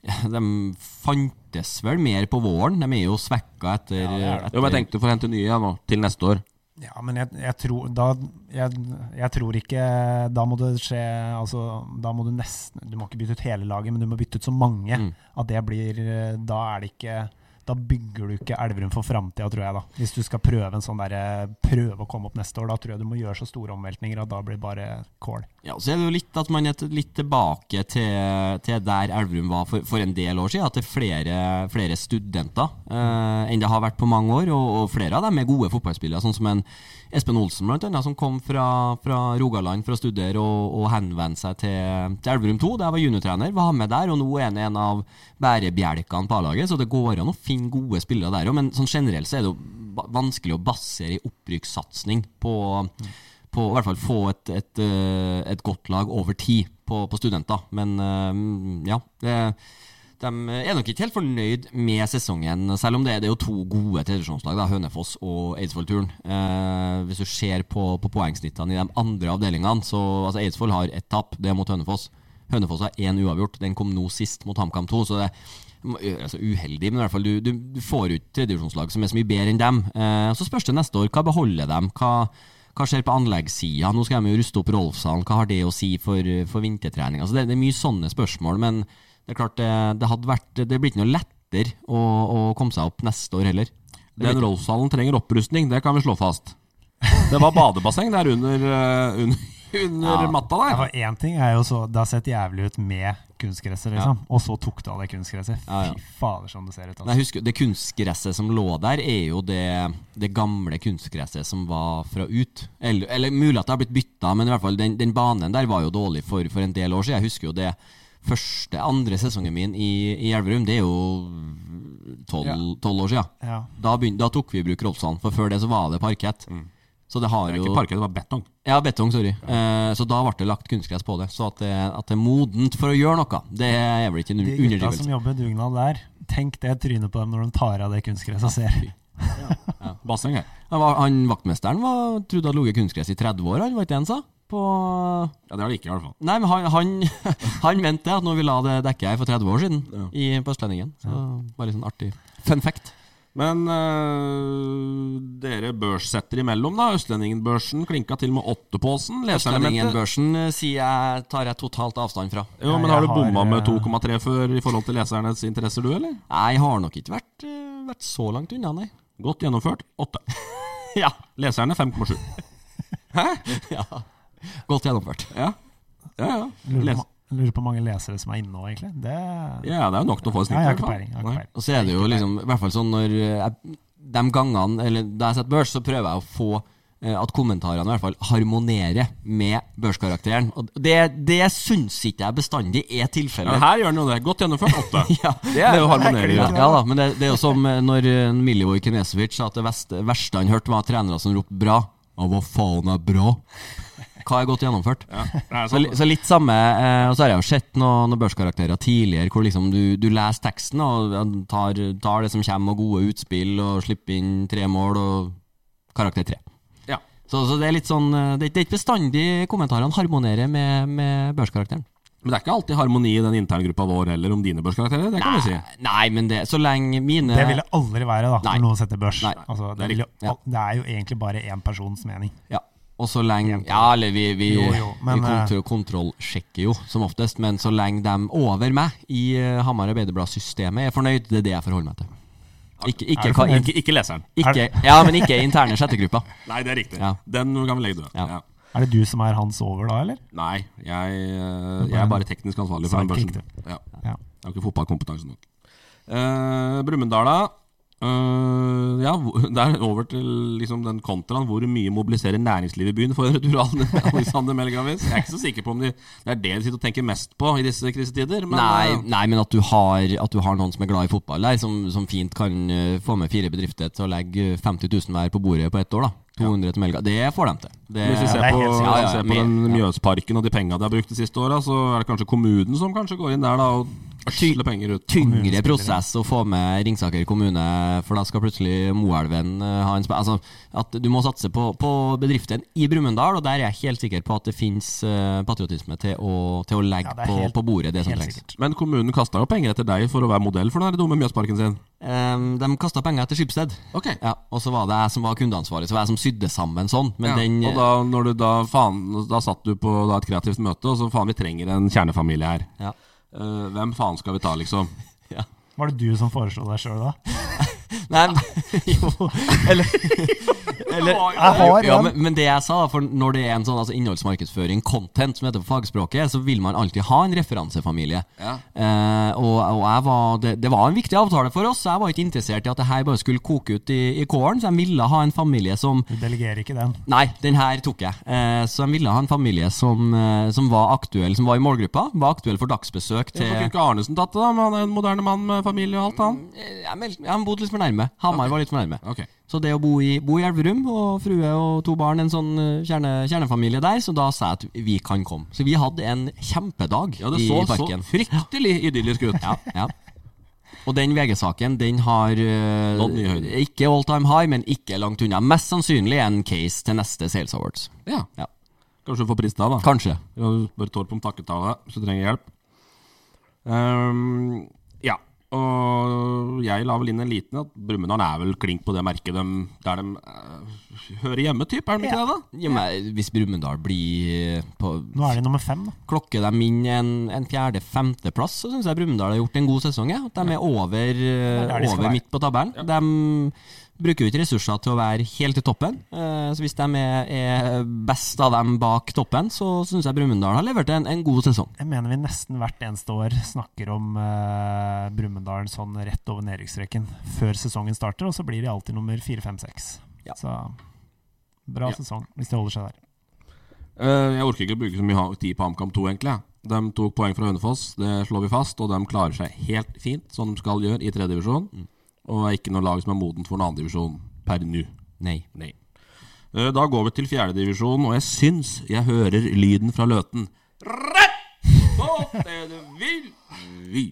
Speaker 6: De fantes vel mer på våren. De er jo svekka etter,
Speaker 5: Ja, det er det.
Speaker 6: etter
Speaker 4: Jo, men jeg tenkte for å hente nye ja, nå, til neste år.
Speaker 5: Ja, men jeg, jeg, tror, da, jeg, jeg tror ikke Da må det skje altså, Da må du nesten Du må ikke bytte ut hele laget, men du må bytte ut så mange
Speaker 6: Mm.
Speaker 5: at det blir eh, Da er det ikke da bygger du ikke Elverum for framtida, tror jeg. da. Hvis du skal prøve en sånn der, eh, prøve å komme opp neste år, da tror jeg du må gjøre så store omveltninger at da blir det bare kål.
Speaker 6: Ja, og så er det jo litt at man er t- litt tilbake til, til der Elverum var for, for en del år siden. At det er flere, flere studenter eh, enn det har vært på mange år. Og, og flere av dem er gode fotballspillere, sånn som en Espen Olsen blant annet, som kom fra, fra Rogaland for å studere og, og henvende seg til, til Elverum 2. Der var juniortrener, var med der, og nå er han en av bærebjelkene på A-laget. Så det går an å finne gode spillere der òg, men sånn generelt så er det jo ba- vanskelig å basere en opprykkssatsing på på å i hvert fall få et, et, eh, et godt lag over tid på, på studenter. Men eh, ja, det, de er nok ikke helt fornøyd med sesongen, selv om det, det er jo to gode tradisjonslag, da, Hønefoss og Eidsvoll-turen. Eh, hvis du ser på, på poengsnittene i de andre avdelingene, så altså Eidsvoll har ett tap, det er mot Hønefoss. Hønefoss har én uavgjort, den kom nå sist mot HamKam 2, så det er altså uheldig, men i hvert fall du, du, du får ut tredjevisjonslag som er så mye bedre enn dem. Eh, så spørs det neste år, hva beholder dem? Hva, hva skjer på anleggssida? Nå skal de jo ruste opp Rolfshallen. Hva har det å si for, for vintertrening? Altså det, det er mye sånne spørsmål, men det er klart det, det hadde vært Det blir ikke noe lettere å, å komme seg opp neste år heller.
Speaker 4: Den
Speaker 6: Det blir-
Speaker 4: Rolfshallen trenger opprustning, det kan vi slå fast. Det var badebasseng der under, eh, under, under
Speaker 6: Ja.
Speaker 4: matta der.
Speaker 5: Ja, Én ting er jo så Det har sett jævlig ut med kunstgresset, liksom. Og så tok det av det kunstgresset.
Speaker 6: Ja, ja.
Speaker 5: Fy fader, som det ser ut. altså.
Speaker 6: Men jeg husker, Det kunstgresset som lå der, er jo det, det gamle kunstgresset som var fra ut. Eller, eller mulig at det har blitt bytta, men i hvert fall den, den banen der var jo dårlig for, for en del år siden. Jeg husker jo det første, andre sesongen min i, i Elverum. Det er jo tolv tolv år siden.
Speaker 5: Ja.
Speaker 6: Da, begyn- da tok vi i bruk Rolfsand, for før det så var det parkett. Så det har
Speaker 4: Det er
Speaker 6: jo
Speaker 4: ikke parkett, det var betong.
Speaker 6: Ja, betong, sorry. Eh, så da ble det lagt kunstgress på det. Så at det, at det er modent for å gjøre noe, det er vel ikke en
Speaker 5: De gutta
Speaker 6: underdrivelse.
Speaker 5: som jobber dugnad der, tenk det trynet på dem når de tar av det kunstgresset og ser.
Speaker 4: Basseng her.
Speaker 6: Han, var, han vaktmesteren var, trodde hadde ligget kunstgress i 30 år, han var ikke det han sa? På
Speaker 4: Ja, det har det ikke, i hvert fall.
Speaker 6: Nei, men han, han, han mente det, at når vi la det dekket her for 30 år siden, i, på Østlendingen. Så bare litt sånn artig fun fact.
Speaker 4: Men eh, dere børssetter imellom, da. Østlendingen-børsen klinka til med åttepåsen. Leseelementet.
Speaker 6: Østlendingen-børsen eh, sier jeg, tar jeg totalt avstand fra.
Speaker 4: Jo, men
Speaker 5: Ja,
Speaker 4: har du
Speaker 5: jeg har,
Speaker 4: bomma med
Speaker 5: eh,
Speaker 4: 2,3 før i forhold til lesernes interesser, du, eller?
Speaker 6: Jeg har nok ikke vært, eh, vært så langt unna, nei.
Speaker 4: Godt gjennomført. 8.
Speaker 6: Ja.
Speaker 4: Leserne 5,7.
Speaker 6: ja. Godt gjennomført.
Speaker 4: Ja. Ja, ja.
Speaker 5: Lurer
Speaker 4: Les
Speaker 5: på, lurer på hvor mange lesere som er inne nå, egentlig. Det, ja,
Speaker 4: ja, det er jo nok til å få et snitt.
Speaker 5: jeg
Speaker 4: i
Speaker 5: har
Speaker 4: hvert
Speaker 5: ikke
Speaker 4: fall.
Speaker 5: peiling. Jeg har
Speaker 4: Nei.
Speaker 5: ikke peiling.
Speaker 6: Og så er det jo liksom, i hvert fall sånn når eh, jeg, de gangene, eller da jeg setter børs, så prøver jeg å få eh, at kommentarene i hvert fall harmonerer med børskarakteren. Og det, det syns ikke jeg bestandig er
Speaker 4: Ja, men
Speaker 6: tilfellet.
Speaker 4: her gjør den jo det. Godt gjennomført. 8.
Speaker 6: Ja.
Speaker 4: Det er jo harmonering.
Speaker 6: Ja,
Speaker 4: Ja.
Speaker 6: ja da, men det, det er jo som eh, når eh, Milivoj Kinesevic sa at det verste, verste han hørte, var trenere som ropte 'bra'. Ja, hva faen er bra? Hva er godt gjennomført?
Speaker 4: Det er
Speaker 6: Så,
Speaker 4: sant.
Speaker 6: li- så litt samme eh, Og så har jeg jo sett noen noe børskarakterer tidligere hvor liksom du, du leser teksten og ja, tar, tar det som kommer, og gode utspill, og slipper inn tre mål og karakter tre.
Speaker 4: Ja.
Speaker 6: Så, så det er litt sånn eh, Det, er ikke- det er ikke bestandig kommentarene harmonerer med, med børskarakteren.
Speaker 4: Men det er ikke alltid harmoni i den interngruppa vår heller om dine børskarakterer. Det kan vi si.
Speaker 6: Nei, men det så lenge mine
Speaker 5: det ville aldri være da,
Speaker 6: Nei.
Speaker 5: når noen setter børs.
Speaker 6: Nei.
Speaker 5: altså,
Speaker 4: Det
Speaker 5: det,
Speaker 4: er
Speaker 5: ville,
Speaker 6: ja.
Speaker 5: al- det er jo egentlig bare én persons mening.
Speaker 6: Ja, og så lenge Ja, eller vi, vi,
Speaker 5: Jo, jo, men, eh,
Speaker 6: vi kontro, kontrollsjekker jo som oftest, men så lenge de over meg i eh, Hamar Arbeiderblad-systemet er fornøyd, det er det jeg forholder meg til. Ikke, ikke,
Speaker 5: Er du
Speaker 6: hva-
Speaker 5: fornøyd?
Speaker 6: ikke,
Speaker 4: Ikke, ikke leseren.
Speaker 6: ikke, ja, men ikke interne sjettegrupper.
Speaker 4: Nei, det er riktig.
Speaker 6: Ja.
Speaker 4: Den kan vi legge død.
Speaker 6: Ja.
Speaker 4: Ja.
Speaker 5: Er det du som er hans over da, eller?
Speaker 4: Nei, jeg, eh, jeg er bare teknisk ansvarlig for den
Speaker 5: Sidekick,
Speaker 4: børsen. Ja.
Speaker 5: Ja.
Speaker 4: Jeg har ikke fotballkompetanse nok. Uh, Brumunddala. eh, ja, hvor- der over til liksom, den kontraen. Hvor mye mobiliserer næringslivet i byen for en retur av Alexander Melgavis? Jeg er ikke så sikker på om de, det er det de sitter og tenker mest på i disse krisetider. Men,
Speaker 6: Nei,
Speaker 4: eh,
Speaker 6: nei, men at du, har, at du har noen som er glad i fotball der, som, som fint kan eh, få med fire bedrifter til å legge 50 000 hver på bordet på ett år, da. 200 til melka. Det får de til. Det,
Speaker 4: hvis vi ser
Speaker 5: det er
Speaker 4: på,
Speaker 5: helt sikkert.
Speaker 4: ja, ser på
Speaker 6: men-
Speaker 4: den
Speaker 6: ja.
Speaker 4: Mjøsparken og de penga de har brukt de siste åra, så er det kanskje kommunen som kanskje går inn der da og øsler penger ut.
Speaker 6: tyngre prosess å få med Ringsaker kommune, for da skal plutselig Moelven eh, ha en sp Altså, at du må satse på, på bedriften i Brumunddal, og der er jeg helt sikker på at det fins patriotisme til å, til å legge
Speaker 5: Ja, det er
Speaker 6: på,
Speaker 5: helt-
Speaker 6: på bordet det som
Speaker 5: Helt
Speaker 6: trengs.
Speaker 5: sikkert.
Speaker 4: Men kommunen kasta jo penger etter deg for å være modell for den her dumme Mjøsparken sin.
Speaker 6: Eh, Ehm, de kasta penger etter Skipsted.
Speaker 4: Ok.
Speaker 6: Ja, og så var det jeg som var kundeansvarlig, så var jeg som sydde sammen sånn. Men
Speaker 4: Ja,
Speaker 6: den
Speaker 4: og da, når du da, faen, da satt du på da, et kreativt møte, og så faen, vi trenger en kjernefamilie her.
Speaker 6: Ja.
Speaker 4: Eh, hvem faen skal vi ta, liksom?
Speaker 6: ja.
Speaker 5: Var det du som foreslo deg sjøl da?
Speaker 6: Nei, men- jo Eller, eller
Speaker 5: Jeg har
Speaker 6: ja,
Speaker 5: en.
Speaker 6: men, men det jeg sa, for når det er en sånn altså, innholdsmarkedsføring, content, som heter på fagspråket, så vil man alltid ha en referansefamilie.
Speaker 4: Ja.
Speaker 6: Eh, og og jeg var, det, det var en viktig avtale for oss, så jeg var ikke interessert i at det her bare skulle koke ut i, i kålen, så jeg ville ha en familie som
Speaker 5: Du delegerer ikke den.
Speaker 6: Nei, den her tok jeg. Eh, så jeg ville ha en familie som, eh, som var aktuell, som var i målgruppa. Var aktuell for dagsbesøk til
Speaker 4: Hvorfor kunne ikke Arnesen tatt det, da? Men han er en moderne mann med familie og alt annet.
Speaker 6: Eh, Jeg, meld, jeg bodde litt for nærme. Hamar var litt for nærme.
Speaker 4: Ok.
Speaker 6: Så det å bo i, bo i Elverum, og frue og to barn, en sånn eh, kjerne, kjernefamilie der, så da sa jeg at vi kan komme. Så vi hadde en kjempedag
Speaker 4: Ja, det
Speaker 6: i
Speaker 4: så så
Speaker 6: parken.
Speaker 4: fryktelig idyllisk ut.
Speaker 6: Ja, ja. Og den VG-saken, den har eh,
Speaker 4: Nådd nye høyder.
Speaker 6: ikke all time high, men ikke langt unna. Mest sannsynlig en case til neste Sales Awards.
Speaker 4: Ja.
Speaker 6: Ja.
Speaker 4: Kanskje du får pris da, da.
Speaker 6: Kanskje.
Speaker 4: Ja, du Bare tår på om takketale, hvis du trenger hjelp. Ehm, ja. Og jeg la vel inn en liten at Brumunddal er vel klink på det merket dem der de eh, hører hjemme, typ. Er de ikke det, da?
Speaker 6: Ja, men hvis Brumunddal blir på
Speaker 5: Nå er de nummer fem, da.
Speaker 6: Klokker dem inn en, en fjerde-femteplass, så syns jeg Brumunddal har gjort en god sesong. Ja. At De er over, eh,
Speaker 5: der de skal
Speaker 6: over
Speaker 5: være.
Speaker 6: midt på tabellen. De bruker jo ikke ressurser til å være helt i toppen. eh, Så hvis de er, er best av dem bak toppen, så syns jeg Brumunddal har levert en, en god sesong.
Speaker 5: Jeg mener vi nesten hvert eneste år snakker om uh, Brumunddal sånn rett over nedrykksstreken før sesongen starter, og så blir de alltid nummer fire, fem, seks.
Speaker 6: Ja.
Speaker 5: Så bra
Speaker 4: Ja.
Speaker 5: sesong, hvis de holder seg der.
Speaker 4: Eh, jeg orker ikke å bruke så mye ha- tid på HamKam 2, egentlig. jeg. De tok poeng fra Hønefoss, det slår vi fast. Og de klarer seg helt fint, som de skal gjøre i tredjedivisjon. divisjon Og er ikke noe lag som er modent for en annendivisjon per nå.
Speaker 6: Nei.
Speaker 4: Nei. Eh, Da går vi til fjerdedivisjon, og jeg syns jeg hører lyden fra Løten. Rett på det du vil! vil.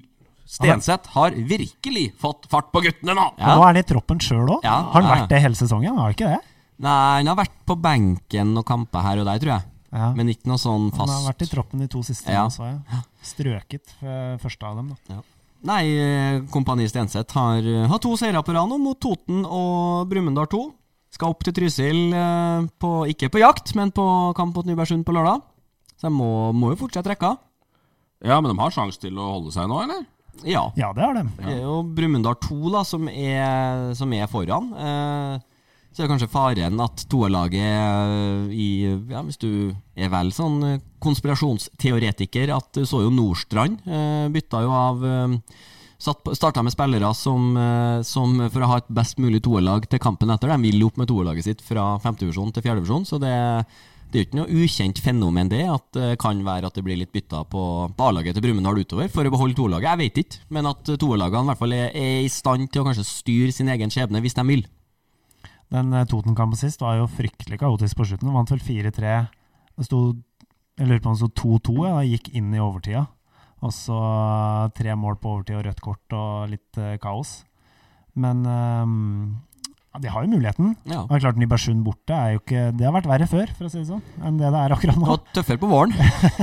Speaker 4: Stenseth har virkelig fått fart på guttene nå!
Speaker 5: Og nå er han i troppen sjøl òg.
Speaker 6: Ja,
Speaker 5: Har han
Speaker 6: ja, ja.
Speaker 5: vært det hele sesongen? Har han ikke det?
Speaker 6: Nei, han har vært på benken og kampa her og der, tror jeg.
Speaker 5: Ja.
Speaker 6: Men ikke noe sånn
Speaker 5: Han har
Speaker 6: fast
Speaker 5: vært i troppen de to siste,
Speaker 6: Ja.
Speaker 5: ja. så jeg. Strøket eh, første av dem, da.
Speaker 6: Nei, eh, Kompani Stenseth har, eh, har to seire på rad nå, mot Toten og Brumunddal 2. Skal opp til Trysil, eh, på, ikke på jakt, men på kamp mot Nybergsund på lørdag. Så de må, må jo fortsette rekka.
Speaker 4: Ja, men de har sjanse til å holde seg nå, eller?
Speaker 6: Ja.
Speaker 5: Ja, det har de.
Speaker 6: Det er jo Brumunddal 2 da, som er, som er foran. Eh, så er det kanskje faren at toerlaget eh, i ja, Hvis du er vel sånn eh, konspirasjonsteoretiker, at du så jo Nordstrand eh, bytta jo av eh, satt på- Starta med spillere som, eh, som for å ha et best mulig toerlag til kampen etter. De vil jo opp med toerlaget sitt fra femtedivisjon til fjerdedivisjon, så det, det er jo ikke noe ukjent fenomen, det. At det kan være at det blir litt bytta på, på A-laget til Brumunddal utover for å beholde toerlaget. Jeg vet ikke, men at toerlagene i hvert fall er, er i stand til å kanskje styre sin egen skjebne hvis de vil.
Speaker 5: Den eh, Toten-kampen sist var jo fryktelig kaotisk på slutten. De Vant vel 4-3. Det sto Jeg lurer på om det sto 2-2. Ja. og Gikk inn i overtida. Og så eh, tre mål på overtid og rødt kort og litt eh, kaos. Men eh, ja, de har jo muligheten.
Speaker 6: Ja.
Speaker 5: Og det er klart Nybergsund borte er jo ikke Det har vært verre før, for å si det sånn, enn det det er akkurat nå.
Speaker 6: Og tøffere på våren.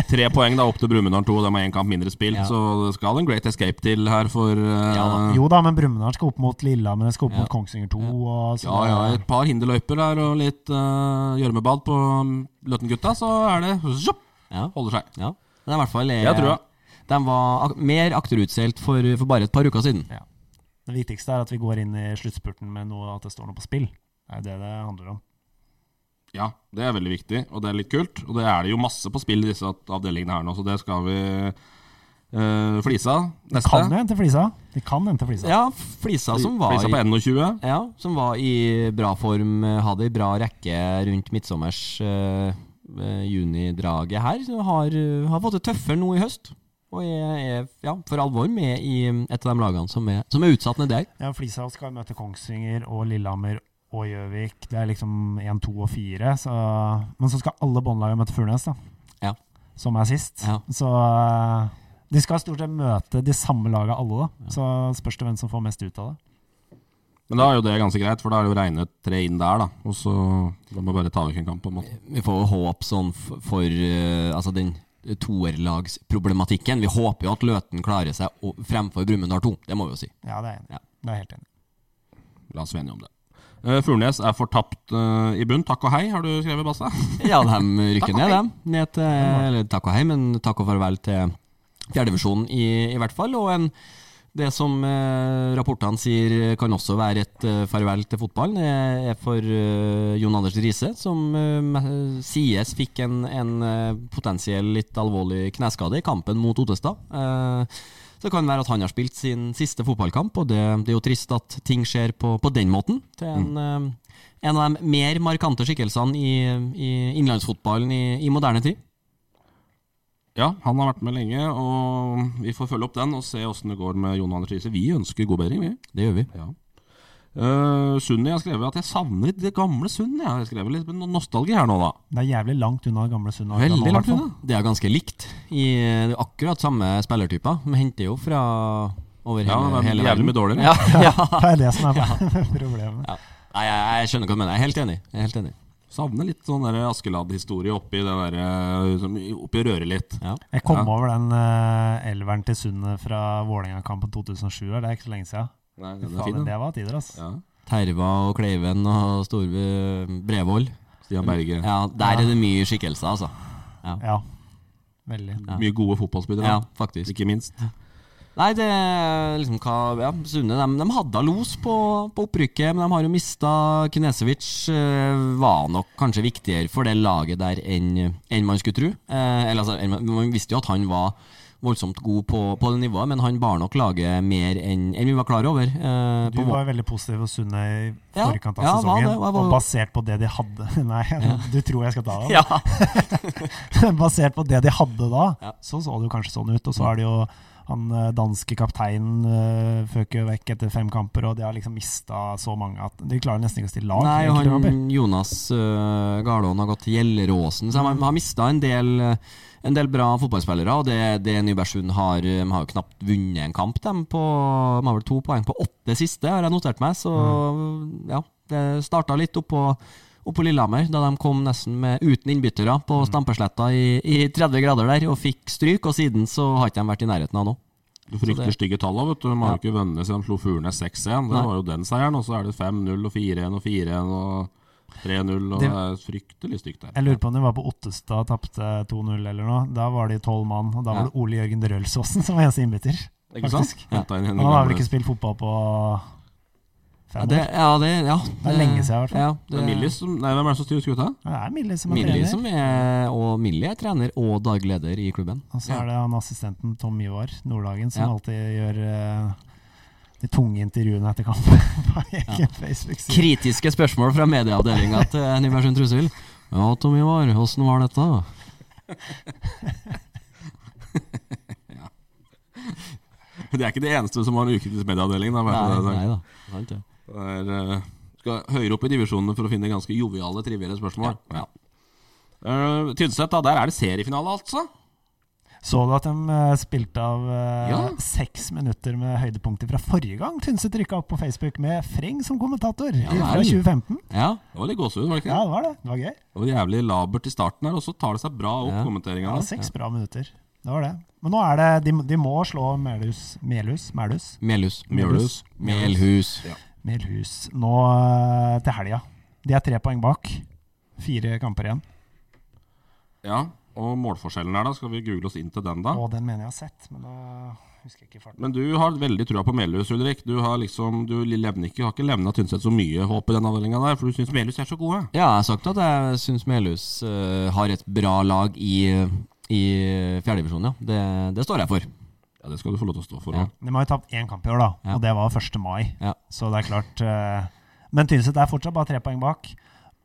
Speaker 4: Tre poeng da opp til Brumunddal 2, og de har én kamp mindre spilt,
Speaker 6: Ja.
Speaker 4: så det skal en great escape til her for eh,
Speaker 6: Ja da.
Speaker 5: Jo da, men Brumunddal skal opp mot Lillehammer, de skal opp
Speaker 6: Ja.
Speaker 5: mot Kongsvinger 2 og så
Speaker 4: Ja, ja, et par hinderløyper der og litt eh, gjørmebad på um, Løten-gutta, så er det zopp,
Speaker 6: Ja.
Speaker 4: holder seg.
Speaker 6: Ja. Men i hvert fall er,
Speaker 4: Jeg tror det.
Speaker 6: De var ak mer akterutseilt for, for bare et par uker siden.
Speaker 5: Det viktigste er at vi går inn i sluttspurten med noe at det står noe på spill. Det er jo det det handler om.
Speaker 4: Ja, det er veldig viktig, og det er litt kult. Og det er det jo masse på spill i disse avdelingene her nå, så det skal vi eh, flise av.
Speaker 5: De
Speaker 4: Neste.
Speaker 5: kan jo hente flisa. De kan hente flisa.
Speaker 6: Ja, Flisa som var
Speaker 4: Flisa på
Speaker 6: i,
Speaker 4: NO20.
Speaker 6: ja, som var i bra form, eh, hadde ei bra rekke rundt midtsommers eh, eh, junidraget her. Så har, eh, har fått det tøffere nå i høst. Og er, er ja, for alvor med i mm, et av de lagene som er, som er utsatt nedi der.
Speaker 5: Ja, Flisa skal møte Kongsvinger og Lillehammer og Gjøvik. Det er liksom 1, 2 og 4. Så, men så skal alle båndlagene møte Furnes, da.
Speaker 6: Ja.
Speaker 5: Som er sist.
Speaker 6: Ja.
Speaker 5: Så eh, de skal stort sett møte de samme laga alle, da. Så spørs det hvem som får mest ut av det.
Speaker 4: Men da er jo det ganske greit, for da er det jo regnet tre inn der, da. Og så da må vi bare ta vekk en kamp, på en måte.
Speaker 6: Vi får håpe sånn f- for eh, altså den toerlagsproblematikken. Vi håper jo at Løten klarer seg o- fremfor Brumunddal 2, det må vi jo si.
Speaker 5: Ja, det er jeg enig i.
Speaker 6: Ja.
Speaker 5: Det er jeg helt enig. i.
Speaker 4: La oss være enige om det. Eh, Furnes er fortapt eh, i bunn. Takk og hei, har du skrevet, Basse?
Speaker 6: Ja, de rykker
Speaker 4: Takk og
Speaker 6: ned,
Speaker 4: hei.
Speaker 6: dem. Ned til, eller takk og hei, men takk og farvel til fjerdedivisjonen i, i hvert fall. Og en, det som eh, rapportene sier kan også være et eh, farvel til fotballen, er, er for eh, Jon Anders Riise, som eh, me- sies fikk en, en eh, potensiell litt alvorlig kneskade i kampen mot Ottestad. Eh, så det kan være at han har spilt sin siste fotballkamp, og det, det er jo trist at ting skjer på, på den måten. Til
Speaker 4: Mm.
Speaker 6: en, eh, en av de mer markante skikkelsene i, i innlandsfotballen i, i moderne tid.
Speaker 4: Ja, han har vært med lenge, og vi får følge opp den og se åssen det går med Jon Anders Riise. Vi ønsker god bedring, vi.
Speaker 6: Det gjør vi.
Speaker 4: Ja. Eh, Sunni har skrevet at jeg savner det gamle Sunni. Jeg har skrevet litt no- nostalgi her nå, da.
Speaker 5: Det er jævlig langt unna gamle Sund. og Arendal nå,
Speaker 4: Veldig
Speaker 5: i
Speaker 4: langt
Speaker 5: hvert fall.
Speaker 4: unna.
Speaker 6: Det er ganske likt. I, det er akkurat samme spillertyper. De henter jo fra over
Speaker 4: Ja,
Speaker 6: hele,
Speaker 4: men
Speaker 6: hele
Speaker 4: jævlig mye dårligere.
Speaker 6: Ja, ja.
Speaker 5: Det er det som er problemet.
Speaker 6: ja. Nei, jeg, jeg skjønner hva du mener. Jeg er helt enig. Jeg er helt enig.
Speaker 4: Savner litt sånn der Askeladd-historie oppi det der eh, som- Oppi røret litt.
Speaker 6: Ja.
Speaker 5: Jeg kom
Speaker 4: Ja.
Speaker 5: over den eh, elveren til Sundet fra Vålerenga-kampen 2007. her, Det er ikke så lenge siden.
Speaker 4: Nei,
Speaker 5: Fy
Speaker 4: den er
Speaker 5: faen,
Speaker 4: fin, den.
Speaker 5: det var tider, altså.
Speaker 4: Ja.
Speaker 6: Terva og Kleiven og Storve Brevold.
Speaker 4: Stian Berge.
Speaker 6: Ja, der er det mye skikkelser, altså.
Speaker 5: Ja. Veldig.
Speaker 6: Ja.
Speaker 4: Mye gode fotballspillere,
Speaker 6: Ja,
Speaker 4: da.
Speaker 6: faktisk.
Speaker 4: ikke minst.
Speaker 6: Nei, det er liksom hva Ja, Sunne de, de hadde los på, på opprykket, men de har jo mista Knesevic. Eh, var nok kanskje viktigere for det laget der enn enn man skulle tro. Eh, eller altså, enn man- man visste jo at han var voldsomt god på, på det nivået, men han bar nok laget mer enn enn vi var klar over. Eh,
Speaker 5: Du
Speaker 6: på må-
Speaker 5: var jo veldig positiv og sunn i
Speaker 6: Ja,
Speaker 5: forkant av
Speaker 6: ja, var
Speaker 5: sesongen.
Speaker 6: det, var- var-
Speaker 5: Og basert på det de hadde Nei, du tror jeg skal ta av.
Speaker 6: ja.
Speaker 5: Basert på det de hadde da,
Speaker 6: Ja.
Speaker 5: så så det jo kanskje sånn ut. Og så er det jo han eh, danske kapteinen eh, føk jo vekk etter fem kamper, og de har liksom mista så mange at de klarer nesten ikke å stille lag.
Speaker 6: Nei,
Speaker 5: i enkelte kamper.
Speaker 6: han, Jonas uh, Garlån har gått til Gjelleråsen, så
Speaker 5: Mm.
Speaker 6: han har mista en, del, eh, en del bra fotballspillere. Og det, det Nybergsund har eh, De har jo knapt vunnet en kamp, dem. På, de har vel to poeng på åtte siste, har jeg notert meg. Så
Speaker 5: Mm.
Speaker 6: ja, det starta litt oppå oppå Lillehammer, da de kom nesten med, uten innbyttere på
Speaker 5: Mm.
Speaker 6: Stampesletta i, i 30 grader der, og fikk stryk. Og siden så har ikke de vært i nærheten av nå.
Speaker 4: Du frykter
Speaker 6: det-
Speaker 4: stygge tall òg, vet du. De har jo ikke vunnet siden de slo Furnes 6-1. Det
Speaker 6: Nei.
Speaker 4: var jo den seieren, og så er det 5-0 og 4-1 og 4-1 og 3-0, og
Speaker 5: Det-
Speaker 4: det er fryktelig stygt der.
Speaker 5: Jeg lurer på om de var på Ottestad og tapte 2-0 eller noe. Da var de tolv mann, og da
Speaker 6: Ja.
Speaker 5: var det Ole Jørgen Rølsåsen som var eneste innbytter.
Speaker 4: Ikke sant?
Speaker 5: faktisk.
Speaker 4: Hentet inn en
Speaker 5: Han har vel
Speaker 4: gammel-
Speaker 5: ikke spilt fotball på
Speaker 6: Ja,
Speaker 5: fem
Speaker 6: det,
Speaker 5: år.
Speaker 6: ja, det, ja,
Speaker 5: Det er lenge siden i hvert fall.
Speaker 6: Ja,
Speaker 4: Det er Millis som Nei, hvem er det som styrer skuta?
Speaker 5: Det er Millie som er
Speaker 6: Millie
Speaker 5: trener.
Speaker 6: som er, og Millie er trener og daglig leder i klubben.
Speaker 5: Og så er det han assistenten Tom Ivar Nordhagen som
Speaker 6: Ja.
Speaker 5: alltid gjør eh, de tunge intervjuene etter kampen på egen Facebook-side.
Speaker 6: Kritiske spørsmål fra medieavdelinga til Nybergsund Trussel. Ja, Tom Ivar, åssen var dette?
Speaker 4: Det er ikke det eneste som har en ukritisk medieavdeling. Da,
Speaker 6: Nei,
Speaker 4: bare for det
Speaker 6: nei
Speaker 4: er-
Speaker 6: da. Sant det.
Speaker 4: Det er, eh, skal høyere opp i divisjonene for å finne ganske joviale, trivielle spørsmål. Ja. Eh, Tynset, da. Der er det seriefinale, altså.
Speaker 5: Så du at de eh, spilte av eh,
Speaker 4: Ja.
Speaker 5: seks minutter med høydepunkter fra forrige gang Tynset rykka opp på Facebook med Freng som kommentator
Speaker 6: vel.
Speaker 5: fra 2015?
Speaker 6: Ja,
Speaker 4: Det var litt gåsehud, var det ikke?
Speaker 5: Ja,
Speaker 4: det?
Speaker 5: det var det. Det var gøy.
Speaker 4: Det var jævlig labert i starten her, og så tar det seg bra opp,
Speaker 6: Ja.
Speaker 4: kommenteringen
Speaker 5: Ja,
Speaker 4: kommenteringa.
Speaker 5: seks bra minutter. Det var det. Men nå er det De, de må slå Melhus Melhus? Melhus?
Speaker 6: Melhus.
Speaker 4: Mjølhus.
Speaker 6: Melhus.
Speaker 5: Melhus nå eh, til helga. De er tre poeng bak. Fire kamper igjen.
Speaker 4: Ja, og målforskjellen her, da. Skal vi google oss inn til den, da?
Speaker 5: Og den mener jeg har sett, men da husker jeg ikke farten.
Speaker 4: Men du har veldig trua på Melhus, Ulrik. Du har liksom, du levner ikke, har ikke levna Tynset så mye håp i den avdelinga der, for du syns Melhus er så gode.
Speaker 6: Ja, jeg har sagt at jeg syns Melhus eh, har et bra lag i, i fjerdedivisjon, ja. Det, det står jeg for.
Speaker 4: Ja, det skal du få lov til å stå for.
Speaker 6: Ja.
Speaker 4: også.
Speaker 5: De har jo tapt én kamp i år, da,
Speaker 6: Ja.
Speaker 5: og det var 1. mai.
Speaker 6: Ja.
Speaker 5: Så det er klart eh, Men Tynset er fortsatt bare tre poeng bak.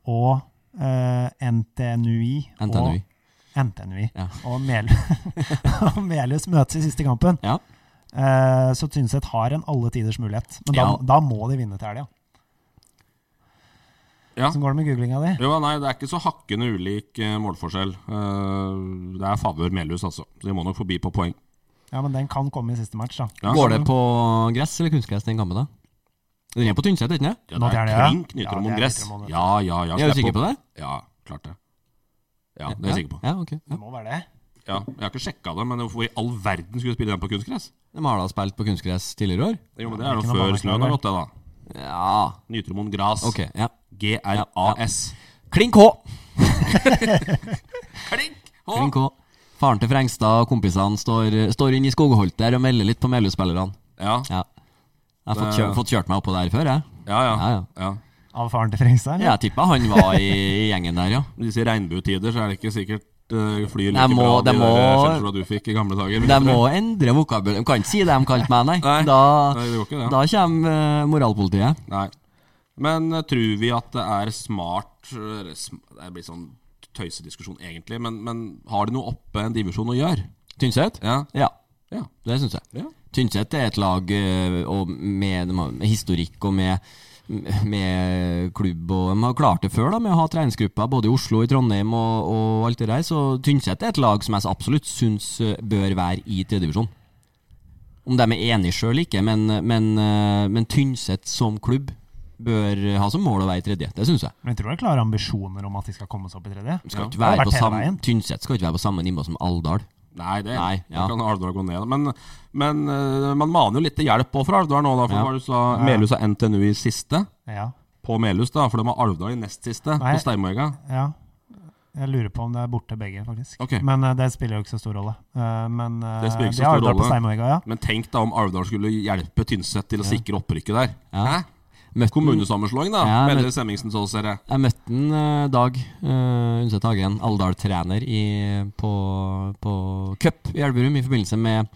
Speaker 5: Og eh, NTNUI.
Speaker 6: NTNUI.
Speaker 5: Og, NTNUI.
Speaker 6: Ja.
Speaker 5: og Mel og Melhus møtes i siste kampen.
Speaker 6: Ja.
Speaker 5: Eh, så Tynset har en alle tiders mulighet. Men da,
Speaker 6: Ja.
Speaker 5: da må de vinne til helga.
Speaker 4: Ja.
Speaker 5: Hvordan går det med googlinga di?
Speaker 4: Jo, nei, det er ikke så hakkende ulik eh, målforskjell. Eh, det er favør Melhus, altså. Så de må nok forbi på poeng.
Speaker 5: Ja, men den kan komme i siste match, da.
Speaker 4: Ja,
Speaker 6: Går det på gress eller kunstgress, den kampen, da? Den er på Tynset, er den ikke?
Speaker 4: Ja,
Speaker 5: Nå
Speaker 4: det
Speaker 5: til
Speaker 4: er
Speaker 5: helga, ja.
Speaker 4: klink
Speaker 5: Ja,
Speaker 4: Nytrom
Speaker 5: det
Speaker 4: om
Speaker 5: er
Speaker 4: gress.
Speaker 5: Nytrom om gress.
Speaker 4: Ja, ja, ja.
Speaker 6: Er du
Speaker 4: stepp
Speaker 6: sikker
Speaker 4: opp.
Speaker 6: på det?
Speaker 4: Ja, klart det. Ja, det er jeg sikker på.
Speaker 6: Ja, ok. Ja.
Speaker 5: Det må være det.
Speaker 4: Ja, jeg har ikke sjekka det, men hvorfor i all verden skulle vi spille den på kunstgress?
Speaker 6: De har da spilt på kunstgress tidligere i år?
Speaker 4: Jo, men
Speaker 5: det
Speaker 4: Det
Speaker 5: er
Speaker 4: er jo
Speaker 5: ikke noe
Speaker 4: før
Speaker 5: banneklage.
Speaker 4: snøen har gått, det, da.
Speaker 6: Ja,
Speaker 4: Nytromoen Gras.
Speaker 6: ok. Ja.
Speaker 4: G-R-A-S.
Speaker 6: Klink H!
Speaker 4: Klink! Å,
Speaker 6: Klink H. Faren til Frengstad og kompisene står, står inne i skogholt der og melder litt på Melhus-spillerne.
Speaker 4: Ja,
Speaker 6: Ja. Jeg har fått
Speaker 4: Det-
Speaker 6: kjørt, fått kjørt meg oppå der før, jeg.
Speaker 4: ja, ja.
Speaker 6: Ja, ja.
Speaker 4: ja.
Speaker 5: Av faren til Frengstad? eller?
Speaker 6: Jeg tippa han var i, i gjengen der, ja.
Speaker 4: I disse regnbuetider så er det ikke sikkert uh, flyr
Speaker 6: Nei,
Speaker 4: like bra
Speaker 6: må-
Speaker 4: de der
Speaker 6: det må-
Speaker 4: skjellsorda du fikk i gamle dager.
Speaker 6: De må endre vokabulen. De kan ikke si det de kalte meg, nei.
Speaker 4: Nei,
Speaker 6: Da,
Speaker 4: nei, det går ikke det.
Speaker 6: da kommer eh, moralpolitiet.
Speaker 4: Nei. Men eh, tror vi at det er smart eh, eller sm- Det blir sånn tøysediskusjon egentlig, men, men har de noe oppe en divisjon å gjøre?
Speaker 6: Tynset?
Speaker 4: Ja.
Speaker 6: Ja,
Speaker 4: ja.
Speaker 6: det syns jeg.
Speaker 4: ja.
Speaker 6: Tynset er et lag eh, og med, de har- med historikk og med, med klubb. og De har klart det før da, med å ha treningsgrupper både i Oslo, i Trondheim og, og alt det der. Så Tynset er et lag som jeg absolutt syns bør være i tredjedivisjon. Om de er enige sjøl ikke, men, men, eh, men Tynset som klubb bør ha som mål å være i tredje. Det syns jeg.
Speaker 5: Men jeg tror det er klare ambisjoner om at de skal komme seg opp i tredje.
Speaker 6: De Skal ikke
Speaker 5: Ja,
Speaker 6: være
Speaker 5: vært
Speaker 6: på
Speaker 5: hele
Speaker 6: samme,
Speaker 5: veien.
Speaker 6: Tynset skal ikke være på samme nivå som Alvdal.
Speaker 4: Nei, det
Speaker 6: Nei, ja.
Speaker 4: da kan Alvdal gå ned. Men, men eh, man maner jo litt til hjelp også fra Alvdal nå, da. For
Speaker 6: Ja.
Speaker 4: hva var det du sa, Melhus har NTNU i siste.
Speaker 5: Ja,
Speaker 4: På Melhus, da. For de har Alvdal i nest siste,
Speaker 5: Nei.
Speaker 4: på Steinmøyga.
Speaker 5: ja. Jeg lurer på om det er borte begge, faktisk.
Speaker 4: Ok.
Speaker 5: Men eh, det spiller jo ikke så stor rolle. Eh, men eh,
Speaker 4: Det spiller ikke så
Speaker 5: de har
Speaker 4: stor
Speaker 5: Alvdal på
Speaker 4: rolle.
Speaker 5: Steinmøyga, ja.
Speaker 4: Men tenk da om Alvdal skulle hjelpe Tynset til å sikre opprykket der.
Speaker 6: Ja.
Speaker 4: Hæ?
Speaker 6: Møtte den-
Speaker 4: Kommunesammenslåing, da,
Speaker 6: Ja,
Speaker 4: melder
Speaker 6: men-
Speaker 4: Semmingsen så ser jeg.
Speaker 6: Jeg møtte en eh, Dag eh, Undset Hagen, Alvdal-trener, i- på, på cup i Elverum i forbindelse med,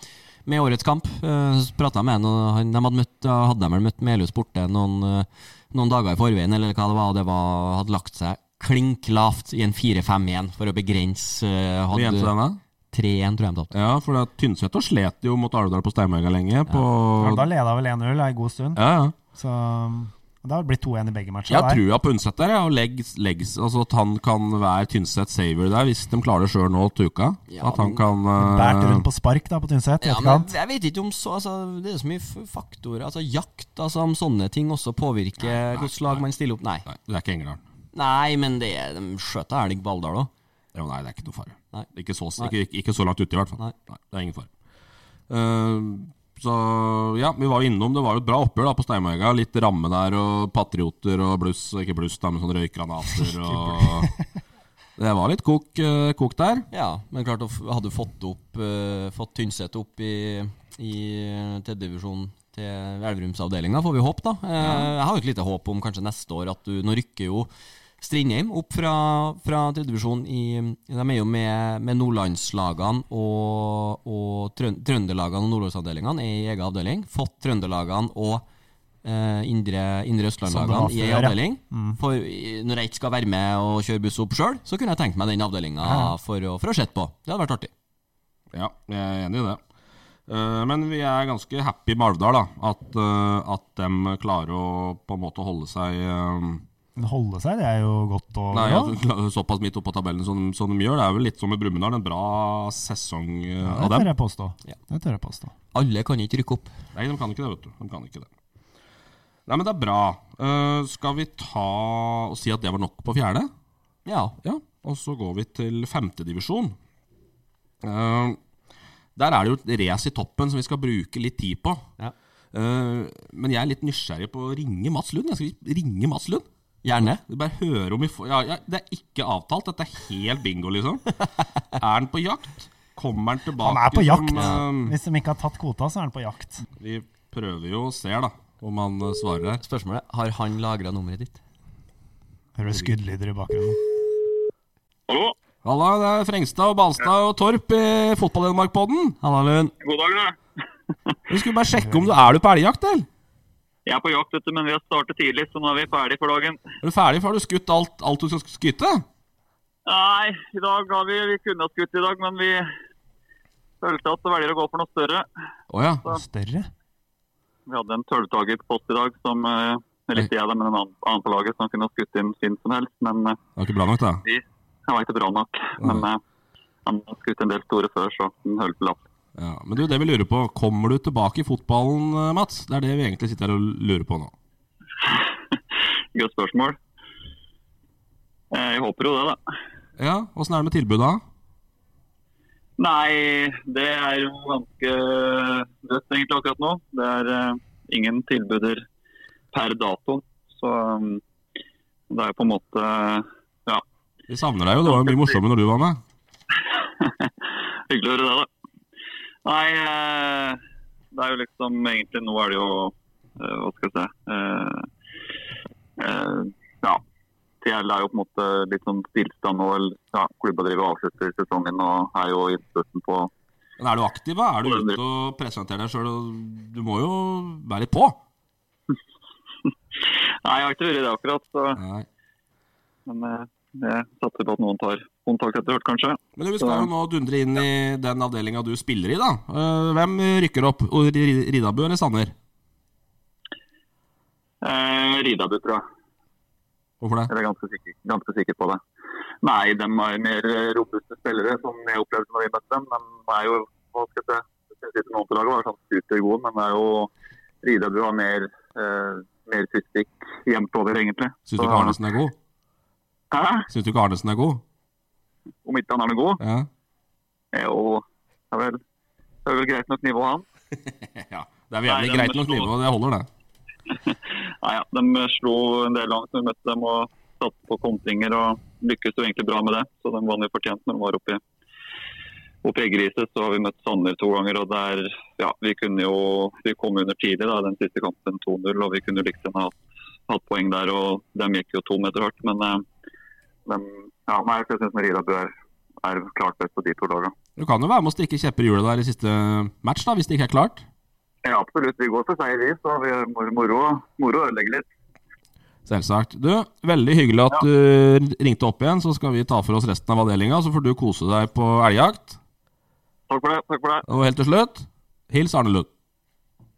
Speaker 6: med årets kamp. Eh, Så prata jeg med han, og han, de hadde, møtt, da hadde de vel møtt Melhus borte noen, eh, noen dager i forveien, eller hva det var, og det var, hadde lagt seg klink lavt i en 4-5-1 for å begrense eh,
Speaker 4: Hvor igjen til
Speaker 6: Hadde
Speaker 4: denne?
Speaker 6: 3-1, tror jeg de tapte.
Speaker 4: Ja, for det er Tynset og slet jo mot Alvdal på Steinmøyga lenge. På
Speaker 5: Alvdal leda vel 1-0 en god stund,
Speaker 4: ja, ja.
Speaker 5: så um, det har blitt 2-1 i begge matcher.
Speaker 4: Jeg har
Speaker 5: der.
Speaker 4: trua på Undset der, ja, og legg, legg, altså at han kan være Tynset saver der, hvis de klarer det sjøl nå til uka.
Speaker 6: Ja,
Speaker 4: at han kan
Speaker 5: Bært
Speaker 4: eh,
Speaker 5: rundt på spark da på Tynset.
Speaker 6: Ja,
Speaker 5: i
Speaker 6: men
Speaker 5: etterkant.
Speaker 6: jeg vet ikke om så altså, Det er så mye f- faktorer. Altså Jakt, altså om sånne ting også påvirker hvilket lag man stiller opp. Nei.
Speaker 4: Nei, det er ikke Engerdalen.
Speaker 6: Nei, men det er, de skjøt av Erling Balldal òg.
Speaker 4: Jo, nei, det er ikke noe fare.
Speaker 6: Nei.
Speaker 4: Ikke, så,
Speaker 6: Nei.
Speaker 4: ikke, ikke så langt ute, i hvert fall.
Speaker 6: Nei.
Speaker 4: det er ingen fare. Eh, så ja, vi var jo innom det var jo et bra oppgjør da på Steinmøyga. Litt ramme der og patrioter og bluss Ikke bluss, da, men sånn røykgranater og Det var litt kok, eh, kok der.
Speaker 6: Ja, men klart å f- hadde du fått, opp, eh, fått Tynset opp i, i eh, tredjedivisjon til Elverumsavdelinga, får vi håpe, da. Eh, Jeg har jo et lite håp om kanskje neste år at du Nå rykker jo Strindheim opp fra, fra tredjedivisjon i De er jo med, med nordlandslagene og, og trøn, trønderlagene og nordlandsavdelingene er i egen avdeling. Fått trønderlagene og eh, indre, indre østlandlagene
Speaker 5: Som det var
Speaker 6: i ei
Speaker 5: før, ja.
Speaker 6: avdeling.
Speaker 5: Mm.
Speaker 6: For i- når jeg ikke skal være med og kjøre buss opp sjøl, så kunne jeg tenkt meg den avdelinga for, å- for å sette på. Det hadde vært artig.
Speaker 4: Ja, jeg er enig i det. Eh, men vi er ganske happy med Alvdal, da. At, eh, at de klarer å på en måte holde seg eh,
Speaker 5: Men Holde seg, det er jo godt å
Speaker 4: Nei, altså, at de klarer såpass midt oppå tabellen som, som de gjør. Det er vel litt som med Brumunddal, en bra sesong eh,
Speaker 5: Det
Speaker 4: av dem.
Speaker 5: tør jeg påstå.
Speaker 6: Ja.
Speaker 5: Det tør jeg påstå.
Speaker 6: Alle kan ikke rykke opp.
Speaker 4: Nei, de kan ikke det, vet du. De kan ikke det. Nei, men det er bra. Eh, skal vi ta og si at det var nok på fjerde?
Speaker 6: Ja.
Speaker 4: Ja. Og så går vi til femtedivisjon. Uh, der er det jo et race i toppen som vi skal bruke litt tid på.
Speaker 6: Ja.
Speaker 4: Eh, men jeg er litt nysgjerrig på å ringe Mats Lund. Jeg skal ringe Mats Lund.
Speaker 6: Gjerne.
Speaker 4: Vi Bare høre om vi får ja, ja, Det er ikke avtalt. Dette er helt bingo, liksom. Er han på jakt? Kommer han tilbake?
Speaker 5: Han er på
Speaker 4: som,
Speaker 5: jakt!
Speaker 4: eh,
Speaker 5: Hvis de ikke har tatt kvota, så er han på jakt.
Speaker 4: vi prøver jo og ser, da, om han eh, svarer her.
Speaker 6: Spørsmålet har han lagra nummeret ditt?
Speaker 5: Hører du skuddlyder i bakgrunnen?
Speaker 2: Hallo.
Speaker 4: Halla, det er Frengstad og Balstad og Torp i Fotball-Hedmark-podden.
Speaker 6: Halla, Lund.
Speaker 2: God dag, da.
Speaker 4: Vi skulle bare sjekke om du er du på elgjakt, eller?
Speaker 2: Jeg er på jakt, vet du, men vi har startet tidlig, så nå er vi ferdig for dagen.
Speaker 4: Er du ferdig, for har du skutt alt, alt du skal skyte?
Speaker 2: Nei, i dag har vi, vi kunne ha skutt i dag, men vi følte at det velger å gå for noe større.
Speaker 4: Å ja.
Speaker 5: Større?
Speaker 2: Vi hadde en tølvtager på post i dag, som eh, eller ikke jeg da, men en annen, annen på laget som kunne ha skutt inn sin som helst. Men eh,
Speaker 4: Det var ikke bra nok, da.
Speaker 2: vi, han var ikke bra nok. Men eh, han har skutt en del store før, så den holdt på lapp.
Speaker 4: Ja, men du, det vi lurer på, kommer du tilbake i fotballen, eh, Mats? Det er det vi egentlig sitter her og lurer på nå.
Speaker 2: Godt spørsmål. Eh, Jeg håper jo det, da.
Speaker 4: Ja, åssen er det med tilbudet, da?
Speaker 2: Nei, det er jo ganske dødt egentlig akkurat nå. Det er eh, ingen tilbuder per dato. Så um, det er på en måte ja,
Speaker 4: Vi savner deg jo, det var jo mye morsommere når du var med.
Speaker 2: hyggelig å høre det, da. Nei, eh, det er jo liksom egentlig Nå er det jo eh, Hva skal jeg si eh, eh, Ja. TL er jo på en måte litt sånn stillstand nå. eller, Ja, klubba driver og avslutter sesongen og er jo i slutten på
Speaker 4: Men er du aktiv, da? Er du ute og presenterer deg sjøl? Du må jo være litt på?
Speaker 2: Nei, jeg har ikke vært det akkurat. Så,
Speaker 4: Nei.
Speaker 2: men eh, jeg satser på at noen tar kontakt etter hvert, kanskje.
Speaker 4: Men du, vi skal jo nå dundre inn i den avdelinga du spiller i, da. Eh, Hvem rykker opp? O- Ri- Ridabu eller Sanner?
Speaker 2: Eh, Ridabu, tror jeg.
Speaker 4: Hvorfor det?
Speaker 2: Jeg er ganske sikker, ganske sikker på det. Nei, de er mer eh, robuste spillere, som jeg opplevde når vi møtte dem. De er jo hva skal jeg si, jeg synes ikke noen på laget var sånn supergode, men det er jo Ridabu har mer, eh, mer fysikk jevnt over, egentlig.
Speaker 4: Syns du ikke Arnesen er god?
Speaker 2: Hæ?
Speaker 4: Syns du ikke Arnesen er god?
Speaker 2: Om ikke han er noe god,
Speaker 4: Ja.
Speaker 2: er jo det er vel, det er vel greit nok nivå, han.
Speaker 4: ja. Det er
Speaker 2: Nei,
Speaker 4: jævlig
Speaker 2: den
Speaker 4: greit nok
Speaker 2: består.
Speaker 4: nivå, det holder, det.
Speaker 2: Nei, ja, De slo en del langt når vi møtte dem og satte på kontringer og lykkes jo egentlig bra med det. Så de vant jo fortjent når de var oppe i oppe i Eggeriset. Så har vi møtt Sanner to ganger. og der, ja, Vi kunne jo, vi kom under tidlig da, den siste kampen 2-0, og vi kunne liksom ha hatt poeng der. og De gikk jo tom etter hvert, men eh, de, ja, nei, jeg synes Merida Bø er, er klart best på de to lagene.
Speaker 4: Du kan jo være med å stikke kjepper i hjulet der i siste match, da, hvis det ikke er klart.
Speaker 2: Ja, absolutt. Vi går for seier, vi. Så vi er moro- moro moro å ødelegge litt.
Speaker 4: Selvsagt. Du, veldig hyggelig at du ringte opp igjen, så skal vi ta for oss resten av avdelinga. Så får du kose deg på elgjakt.
Speaker 2: Takk for det. takk for det.
Speaker 4: Og helt til slutt, hils Arne Lund.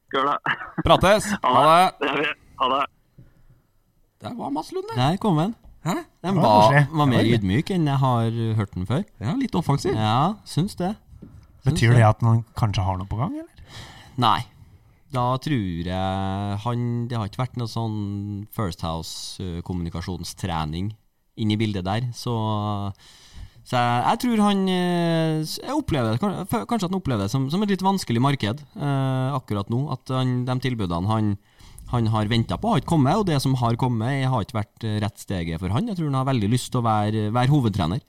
Speaker 2: Skal gjøre det.
Speaker 4: Prates! Ha det!
Speaker 2: Det gjør vi. Ha det.
Speaker 4: Der var Mats Lund, det.
Speaker 6: Der kom den.
Speaker 4: Hæ?
Speaker 5: var
Speaker 6: Den var,
Speaker 5: koselig.
Speaker 6: var
Speaker 5: Det
Speaker 6: mer
Speaker 5: var
Speaker 6: ydmyk enn jeg har hørt den før.
Speaker 4: Ja, litt offensiv.
Speaker 6: Ja, syns det.
Speaker 5: Betyr det at han kanskje har noe på gang, eller?
Speaker 6: Nei. Da tror jeg han Det har ikke vært noe sånn First House-kommunikasjonstrening inn i bildet der, så så jeg, jeg tror han eh, s- jeg opplever, det- kan- f- Kanskje at han opplever det som, som et litt vanskelig marked eh, akkurat nå. At han, de tilbudene han, han har venta på, har ikke kommet. Og det som har kommet, eh, har ikke vært eh, rett steget for han. Jeg tror han har veldig lyst til å være, være hovedtrener.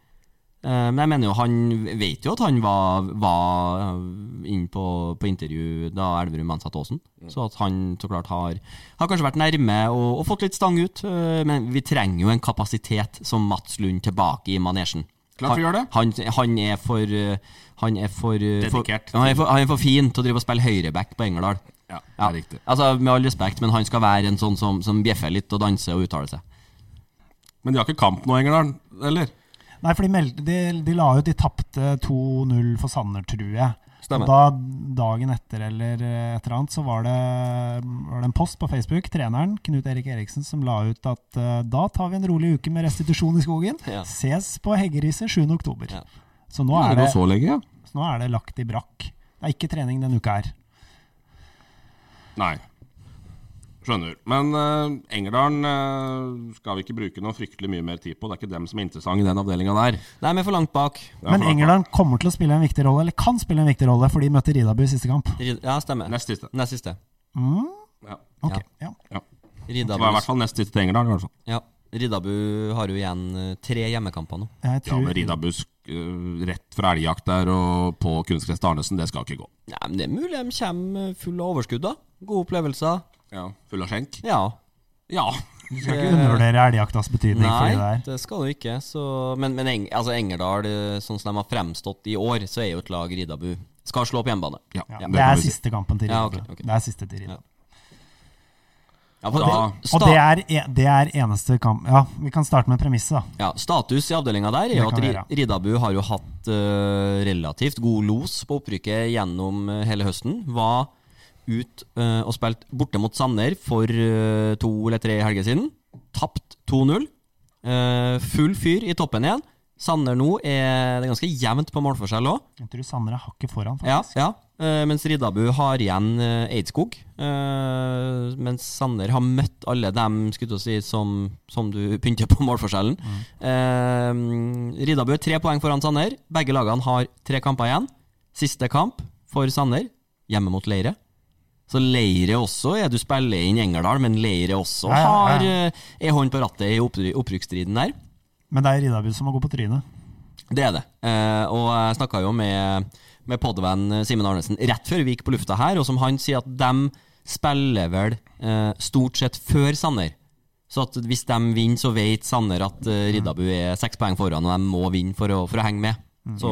Speaker 6: Eh, Men jeg mener jo, han vet jo at han var, var inne på, på intervju da Elverum ansatte Aasen.
Speaker 4: Mm.
Speaker 6: Så at han så klart har, har kanskje vært nærme og, og fått litt stang ut. eh, Men vi trenger jo en kapasitet som Mats Lund tilbake i manesjen.
Speaker 4: Klart vi gjør det.
Speaker 6: Han, han er for eh, Han er for, eh, for
Speaker 4: Dedikert.
Speaker 6: han, er for, han er for fin til å drive og spille høyreback på Engerdal.
Speaker 4: Ja, det
Speaker 6: Ja,
Speaker 4: er riktig.
Speaker 6: altså Med all respekt, men han skal være en sånn som, som bjeffer litt og danser og uttaler seg.
Speaker 4: Men de har ikke kamp nå, Engerdal? Eller?
Speaker 5: Nei, for de, meldte, de, de la ut De tapte 2-0 for Sanner, tror jeg. Og
Speaker 6: Stemmer.
Speaker 5: da dagen etter eller eh, et eller annet, så var det, var det en post på Facebook, treneren Knut Erik Eriksen, som la ut at eh, da tar vi en rolig uke med restitusjon i skogen.
Speaker 6: Ja.
Speaker 5: Ses på Heggeriset 7. oktober.
Speaker 6: Ja.
Speaker 5: Så nå
Speaker 4: Ja,
Speaker 5: er,
Speaker 4: det går
Speaker 5: det,
Speaker 4: så lenge, ja.
Speaker 5: så nå er det lagt i brakk. Det er ikke trening denne uka her.
Speaker 4: Nei. Skjønner. Men uh, Engerdalen eh, skal vi ikke bruke noe fryktelig mye mer tid på. Det er ikke dem som er interessant i den avdelinga der.
Speaker 6: Nei, men for langt bak.
Speaker 4: Det er
Speaker 5: Men
Speaker 4: for-
Speaker 5: Engerdal kommer til å spille en viktig rolle, eller kan spille en viktig rolle, for de møtte Ridabu i siste kamp.
Speaker 6: Ja, stemmer.
Speaker 4: Nest siste.
Speaker 6: Nest siste.
Speaker 4: Ja.
Speaker 5: Ok, ja.
Speaker 4: ja. Det var i
Speaker 6: Ridabu,
Speaker 4: hvert fall nest siste til Engerdal. i hvert fall.
Speaker 6: ja. Ridabu har jo igjen eh, tre hjemmekamper nå.
Speaker 5: Jeg
Speaker 4: Ja,
Speaker 5: tror
Speaker 4: men Ridabusk eh, rett fra elgjakt der og på kunstgress til Arnesen, det skal ikke gå.
Speaker 6: Nei, men Det er mulig de kommer eh, full av overskudd. da Gode opplevelser.
Speaker 4: Ja, Full av skjenk?
Speaker 6: Ja.
Speaker 4: Ja.
Speaker 5: Du skal ikke undervurdere elgjaktas betydning for det
Speaker 6: Nei,
Speaker 5: der.
Speaker 6: det skal du ikke. Så, men men Eng, altså Engerdal, eh, sånn som de har fremstått i år, så er jo et lag Ridabu skal slå på hjemmebane.
Speaker 4: ja,
Speaker 5: Ja,
Speaker 4: det
Speaker 5: det
Speaker 4: kan
Speaker 5: er
Speaker 4: vi si.
Speaker 5: siste kampen til Rida.
Speaker 6: Ja, ok, ok.
Speaker 5: Det er siste til Rida.
Speaker 6: Ja. Ja, for,
Speaker 4: Da-
Speaker 5: Og det er, e- det er eneste kamp Ja, vi kan starte med premisset, da.
Speaker 6: Ja, Status i avdelinga der er
Speaker 5: Det
Speaker 6: jo at
Speaker 5: kan vi
Speaker 6: Ri- Ridabu har jo hatt eh, relativt god los på opprykket gjennom eh, hele høsten. Var ut eh, og spilt borte mot Sanner for eh, to eller tre helger siden. Tapt 2-0. Eh, full fyr i toppen igjen. Sanner nå er det er ganske jevnt på målforskjell òg.
Speaker 5: Jeg tror Sandra har ikke foran,
Speaker 6: Ja,
Speaker 5: faktisk.
Speaker 6: ja. Eh, mens Riddabu har igjen eh, Eidskog. Eh, mens Sanner har møtt alle dem skulle jeg til å si, som, som du pynter på målforskjellen. Eh, Riddabu er tre poeng foran Sanner. Begge lagene har tre kamper igjen. Siste kamp for Sanner, hjemme mot Leire. Så Leire også ja, Du spiller inn Engerdal, men Leire også
Speaker 5: Ja, ja, ja.
Speaker 6: har eh, ei hånd på rattet i oppry opprykksstriden der.
Speaker 5: Men det er Ridabu som må gå på trynet.
Speaker 6: Det er det. Eh, og jeg snakka jo med, med podvenn Simen Arnesen rett før vi gikk på lufta her, og som han sier at de spiller vel eh, stort sett før Sanner. Så at hvis de vinner, så vet Sanner at
Speaker 4: Mm.
Speaker 6: eh, Riddabu er seks poeng foran, og de må vinne for å, for å henge med.
Speaker 4: Mm.
Speaker 6: Så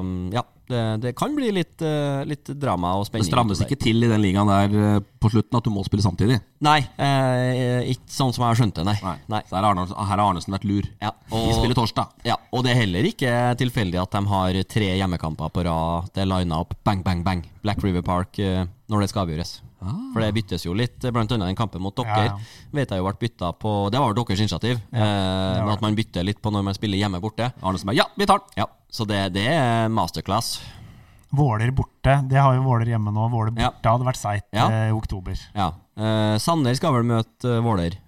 Speaker 6: um, ja, det, det kan bli litt, eh, litt drama og
Speaker 4: Det
Speaker 6: spenning.
Speaker 4: strammes ikke til i den ligaen der eh, på slutten at du må spille samtidig.
Speaker 6: Nei, eh, ikke sånn som jeg har skjønt det, nei. nei.
Speaker 4: Så her har Arnesen, her har Arnesen vært lur.
Speaker 6: Ja,
Speaker 4: De spiller torsdag.
Speaker 6: Ja, og det er heller ikke tilfeldig at de har tre hjemmekamper på rad. Det er lina opp bang, bang, bang. Black River Park eh, når det skal avgjøres. For det byttes jo litt, eh, blant annet den kampen mot dere.
Speaker 5: Ja, ja.
Speaker 6: Vet jeg jo ble bytta på Det var vel deres initiativ, eh, men at man bytter litt på når man spiller hjemme borte.
Speaker 4: Arnesen bare ja, vi tar den!
Speaker 6: Ja, så det, det er masterclass.
Speaker 5: Våler borte. Det har jo Våler hjemme nå. Våler
Speaker 6: Ja.
Speaker 5: borte hadde vært seigt
Speaker 6: Ja.
Speaker 5: eh, i oktober.
Speaker 6: Ja. Eh, Sanner skal vel møte eh, Våler.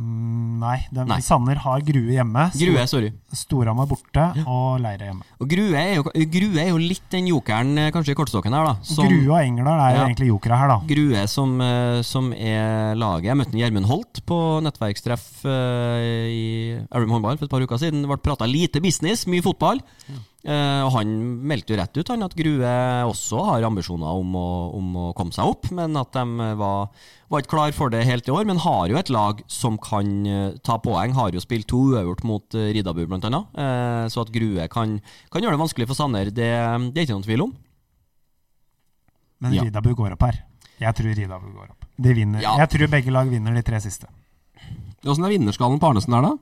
Speaker 5: Mm, nei, de,
Speaker 6: Nei.
Speaker 5: Sanner har Grue hjemme. Sto-
Speaker 6: Grue, sorry.
Speaker 5: Storhamar borte og Leire hjemme.
Speaker 6: Og Grue er jo, Grue er jo litt den jokeren eh, kanskje i kortstokken her, da. som-
Speaker 5: Grue og Engerdal er jo
Speaker 6: Ja.
Speaker 5: egentlig jokere her, da.
Speaker 6: Grue som, eh, som er laget. Jeg møtte en Gjermund Holt på nettverkstreff eh, i Elverum håndball for et par uker siden. Det ble prata lite business, mye fotball. Eh, Og han meldte jo rett ut han at Grue også har ambisjoner om å, om å komme seg opp, men at de var, var ikke klar for det helt i år. Men har jo et lag som kan eh, ta poeng. Har jo spilt to uavgjort mot eh, Riddabu, blant annet. Eh, Så at Grue kan, kan gjøre det vanskelig for Sanner, det, det er ikke noen tvil om.
Speaker 5: Men
Speaker 6: Ja.
Speaker 5: Ridabu går opp her. Jeg tror Ridabu går opp. De vinner.
Speaker 6: Ja.
Speaker 5: Jeg tror begge lag vinner de tre siste.
Speaker 4: Åssen er vinnerskallen på Arnesen der, da?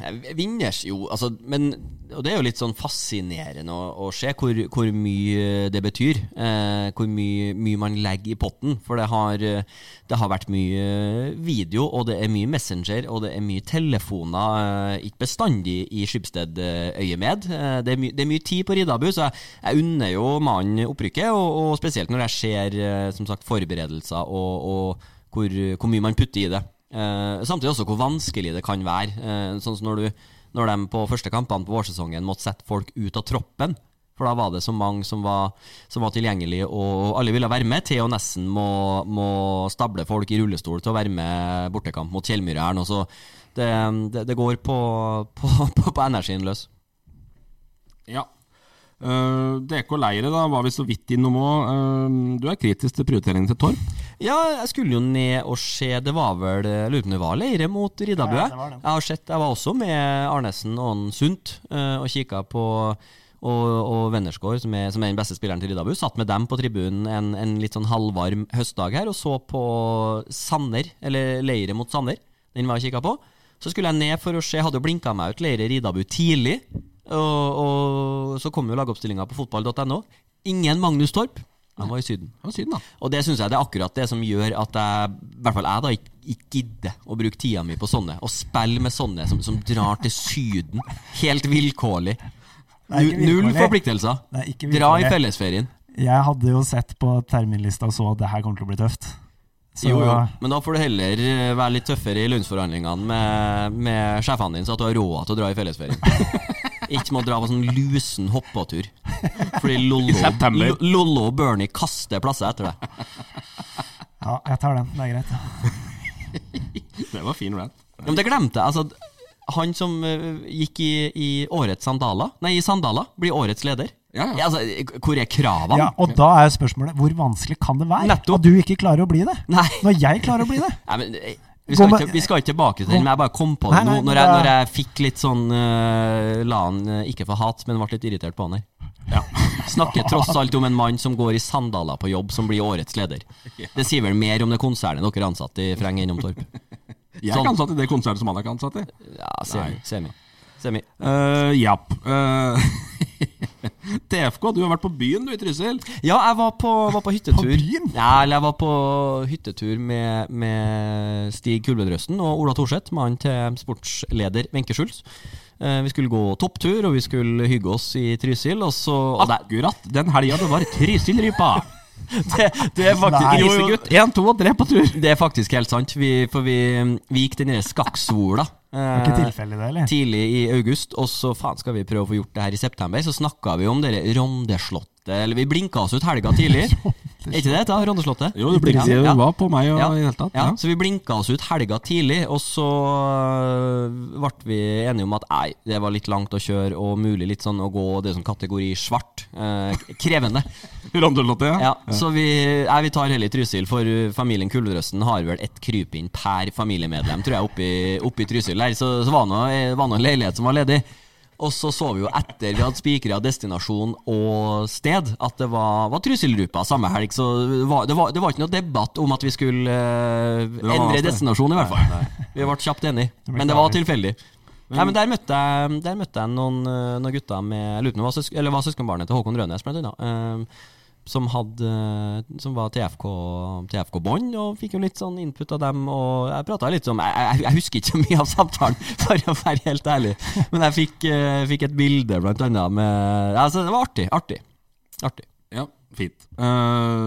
Speaker 6: Nei, Vinners, jo. Altså, men, og det er jo litt sånn fascinerende å, å se hvor, hvor mye det betyr. Eh, hvor mye, mye man legger i potten. For det har, eh, det har vært mye video, og det er mye Messenger, og det er mye telefoner. Eh, ikke bestandig i Skibsted-øyemed. Eh, det, er my- det er mye tid på Riddabu, så jeg, jeg unner jo mannen opprykket. Og, og spesielt når jeg ser eh, som sagt, forberedelser og, og hvor, hvor mye man putter i det. Eh, samtidig også hvor vanskelig det kan være. Eh, sånn som når, du, når de på første kampene på vårsesongen måtte sette folk ut av troppen. For da var det så mange som var, som var tilgjengelige, og alle ville være med. Theo Nessen må, må stable folk i rullestol til å være med bortekamp mot Kjellmyra her nå. Så det, det, det går på, på, på, på energien løs.
Speaker 4: Ja. Eh, DK Leire, da var vi så vidt innom òg. Eh, du er kritisk til prioriteringen til Torp.
Speaker 6: Ja, jeg skulle jo ned og se Det var vel jeg lurer på om det var leire mot Riddabø.
Speaker 5: Ja, det var det.
Speaker 6: jeg har sett, jeg var også med Arnesen og han Sundt eh, og kikka på og, og Vennersgaard, som er, som er den beste spilleren til Riddabu, satt med dem på tribunen en, en litt sånn halvvarm høstdag her og så på Sanner, eller Leire mot Sanner. Den var jeg kikka på. Så skulle jeg ned for å se, hadde jo blinka meg ut Leire Riddabu tidlig. Og, og så kom jo lagoppstillinga på fotball.no. Ingen Magnus Torp. Han var i Syden.
Speaker 4: Det var synd, da.
Speaker 6: Og det syns jeg det er akkurat det som gjør at jeg, i hvert fall jeg, da ikke, ikke gidder å bruke tida mi på sånne. Å spille med sånne som, som drar til Syden helt vilkårlig.
Speaker 5: Det er ikke
Speaker 6: Nu- Null
Speaker 5: vilkårlig.
Speaker 6: forpliktelser.
Speaker 5: Det er ikke
Speaker 6: Dra i
Speaker 5: vilkårlig.
Speaker 6: fellesferien.
Speaker 5: Jeg hadde jo sett på terminlista og så at det her kommer til å bli tøft. Så
Speaker 6: Jo, jo. Men da får du heller eh, være litt tøffere i lønnsforhandlingene med, med sjefene dine, så at du har råd til å dra i fellesferien. Ikke må dra på sånn lusen hoppetur. Fordi Lollo,
Speaker 4: september.
Speaker 6: Lo- Lollo og Bernie kaster plasser etter deg.
Speaker 5: ja, jeg tar den. Det er greit.
Speaker 4: Det var fin rant.
Speaker 6: Ja, men det glemte jeg. Altså, han som eh, gikk i, i årets sandaler, nei, i sandaler, blir årets leder.
Speaker 4: Ja, ja.
Speaker 6: Altså, hvor er kravene?
Speaker 5: Ja, og da er spørsmålet hvor vanskelig kan det være
Speaker 6: Nettopp.
Speaker 5: at du ikke klarer å bli det?
Speaker 6: Nei.
Speaker 5: Når jeg klarer å bli det?
Speaker 6: Nei, men, eh, vi,
Speaker 5: Gå
Speaker 6: skal
Speaker 5: med-
Speaker 6: ikke, vi skal ikke tilbake til den, men jeg bare kom på det
Speaker 5: Nei, nei,
Speaker 6: nå.
Speaker 5: men
Speaker 6: Når jeg,
Speaker 5: da-
Speaker 6: når jeg fikk litt sånn eh, La han eh, ikke få hat, men ble litt irritert på han her. Snakker tross alt om en mann som går i sandaler på jobb, som blir årets leder. Det sier vel mer om det konsernet dere ansatte i Freng enn om Torp.
Speaker 4: Jeg er
Speaker 6: Sånn.
Speaker 4: ikke ansatt i det konsernet som han er ikke ansatt i.
Speaker 6: Ja, semi. semi. semi.
Speaker 4: Uh, Japp. Eh, TFK, du har vært på byen du i Trysil.
Speaker 6: Ja, jeg var på, var på hyttetur.
Speaker 5: På byen?
Speaker 6: Ja, eller jeg var på hyttetur med, med Stig Kulvedrøsten og Ola Thorseth, mannen til sportsleder Wenche Schulz. Eh, Vi skulle gå topptur, og vi skulle hygge oss i Trysil. Og så,
Speaker 4: Ah,
Speaker 6: og det,
Speaker 4: Akkurat den helga det var Trysilrypa.
Speaker 6: det, det er faktisk
Speaker 5: Nei.
Speaker 6: grisegutt.
Speaker 4: Én, to og tre på tur.
Speaker 6: Det er faktisk helt sant, vi, for vi, vi gikk den derre skakksola.
Speaker 5: Det er ikke
Speaker 6: eh,
Speaker 5: tilfeldig, det, eller?
Speaker 6: tidlig i august, og så faen skal vi prøve å få gjort det her i september. Så snakka vi om dere Rondeslottet, eller vi blinka oss ut helga tidlig. Er ikke det det? heter, Rondeslottet?
Speaker 4: Jo, blikket
Speaker 6: Ja.
Speaker 4: var på meg og
Speaker 6: Ja.
Speaker 4: i det hele tatt.
Speaker 6: Ja,
Speaker 4: Ja.
Speaker 6: så vi blinka oss ut helga tidlig, og så øh, ble vi enige om at nei, det var litt langt å kjøre, og mulig litt sånn å gå det som kategori svart. eh, krevende.
Speaker 4: Rondelotte, ja.
Speaker 6: Ja, så vi, nei, vi tar heller Trysil, for uh, familien Kuldrøsten har vel ett krypinn per familiemedlem, tror jeg, oppi, oppi Trysil der. Så, så var nå eh, var nå en leilighet som var ledig. Og så så vi jo etter vi hadde spikra destinasjon og sted, at det var, var Trysil-rupa samme helg. Så det var, det, var, det var ikke noe debatt om at vi skulle eh,
Speaker 4: var
Speaker 6: endre
Speaker 4: avstand.
Speaker 6: destinasjon, i hvert fall. Vi ble kjapt enige.
Speaker 5: ble
Speaker 6: Men det var
Speaker 5: klar.
Speaker 6: tilfeldig. Nei, men Der møtte jeg, der møtte jeg noen, eh, noen gutter med jeg lurer på om det var, søs- eller var søskenbarnet til Håkon Rønnes, blant annet. eh, som, hadde, som var TFK-bånd, TFK -bånd, og fikk jo litt sånn input av dem. Og jeg prata litt om jeg, jeg, jeg husker ikke så mye av samtalen, for å være helt ærlig. Men jeg fikk, eh, fikk et bilde, blant annet. Med, altså, det var artig. Artig. artig.
Speaker 4: Ja, fint.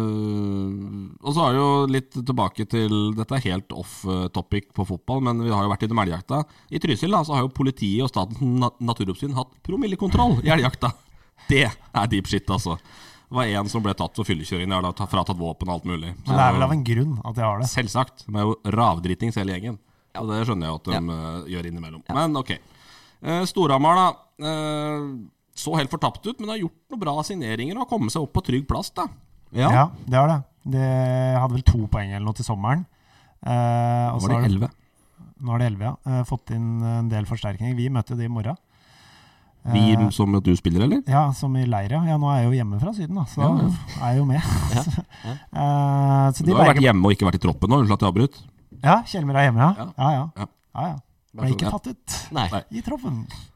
Speaker 4: Eh, og så har vi jo litt tilbake til Dette er helt off eh, topic på fotball, men vi har jo vært innom elgjakta. I Trysil da, så har jo politiet og Statens na- naturoppsyn hatt promillekontroll i elgjakta. Det er deep shit, altså. Det var én som ble tatt for fyllekjøring. Det har da ta- fratatt våpen og alt mulig.
Speaker 5: Men det er vel av en grunn at jeg har det.
Speaker 4: Selvsagt. De er jo ravdritings hele gjengen. Og det skjønner jeg jo at de eh, gjør innimellom. Men ok. Eh, Storhamar, da. eh, så helt fortapt ut, men har gjort noen bra signeringer og har kommet seg opp på trygg plass, da.
Speaker 5: Ja, det har det. Det hadde vel to poeng eller noe til sommeren. Eh, og så har det- Nå er det elleve, ja. Eh, fått inn en del forsterkninger. Vi møter jo de i morgen. Eh,
Speaker 4: Vi som at du spiller, eller?
Speaker 5: Ja, som i leir, ja. ja. Nå er jeg jo hjemme fra Syden, da, så
Speaker 4: Ja, ja.
Speaker 5: er jeg jo med. Eh, så
Speaker 4: Du
Speaker 5: de
Speaker 4: har jo
Speaker 5: berger
Speaker 4: vært hjemme og ikke vært i troppen nå. Unnskyld at jeg avbrøt.
Speaker 5: Ja, Kjelmer er hjemme, ja.
Speaker 4: Ja.
Speaker 5: Ja, ja.
Speaker 4: Ja.
Speaker 5: ja. ja, Ble ikke tatt ut
Speaker 6: Nei.
Speaker 4: Nei.
Speaker 5: i troppen.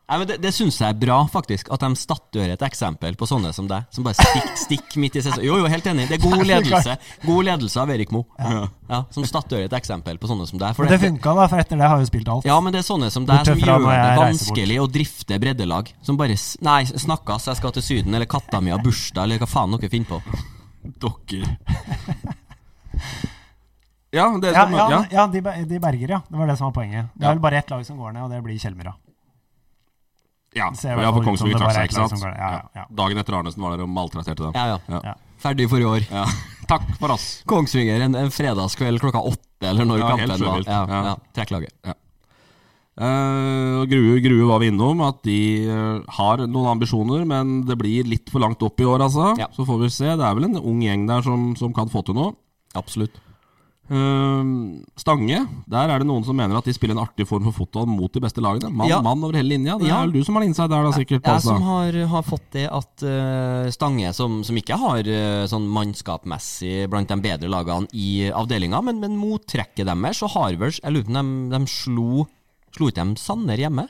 Speaker 6: Nei, men Det, det syns jeg er bra, faktisk. At de statuerer et eksempel på sånne som deg. Som bare stikk, stikk midt i sesongen. Jo, jo, helt enig. Det er god ledelse God ledelse av Erik Moe. Ja. som statuerer et eksempel på sånne som deg. For
Speaker 5: Men det
Speaker 6: det-
Speaker 5: funka, da, for etter det har jeg jo spilt alt.
Speaker 6: ja, men det er sånne som deg som
Speaker 5: Bortsett fra
Speaker 6: gjør
Speaker 5: når
Speaker 6: det
Speaker 5: jeg reiser
Speaker 6: vanskelig å drifte breddelag. Som bare s- Nei, snakkas, jeg skal til Syden, eller katta mi har bursdag, eller hva faen dere finner på.
Speaker 4: Dokker. Ja, det
Speaker 5: Ja,
Speaker 4: som,
Speaker 5: ja,
Speaker 4: ja.
Speaker 5: ja, de, be- de berger, ja. Det var det som var poenget. Det
Speaker 4: Ja.
Speaker 5: er vel bare ett lag som går ned, og det blir Kjelmera.
Speaker 4: ja.
Speaker 5: Det ser i hvert
Speaker 4: ja
Speaker 5: fall
Speaker 4: for
Speaker 5: ut som
Speaker 4: Kongsvinger
Speaker 5: det
Speaker 4: trakk
Speaker 5: bare
Speaker 4: seg,
Speaker 5: er
Speaker 4: ikke
Speaker 5: Klaus som
Speaker 4: sant?
Speaker 5: går- ja, ja, ja.
Speaker 4: Dagen etter Arnesen var der og maltrasserte dem.
Speaker 6: Ja, ja.
Speaker 5: Ja.
Speaker 6: Ferdig for i år.
Speaker 4: Ja. Takk for oss.
Speaker 6: Kongsvinger en, en fredagskveld klokka åtte, eller når
Speaker 4: Ja, helt
Speaker 6: kampen var.
Speaker 4: sjukt.
Speaker 6: Ja,
Speaker 4: Ja.
Speaker 6: ja. Trekk laget.
Speaker 4: Eh, og grue, grue var vi innom, at de eh, har noen ambisjoner, men det blir litt for langt opp i år, altså.
Speaker 6: Ja.
Speaker 4: Så får vi se. Det er vel en ung gjeng der som, som kan få til noe.
Speaker 6: Absolutt.
Speaker 4: Eh, Stange, der er det noen som mener at de spiller en artig form for fotball mot de beste lagene. Mann,
Speaker 6: Ja.
Speaker 4: mann over hele linja. Det
Speaker 6: Ja.
Speaker 4: er vel du som har inside der, da, sikkert.
Speaker 6: Jeg
Speaker 4: altså.
Speaker 6: som har, har fått det at eh, Stange, som, som ikke har eh, sånn mannskapmessig blant de bedre lagene i avdelinga, men, men mottrekket deres, så har vel Jeg lurer på om de, de slo Slo ikke de Sanner hjemme?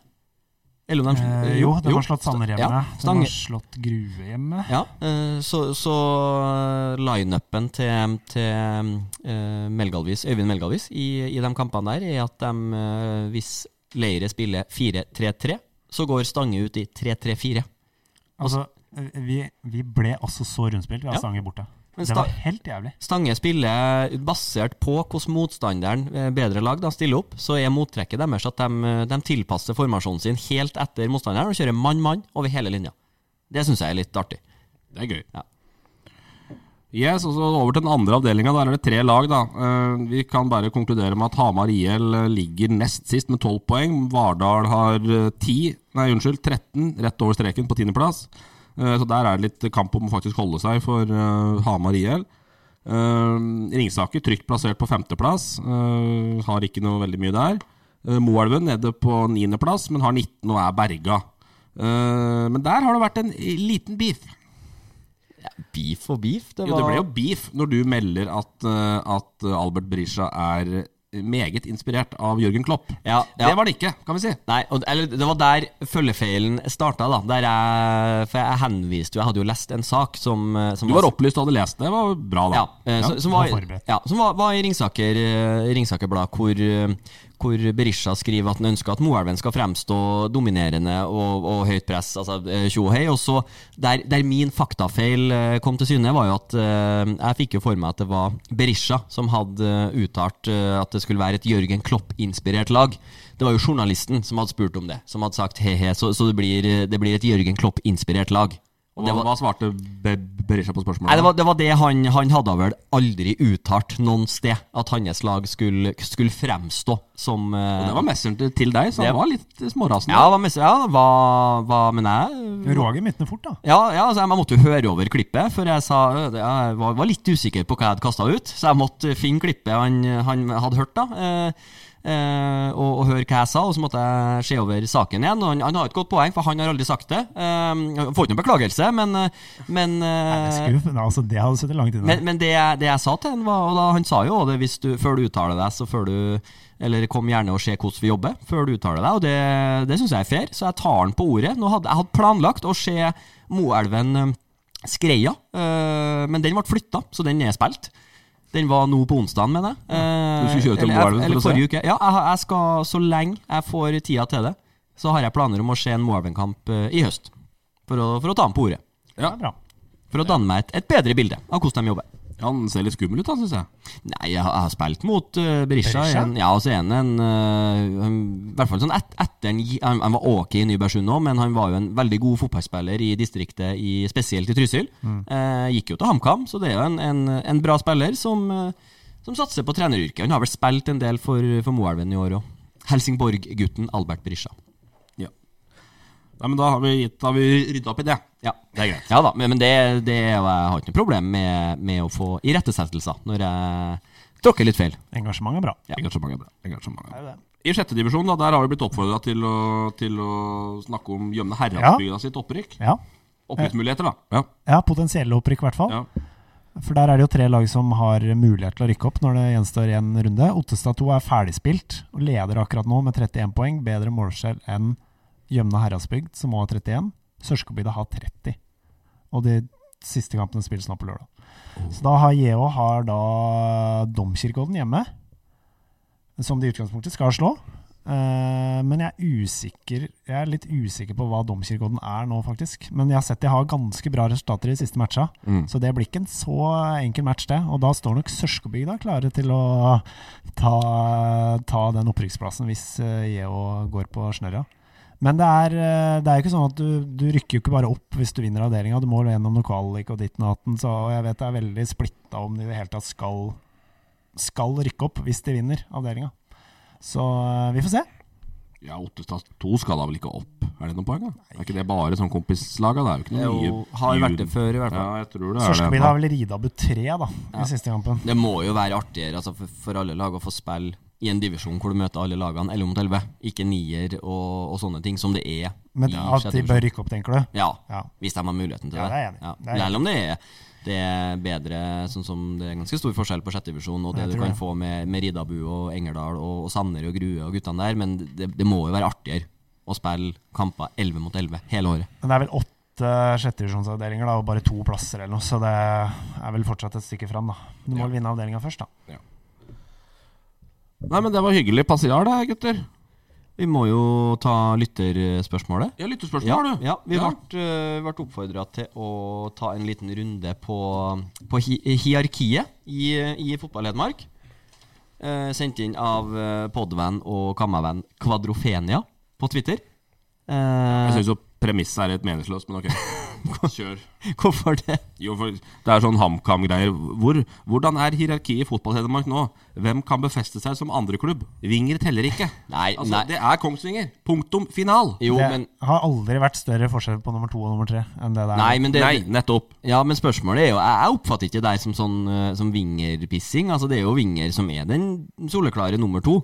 Speaker 6: Eller om de slo-
Speaker 5: Eh, jo, de har slått Sanner hjemme.
Speaker 6: Ja,
Speaker 5: de
Speaker 6: Stange.
Speaker 5: har slått Grue hjemme.
Speaker 6: Ja, eh, så, så eh, line-upen til, til eh, Melgalvis, Øyvind Melgalvis i, i de kampene der er at de, eh, hvis Leire spiller 4-3-3, så går Stange ut i 3-3-4.
Speaker 5: Altså, eh, vi, vi ble også så rundspilt ved
Speaker 6: Ja.
Speaker 5: at Stange borte.
Speaker 6: Men
Speaker 5: Det var
Speaker 6: Sta-
Speaker 5: helt jævlig.
Speaker 6: Stange spiller basert på hvordan motstanderen, eh, bedre lag, da stiller opp. Så er mottrekket deres at de, eh, de tilpasser formasjonen sin helt etter motstanderen og kjører mann-mann over hele linja. Det syns jeg er litt artig.
Speaker 4: Det er gøy.
Speaker 6: Ja.
Speaker 4: Yes, og så Over til den andre avdelinga. Der er det tre lag. da. Eh, Vi kan bare konkludere med at Hamar IL eh, ligger nest sist med tolv poeng. Vardal har eh, 10, nei unnskyld, 13, rett over streken på tiendeplass. Eh, Så der er det litt kamp om å faktisk holde seg for eh, Hamar IL. Eh, Ringsaker trygt plassert på femteplass. eh, har ikke noe veldig mye der. Eh, Moelven nede på niendeplass, men har 19 og er berga. Eh, men der har det vært en liten beef.
Speaker 6: Beef og beef. Det
Speaker 4: Jo, det ble jo beef når du melder at, eh, at Albert Brisja er meget inspirert av Jørgen Klopp.
Speaker 6: ja, ja.
Speaker 4: Det var det ikke, kan vi si.
Speaker 6: Nei, og, eller det var der følgefeilen starta, da. Der jeg, for jeg henviste jo Jeg hadde jo lest en sak som, eh, som
Speaker 4: Du var opplyst og hadde lest det. Det var bra, da.
Speaker 6: Ja, eh, som- som,
Speaker 5: var
Speaker 6: var,
Speaker 5: forberedt.
Speaker 6: ja, som var, var i Ringsaker, eh, Ringsaker Blad, hvor, eh, hvor Berisha skriver at han ønsker at Moelven skal fremstå dominerende og, og høyt press. Altså eh, tjo og hei. Og så der, der min faktafeil eh, kom til syne, var jo at eh, jeg fikk jo for meg at det var Berisha som hadde eh, uttalt eh, at det skulle være et Jørgen Klopp-inspirert lag. Det var jo eh, journalisten som hadde spurt om det, som hadde sagt he-he, så, så det, blir, det blir et Jørgen Klopp-inspirert lag. Og
Speaker 4: Hva,
Speaker 6: var-
Speaker 4: hva svarte Be- Berisha på spørsmålet?
Speaker 6: Nei, det var, det var det han, han hadde vel aldri uttalt noen sted, at hans lag skulle, skulle fremstå som eh,
Speaker 4: Og det var messeren til, til deg, så
Speaker 6: Det-
Speaker 4: han var litt smårasende.
Speaker 6: Ja, hva, mest- ja, hva, hva mener jeg?
Speaker 5: Roger myntene fort, da.
Speaker 6: Ja, ja altså, jeg måtte jo høre over klippet, for jeg, sa, ja, jeg var, var litt usikker på hva jeg hadde kasta ut. Så jeg måtte finne klippet han, han hadde hørt, da. Eh, eh, og, og høre hva jeg sa, og så måtte jeg se over saken igjen. Og han, han har et godt poeng, for han har aldri sagt det. Eh, jeg får ikke noen beklagelse, men, eh, men eh,
Speaker 5: Det, skulle, jo- altså, det hadde sittet langt inne.
Speaker 6: men, men det, jeg- det jeg sa til han var, og da, han sa jo det hvis du, før du uttaler deg, så før du Eller kom gjerne og se hvordan vi jobber før du uttaler deg, og det, det syns jeg er fair, så jeg tar han på ordet. Nå hadde, jeg hadde planlagt å se Moelven eh, Skreia, eh, men den ble flytta, så den er spilt. Den var nå på onsdagen, mener jeg. Eh,
Speaker 4: Du skulle kjøre til
Speaker 6: eller-
Speaker 4: Moelven for
Speaker 6: eller
Speaker 4: å se?
Speaker 6: forrige uke. Ja, jeg, jeg skal, så lenge jeg får tida til det, så har jeg planer om å se en Moelven-kamp eh, i høst. For å, for å ta han på ordet.
Speaker 5: Det er bra.
Speaker 6: For å danne meg et, et bedre bilde av hvordan de jobber.
Speaker 4: Han ser litt skummel ut, da, syns jeg.
Speaker 6: Nei, jeg har, jeg har spilt mot eh, Berisha.
Speaker 5: Berisha?
Speaker 6: En, ja, og så er han en eh, han- I hvert fall sånn et, etter en, gi- han, han var ok i Nybergsund òg, men han var jo en veldig god fotballspiller i distriktet, i, spesielt i Trysil. Eh, gikk jo til HamKam, så det er jo en, en, en bra spiller som, eh, som satser på treneryrket. Han har vel spilt en del for, for Moelven i år òg. Helsingborg-gutten Albert Berisha.
Speaker 4: Nei, men da har vi, gitt- da har vi rydda opp i det.
Speaker 6: Ja.
Speaker 4: Det er greit.
Speaker 6: Ja da, men men det, det er jo, jeg har ikke noe problem med, med å få irettesettelser når jeg tråkker litt feil.
Speaker 5: Engasjement er bra.
Speaker 6: Ja.
Speaker 4: Engasjement er bra. Engasjement er bra.
Speaker 5: Det er jo det.
Speaker 4: I sjette divisjon, da, der har vi blitt oppfordra til, å- til å snakke om Gjømne herredsbygda sitt opprykk.
Speaker 5: Ja.
Speaker 4: Opprykksmuligheter, da. Ja.
Speaker 5: ja, potensielle opprykk, i hvert fall.
Speaker 4: Ja.
Speaker 5: For der er det jo tre lag som har mulighet til å rykke opp når det gjenstår én runde. Ottestad 2 er ferdigspilt og leder akkurat nå med 31 poeng. Bedre målskjell enn Gjømna Heradsbygd, som òg har 31. Sørskobygda har 30. Og de siste kampene spilles nå på lørdag. Så da har JH har da Domkirkeodden hjemme, som de i utgangspunktet skal slå. Eh, men jeg er usikker Jeg er litt usikker på hva Domkirkeodden er nå, faktisk. Men jeg har sett de har ganske bra resultater i de siste matcha. Så det blir ikke en så enkel match, det. Og da står nok Sørskobygda klare til å ta, ta den opprykksplassen hvis eh, JH går på snørra. Men det er, eh, det er jo ikke sånn at du, du rykker jo ikke bare opp hvis du vinner avdelinga. Du må gjennom noe kvalik og ditten og datten, så jeg vet det er veldig splitta om de i det hele tatt skal, skal rykke opp hvis de vinner avdelinga. Så eh, vi får se.
Speaker 4: ja, Ottestad 2 skal da vel ikke opp? Er det noen poeng, da? Er ikke det bare sånn kompislaga? Det er jo ikke noe nye
Speaker 6: Jo, har vært det før, i hvert fall.
Speaker 4: Ja, jeg tror det er
Speaker 5: Sorskebyen
Speaker 4: det.
Speaker 5: har vel Ridabu 3 da, i siste kampen.
Speaker 6: Det må jo være artigere altså for, for alle lag å få spille i en divisjon hvor du møter alle lagene 11 mot 11, ikke nier og, og sånne ting som det er
Speaker 5: Men
Speaker 6: i
Speaker 5: at
Speaker 6: sjette
Speaker 5: de
Speaker 6: divisjon.
Speaker 5: bør rykke opp, tenker du?
Speaker 6: Ja,
Speaker 5: Ja.
Speaker 6: hvis de har muligheten til
Speaker 5: Ja,
Speaker 6: det.
Speaker 5: det er jeg enig i. Det er jeg
Speaker 6: Selv om det er, det er bedre, sånn som det er ganske stor forskjell på sjette divisjon og det
Speaker 5: Jeg
Speaker 6: du
Speaker 5: tror
Speaker 6: kan
Speaker 5: det.
Speaker 6: få med, med Ridabu og Engerdal og, og Sanner og Grue og guttene der, men det, det må jo være artigere å spille kamper 11 mot 11 hele året.
Speaker 5: Men det er vel åtte sjettevisjonsavdelinger da, og bare to plasser eller noe, så det er vel fortsatt et stykke fram, da. Du må vel vinne avdelinga først, da.
Speaker 4: Nei, men det var hyggelig passiar, da, gutter.
Speaker 6: Vi må jo ta lytterspørsmålet.
Speaker 4: Ja, lyttespørsmål,
Speaker 6: Ja,
Speaker 4: har du.
Speaker 6: ja vi ble, ble oppfordra til å ta en liten runde på, på hi hierarkiet i, i fotball Hedmark. Eh, sendt inn av eh, podvenn og kammervenn Kvadrofenia på Twitter.
Speaker 4: Jeg
Speaker 6: Eh,
Speaker 4: syns jo premisset er helt meningsløst, men ok. Kjør.
Speaker 6: hvorfor det?
Speaker 4: Jo, for det er sånn HamKam-greier. Hvor, hvordan er hierarkiet i fotball-Hedmark nå? Hvem kan befeste seg som andreklubb? Vinger teller ikke.
Speaker 6: Nei,
Speaker 4: altså,
Speaker 6: nei.
Speaker 4: Det er Kongsvinger. Punktum final.
Speaker 6: Jo,
Speaker 5: det
Speaker 6: men
Speaker 5: har aldri vært større forskjell på nummer to og nummer tre enn det der.
Speaker 6: Nei, men det,
Speaker 4: Nei, nettopp.
Speaker 6: Ja, men spørsmålet er jo Jeg jeg oppfatter ikke deg som sånn eh, Som vingerpissing. Altså, det er jo vinger som er den soleklare nummer to.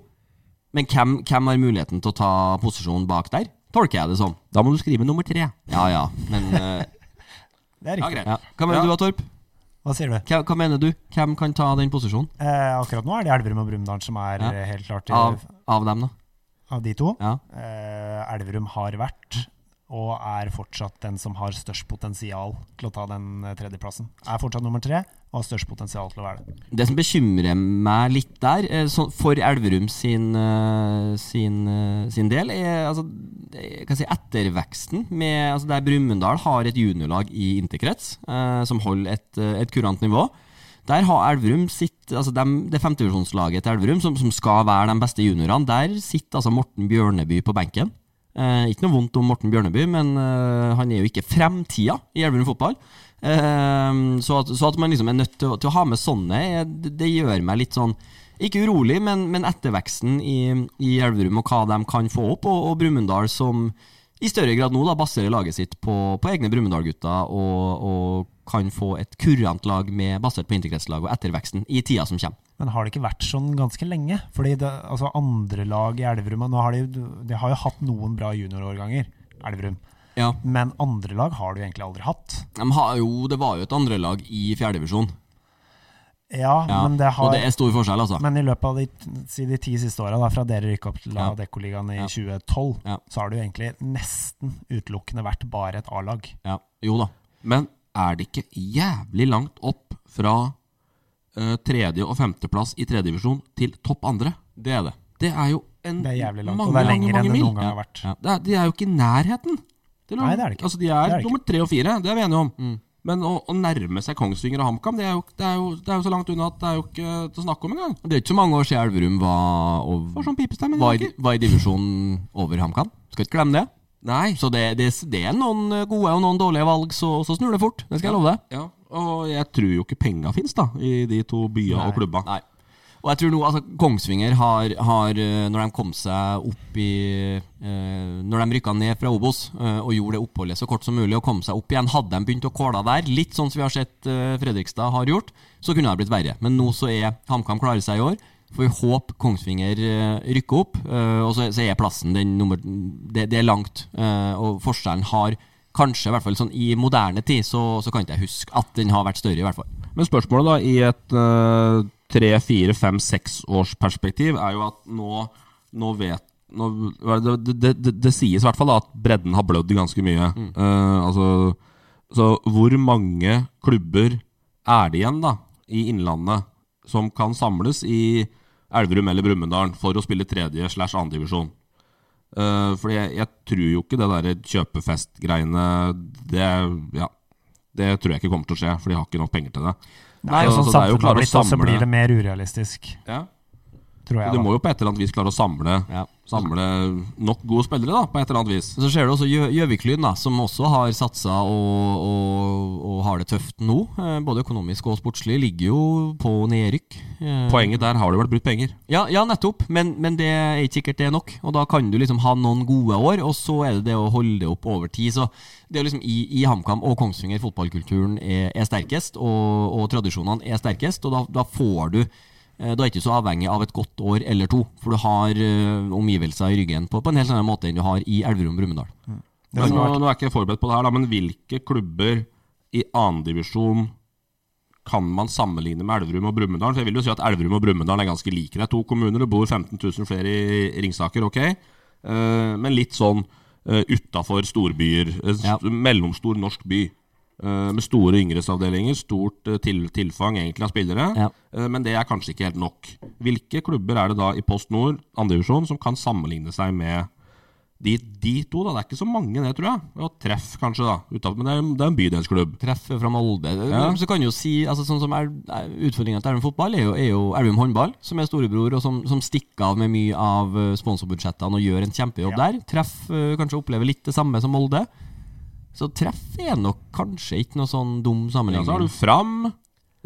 Speaker 6: Men hvem, hvem har muligheten til å ta posisjonen bak der? Tolker jeg det som.
Speaker 4: Da må du skrive nummer tre.
Speaker 6: Ja ja, men eh,
Speaker 5: Det
Speaker 4: Ja,
Speaker 5: er riktig.
Speaker 4: greit.
Speaker 6: ja. Hva mener
Speaker 4: Ja.
Speaker 6: du da, Torp?
Speaker 5: Hva sier du?
Speaker 6: Hva, hva mener du? Hvem kan ta den posisjonen?
Speaker 5: Eh, akkurat nå er det Elverum og Brumunddal som er
Speaker 6: Ja.
Speaker 5: eh, helt klart i,
Speaker 6: Av,
Speaker 5: av.
Speaker 6: av dem, da?
Speaker 5: de to.
Speaker 6: Ja.
Speaker 5: Eh, Elverum har vært og er fortsatt den som har størst potensial til å ta den eh, tredjeplassen. Er fortsatt nummer tre og har størst potensial til å være det.
Speaker 6: Det som bekymrer meg litt der, eh, så- for Elverum sin, eh, sin, eh, sin del, er altså, det- hva skal jeg si, etterveksten. Med, altså, der Brumunddal har et juniorlag i interkrets eh, som holder et, eh, et kurant nivå. Der har Elverum sitt, altså dem, Det femtevisjonslaget til Elverum, som, som skal være de beste juniorene, der sitter altså Morten Bjørneby på benken. Eh, Eh, ikke noe vondt om Morten Bjørneby, men eh, han er jo ikke fremtida i Elverum fotball. Eh, så, at, så at man liksom er nødt til å, til å ha med sånne, eh, det, det gjør meg litt sånn ikke urolig, men, men etterveksten i, i Elverum og hva de kan få opp, og, og Brumunddal som i større grad nå da baserer laget sitt på, på egne Brumunddal-gutter og, og kan få et kurant lag med, basert på interkretslag og etterveksten i tida som kommer.
Speaker 5: Men har det ikke vært sånn ganske lenge? Fordi det, altså andre lag i Elverum nå har de, de har jo hatt noen bra juniorårganger, Elverum.
Speaker 6: Ja.
Speaker 5: Men andre lag har du egentlig aldri hatt.
Speaker 6: De har jo, det var jo et andrelag i fjerdedivisjon,
Speaker 5: Ja,
Speaker 6: ja.
Speaker 5: men det har
Speaker 6: og det er stor forskjell, altså.
Speaker 5: Men i løpet av de, si de ti siste åra, da, fra dere rykka opp til
Speaker 6: Ja.
Speaker 5: Adeccoligaen i
Speaker 6: Ja.
Speaker 5: 2012,
Speaker 6: Ja.
Speaker 5: så har det jo egentlig nesten utelukkende vært bare et A-lag.
Speaker 6: Ja, jo da.
Speaker 4: Men er det ikke jævlig langt opp fra eh, tredje- og femteplass i tredje divisjon til topp andre? Det er det. Det er jo en
Speaker 5: Det er jævlig langt,
Speaker 4: mange,
Speaker 5: og det er
Speaker 4: mange,
Speaker 5: lenger enn
Speaker 4: mange
Speaker 5: det
Speaker 4: mil.
Speaker 5: noen gang har vært.
Speaker 6: Ja.
Speaker 4: Det er, de er jo ikke i nærheten. til å-
Speaker 5: Nei, det er det ikke.
Speaker 4: Altså, de
Speaker 5: Det
Speaker 4: er,
Speaker 5: er det ikke. Mm.
Speaker 4: nummer tre og fire, det er vi enige om. Men å, å nærme seg Kongsvinger og HamKam, det, er jo- det, er jo- det er jo så langt unna at det er jo ikke til å snakke om engang.
Speaker 6: Det er ikke så mange år siden Elverum var, og,
Speaker 4: Det var sånn pipestemme.
Speaker 6: var, i, var i divisjonen over HamKam. Skal ikke glemme det.
Speaker 4: Nei.
Speaker 6: Så det, det, det er noen gode og noen dårlige valg, så, så snur det fort. Det skal jeg love deg.
Speaker 4: Ja, og jeg tror jo ikke penga fins, da, i de to byene og klubba.
Speaker 6: Nei. Og jeg tror nå, altså Kongsvinger har, har eh, når de kom seg opp i eh, Når de rykka ned fra Obos eh, og gjorde det oppholdet så kort som mulig og kom seg opp igjen, hadde de begynt å kåla der, litt sånn som vi har sett eh, Fredrikstad har gjort, så kunne det blitt verre. Men nå så er HamKam klarer seg i år. Får vi håpe Kongsvinger eh, rykker opp. eh, og så, så er plassen den nummer Det, det er langt. eh, og forskjellen har kanskje, i hvert fall sånn i moderne tid, så, så kan ikke jeg huske at den har vært større, i hvert fall.
Speaker 4: Men spørsmålet da, i et eh, tre, fire, fem, seks års perspektiv, er jo at nå, nå vet nå, hva er det, det, det, det, det sies i hvert fall da, at bredden har blødd ganske mye. Eh, altså, så hvor mange klubber er det igjen da, i Innlandet som kan samles i Elverum eller Brumunddal for å spille tredje slash andre divisjon? Eh, fordi jeg, jeg tror jo ikke det der kjøpefest-greiene Det ja, det tror jeg ikke kommer til å skje, for de har ikke nok penger til det.
Speaker 5: Nei,
Speaker 4: Så-
Speaker 5: og
Speaker 4: så
Speaker 5: sånn
Speaker 4: altså, det er jo å
Speaker 5: samfunnet
Speaker 4: klare å
Speaker 5: har blitt, og så
Speaker 4: samle-
Speaker 5: blir det mer urealistisk,
Speaker 4: Ja.
Speaker 5: tror
Speaker 4: Så
Speaker 5: jeg.
Speaker 4: de
Speaker 5: Da.
Speaker 4: må jo på et eller annet vis klare å samle,
Speaker 6: Ja.
Speaker 4: samle nok gode spillere, da, på et eller annet vis.
Speaker 6: Og Så ser du også Gjø- Gjøviklyn, da, som også har satsa og, og, og har det tøft nå. eh, Både økonomisk og sportslig. Ligger jo på nedrykk.
Speaker 5: Mm.
Speaker 6: Eh,
Speaker 4: Poenget der har det vært brutt penger.
Speaker 6: Ja, ja nettopp, men, men det er ikke sikkert det er nok. Og da kan du liksom ha noen gode år, og så er det det å holde det opp over tid. Så det er liksom i, i HamKam og Kongsvinger fotballkulturen er, er sterkest, og, og tradisjonene er sterkest, og da, da får du eh, da er ikke du så avhengig av et godt år eller to, for du har eh, omgivelser i ryggen på, på en helt annen måte enn du har i Elverum Brumunddal.
Speaker 5: Det
Speaker 4: Men
Speaker 5: som
Speaker 4: nå,
Speaker 5: har vært-
Speaker 4: nå er ikke jeg forberedt på det her, da, men hvilke klubber i annendivisjon kan man sammenligne med Elverum og Brumunddal? For jeg vil jo si at Elverum og Brumunddal er ganske like. Det er to kommuner, det bor 15 000 flere i Ringsaker, ok. Eh, men litt sånn uh, utafor storbyer. En s-
Speaker 6: Ja.
Speaker 4: Mellomstor norsk by. eh, med store yngresavdelinger, stort eh, til, tilfang egentlig av spillere.
Speaker 6: Ja.
Speaker 4: Eh, men det er kanskje ikke helt nok. Hvilke klubber er det da i Post Nord, andredivisjon, som kan sammenligne seg med de, de to, da. Det er ikke så mange, det, tror jeg. Og treff, kanskje, da. Utenfor, men det er, det er en bydelsklubb.
Speaker 6: treffe fra Molde.
Speaker 4: Ja.
Speaker 6: Så kan du jo si, altså sånn som er, Utfordringa til Elverum fotball er jo, er jo Elverum håndball, som er storebror, og som, som stikker av med mye av eh, sponsorbudsjettene og gjør en kjempejobb der. Treff eh, kanskje opplever litt det samme som Molde. Så treff er nok kanskje ikke noe sånn dum
Speaker 4: Ja, så har
Speaker 6: sammenligning.
Speaker 4: du Fram,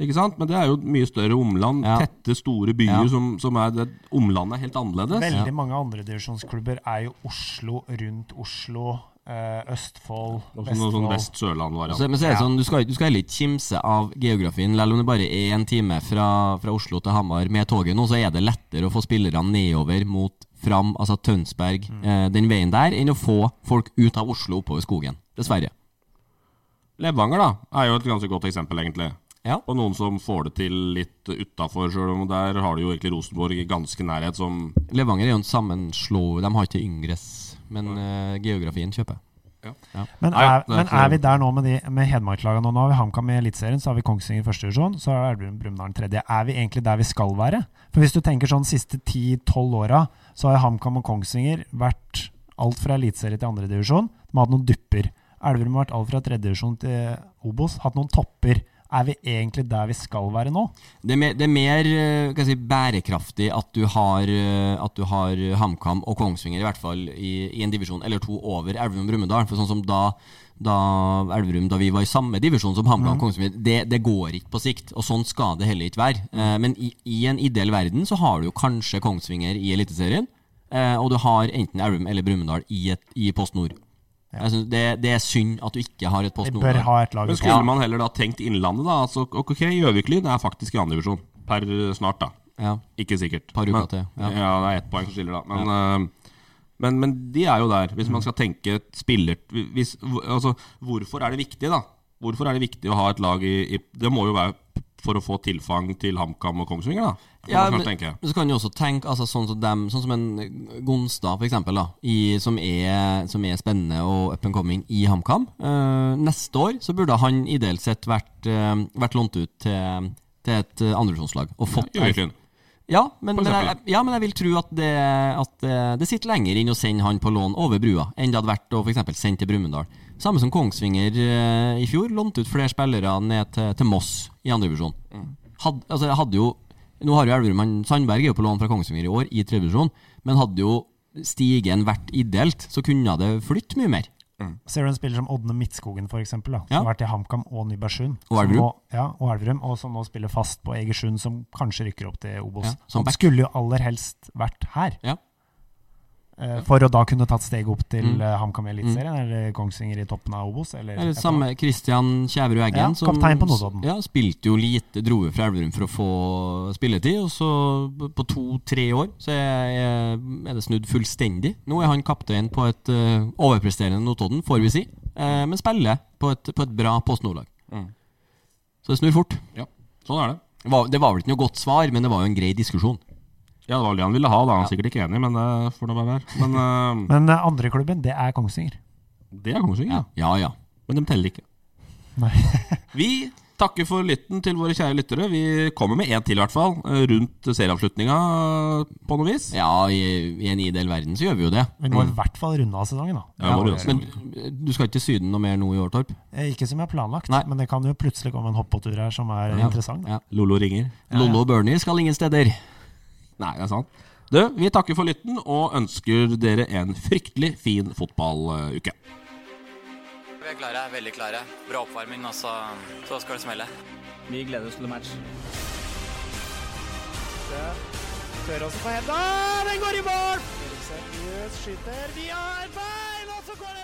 Speaker 4: ikke sant? men det er jo et mye større omland.
Speaker 6: Ja.
Speaker 4: Tette, store byer
Speaker 6: Ja.
Speaker 4: som, som er det, Omlandet er helt annerledes.
Speaker 5: Veldig mange andredivisjonsklubber er jo Oslo, rundt Oslo, eh, Østfold,
Speaker 4: Og så Noe sånn
Speaker 5: Vestfold.
Speaker 6: Så,
Speaker 4: Vest-Sørland-variant.
Speaker 6: men så er det sånn, du skal, du skal heller ikke kimse av geografien. Selv om det bare er en time fra, fra Oslo til Hamar med toget nå, så er det lettere å få spillerne nedover mot Fram, altså Tønsberg, eh, den veien der, enn å få folk ut av Oslo oppover skogen. Dessverre.
Speaker 4: Levanger da, er jo et ganske godt eksempel, egentlig.
Speaker 6: Ja.
Speaker 4: Og noen som får det til litt utafor, sjøl om der har du jo egentlig Rosenborg i ganske nærhet, som
Speaker 6: Levanger er jo en sammenslå... De har ikke yngres, men eh, geografien kjøper.
Speaker 5: Men
Speaker 4: Nei, det
Speaker 5: er,
Speaker 4: er
Speaker 5: men
Speaker 4: ikke-
Speaker 5: er vi der nå med, de, med Hedmark-lagene nå? Nå har vi HamKam i Eliteserien, så har vi Kongsvinger i første divisjon, så er Elverum Brumunddal tredje. Er vi egentlig der vi skal være? For hvis du tenker sånn siste 10-12 åra, så har HamKam og Kongsvinger vært alt fra eliteserie til andre divisjon. De har hatt noen dupper. Elverum har vært alt fra tredje divisjon til Obos. Hatt noen topper. Er vi egentlig der vi skal være nå?
Speaker 6: Det er mer, det er mer eh, hva skal jeg si, bærekraftig at du har, eh, at du har HamKam og Kongsvinger i hvert fall i, i en divisjon eller to over Elverum og Brumunddal. For sånn som da, da Elverum, da vi var i samme divisjon som HamKam
Speaker 5: Mm.
Speaker 6: og Kongsvinger, det, det går ikke på sikt. Og sånn skal det heller ikke være. Eh, Men i, i en ideell verden så har du jo kanskje Kongsvinger i Eliteserien, eh, og du har enten Elverum eller Brumunddal i, et- i Post Nord. Jeg synes det, det er synd at du ikke har et Post
Speaker 5: Vi
Speaker 6: Nord.
Speaker 5: bør
Speaker 6: der.
Speaker 5: ha et lag
Speaker 4: Men skulle man heller da tenkt Innlandet, da? Altså, ok, Gjøvikly det er faktisk i andre divisjon per eh, snart, da.
Speaker 6: Ja.
Speaker 4: Ikke sikkert.
Speaker 6: Par uker
Speaker 4: men,
Speaker 6: til, ja.
Speaker 4: Ja. det er ett poeng som skiller, da. Men, eh, men, men de er jo der, hvis man skal tenke et spiller hvis, hvor- altså, Hvorfor er det viktig, da? Hvorfor er det viktig å ha et lag i, i Det må jo være for å få tilfang til HamKam og Kongsvinger, da. Kan
Speaker 6: Ja,
Speaker 4: man
Speaker 6: men,
Speaker 4: kanskje tenke.
Speaker 6: men så kan du også tenke altså, sånn, som dem, sånn som en Gonstad, for eksempel, da, i, som, er, som er spennende og up and coming i HamKam. Eh, neste år så burde han ideelt sett vært, eh, vært lånt ut til, til et eh, andredivisjonslag. Og fått
Speaker 4: Gjøviklyn.
Speaker 6: ja,
Speaker 4: For
Speaker 6: men, men, jeg,
Speaker 4: eksempel.
Speaker 6: ja, men jeg vil tro at det, at eh, det sitter lenger inn å sende han på lån over brua enn det hadde vært å for eksempel sende til Brumunddal. Samme som Kongsvinger eh, i fjor, lånte ut flere spillere ned til, til Moss i andredivisjon.
Speaker 4: Mm.
Speaker 6: Had, altså, jeg hadde jo Nå har jo Elverum han- Sandberg er jo på lån fra Kongsvinger i år, i tredjedivisjon, men hadde jo stigen vært ideelt, så kunne det flytte mye mer.
Speaker 5: Ser du en spiller som Ådne Midtskogen, for eksempel, da,
Speaker 6: Ja.
Speaker 5: som har vært i HamKam og Nybergsund. som
Speaker 6: Og Elverum.
Speaker 5: nå- Ja, og Elverum, og som nå spiller fast på Egersund, som kanskje rykker opp til Obos.
Speaker 6: Ja, som
Speaker 5: han
Speaker 6: back.
Speaker 5: skulle jo aller helst vært her,
Speaker 6: Ja.
Speaker 5: eh, for å da kunne tatt steget opp til
Speaker 6: Mm.
Speaker 5: eh, HamKam i Eliteserien, eller Kongsvinger i toppen av Obos. Eller,
Speaker 6: Eller
Speaker 5: et eller
Speaker 6: samme Kristian Kjæverud Eggen.
Speaker 5: Ja, kaptein på Notodden.
Speaker 6: Ja, spilte jo lite, dro jo fra Elverum for å få spilletid, og så på to-tre år så er, er det snudd fullstendig. Nå er han kaptein på et eh, overpresterende Notodden, får vi si, eh, men spiller på et, på et bra Post Nordlag. Så det snur fort.
Speaker 4: Ja, sånn er det.
Speaker 6: Det var- Det var vel ikke noe godt svar, men det var jo en grei diskusjon.
Speaker 4: Ja, det var det han ville ha, da. Han er sikkert ikke enig, men det får nå bare være. Men
Speaker 5: annet. Men eh, andreklubben, det er Kongsvinger.
Speaker 4: eh, det er Kongsvinger, ja.
Speaker 6: Ja, ja.
Speaker 4: Men de teller ikke.
Speaker 5: Nei.
Speaker 4: Vi takker for lytten til våre kjære lyttere. Vi kommer med en til, i hvert fall. eh, Rundt serieavslutninga, eh, på noe vis.
Speaker 6: Ja, i, i en ideell verden så gjør vi jo det.
Speaker 5: Vi må i hvert fall runde av sesongen, da.
Speaker 4: Ja, må du gjøre.
Speaker 6: men du skal ikke til Syden noe mer nå i år, Torp?
Speaker 5: Eh, Ikke som jeg har planlagt,
Speaker 6: Nei.
Speaker 5: men det kan jo plutselig komme en hoppåtur her som er interessant. Da.
Speaker 6: Ja.
Speaker 4: Lolo ringer.
Speaker 6: Lollo og Bernie skal ingen steder.
Speaker 4: Nei, det er sant. Du, vi takker for lytten og ønsker dere en fryktelig fin fotballuke.
Speaker 1: Vi er klare, veldig klare. Bra oppvarming, og så, så skal det smelle.
Speaker 7: Vi gleder oss til match.
Speaker 3: Tøråsen på henda, den går i mål! Eriksen Jøs skyter via et bein, og så går det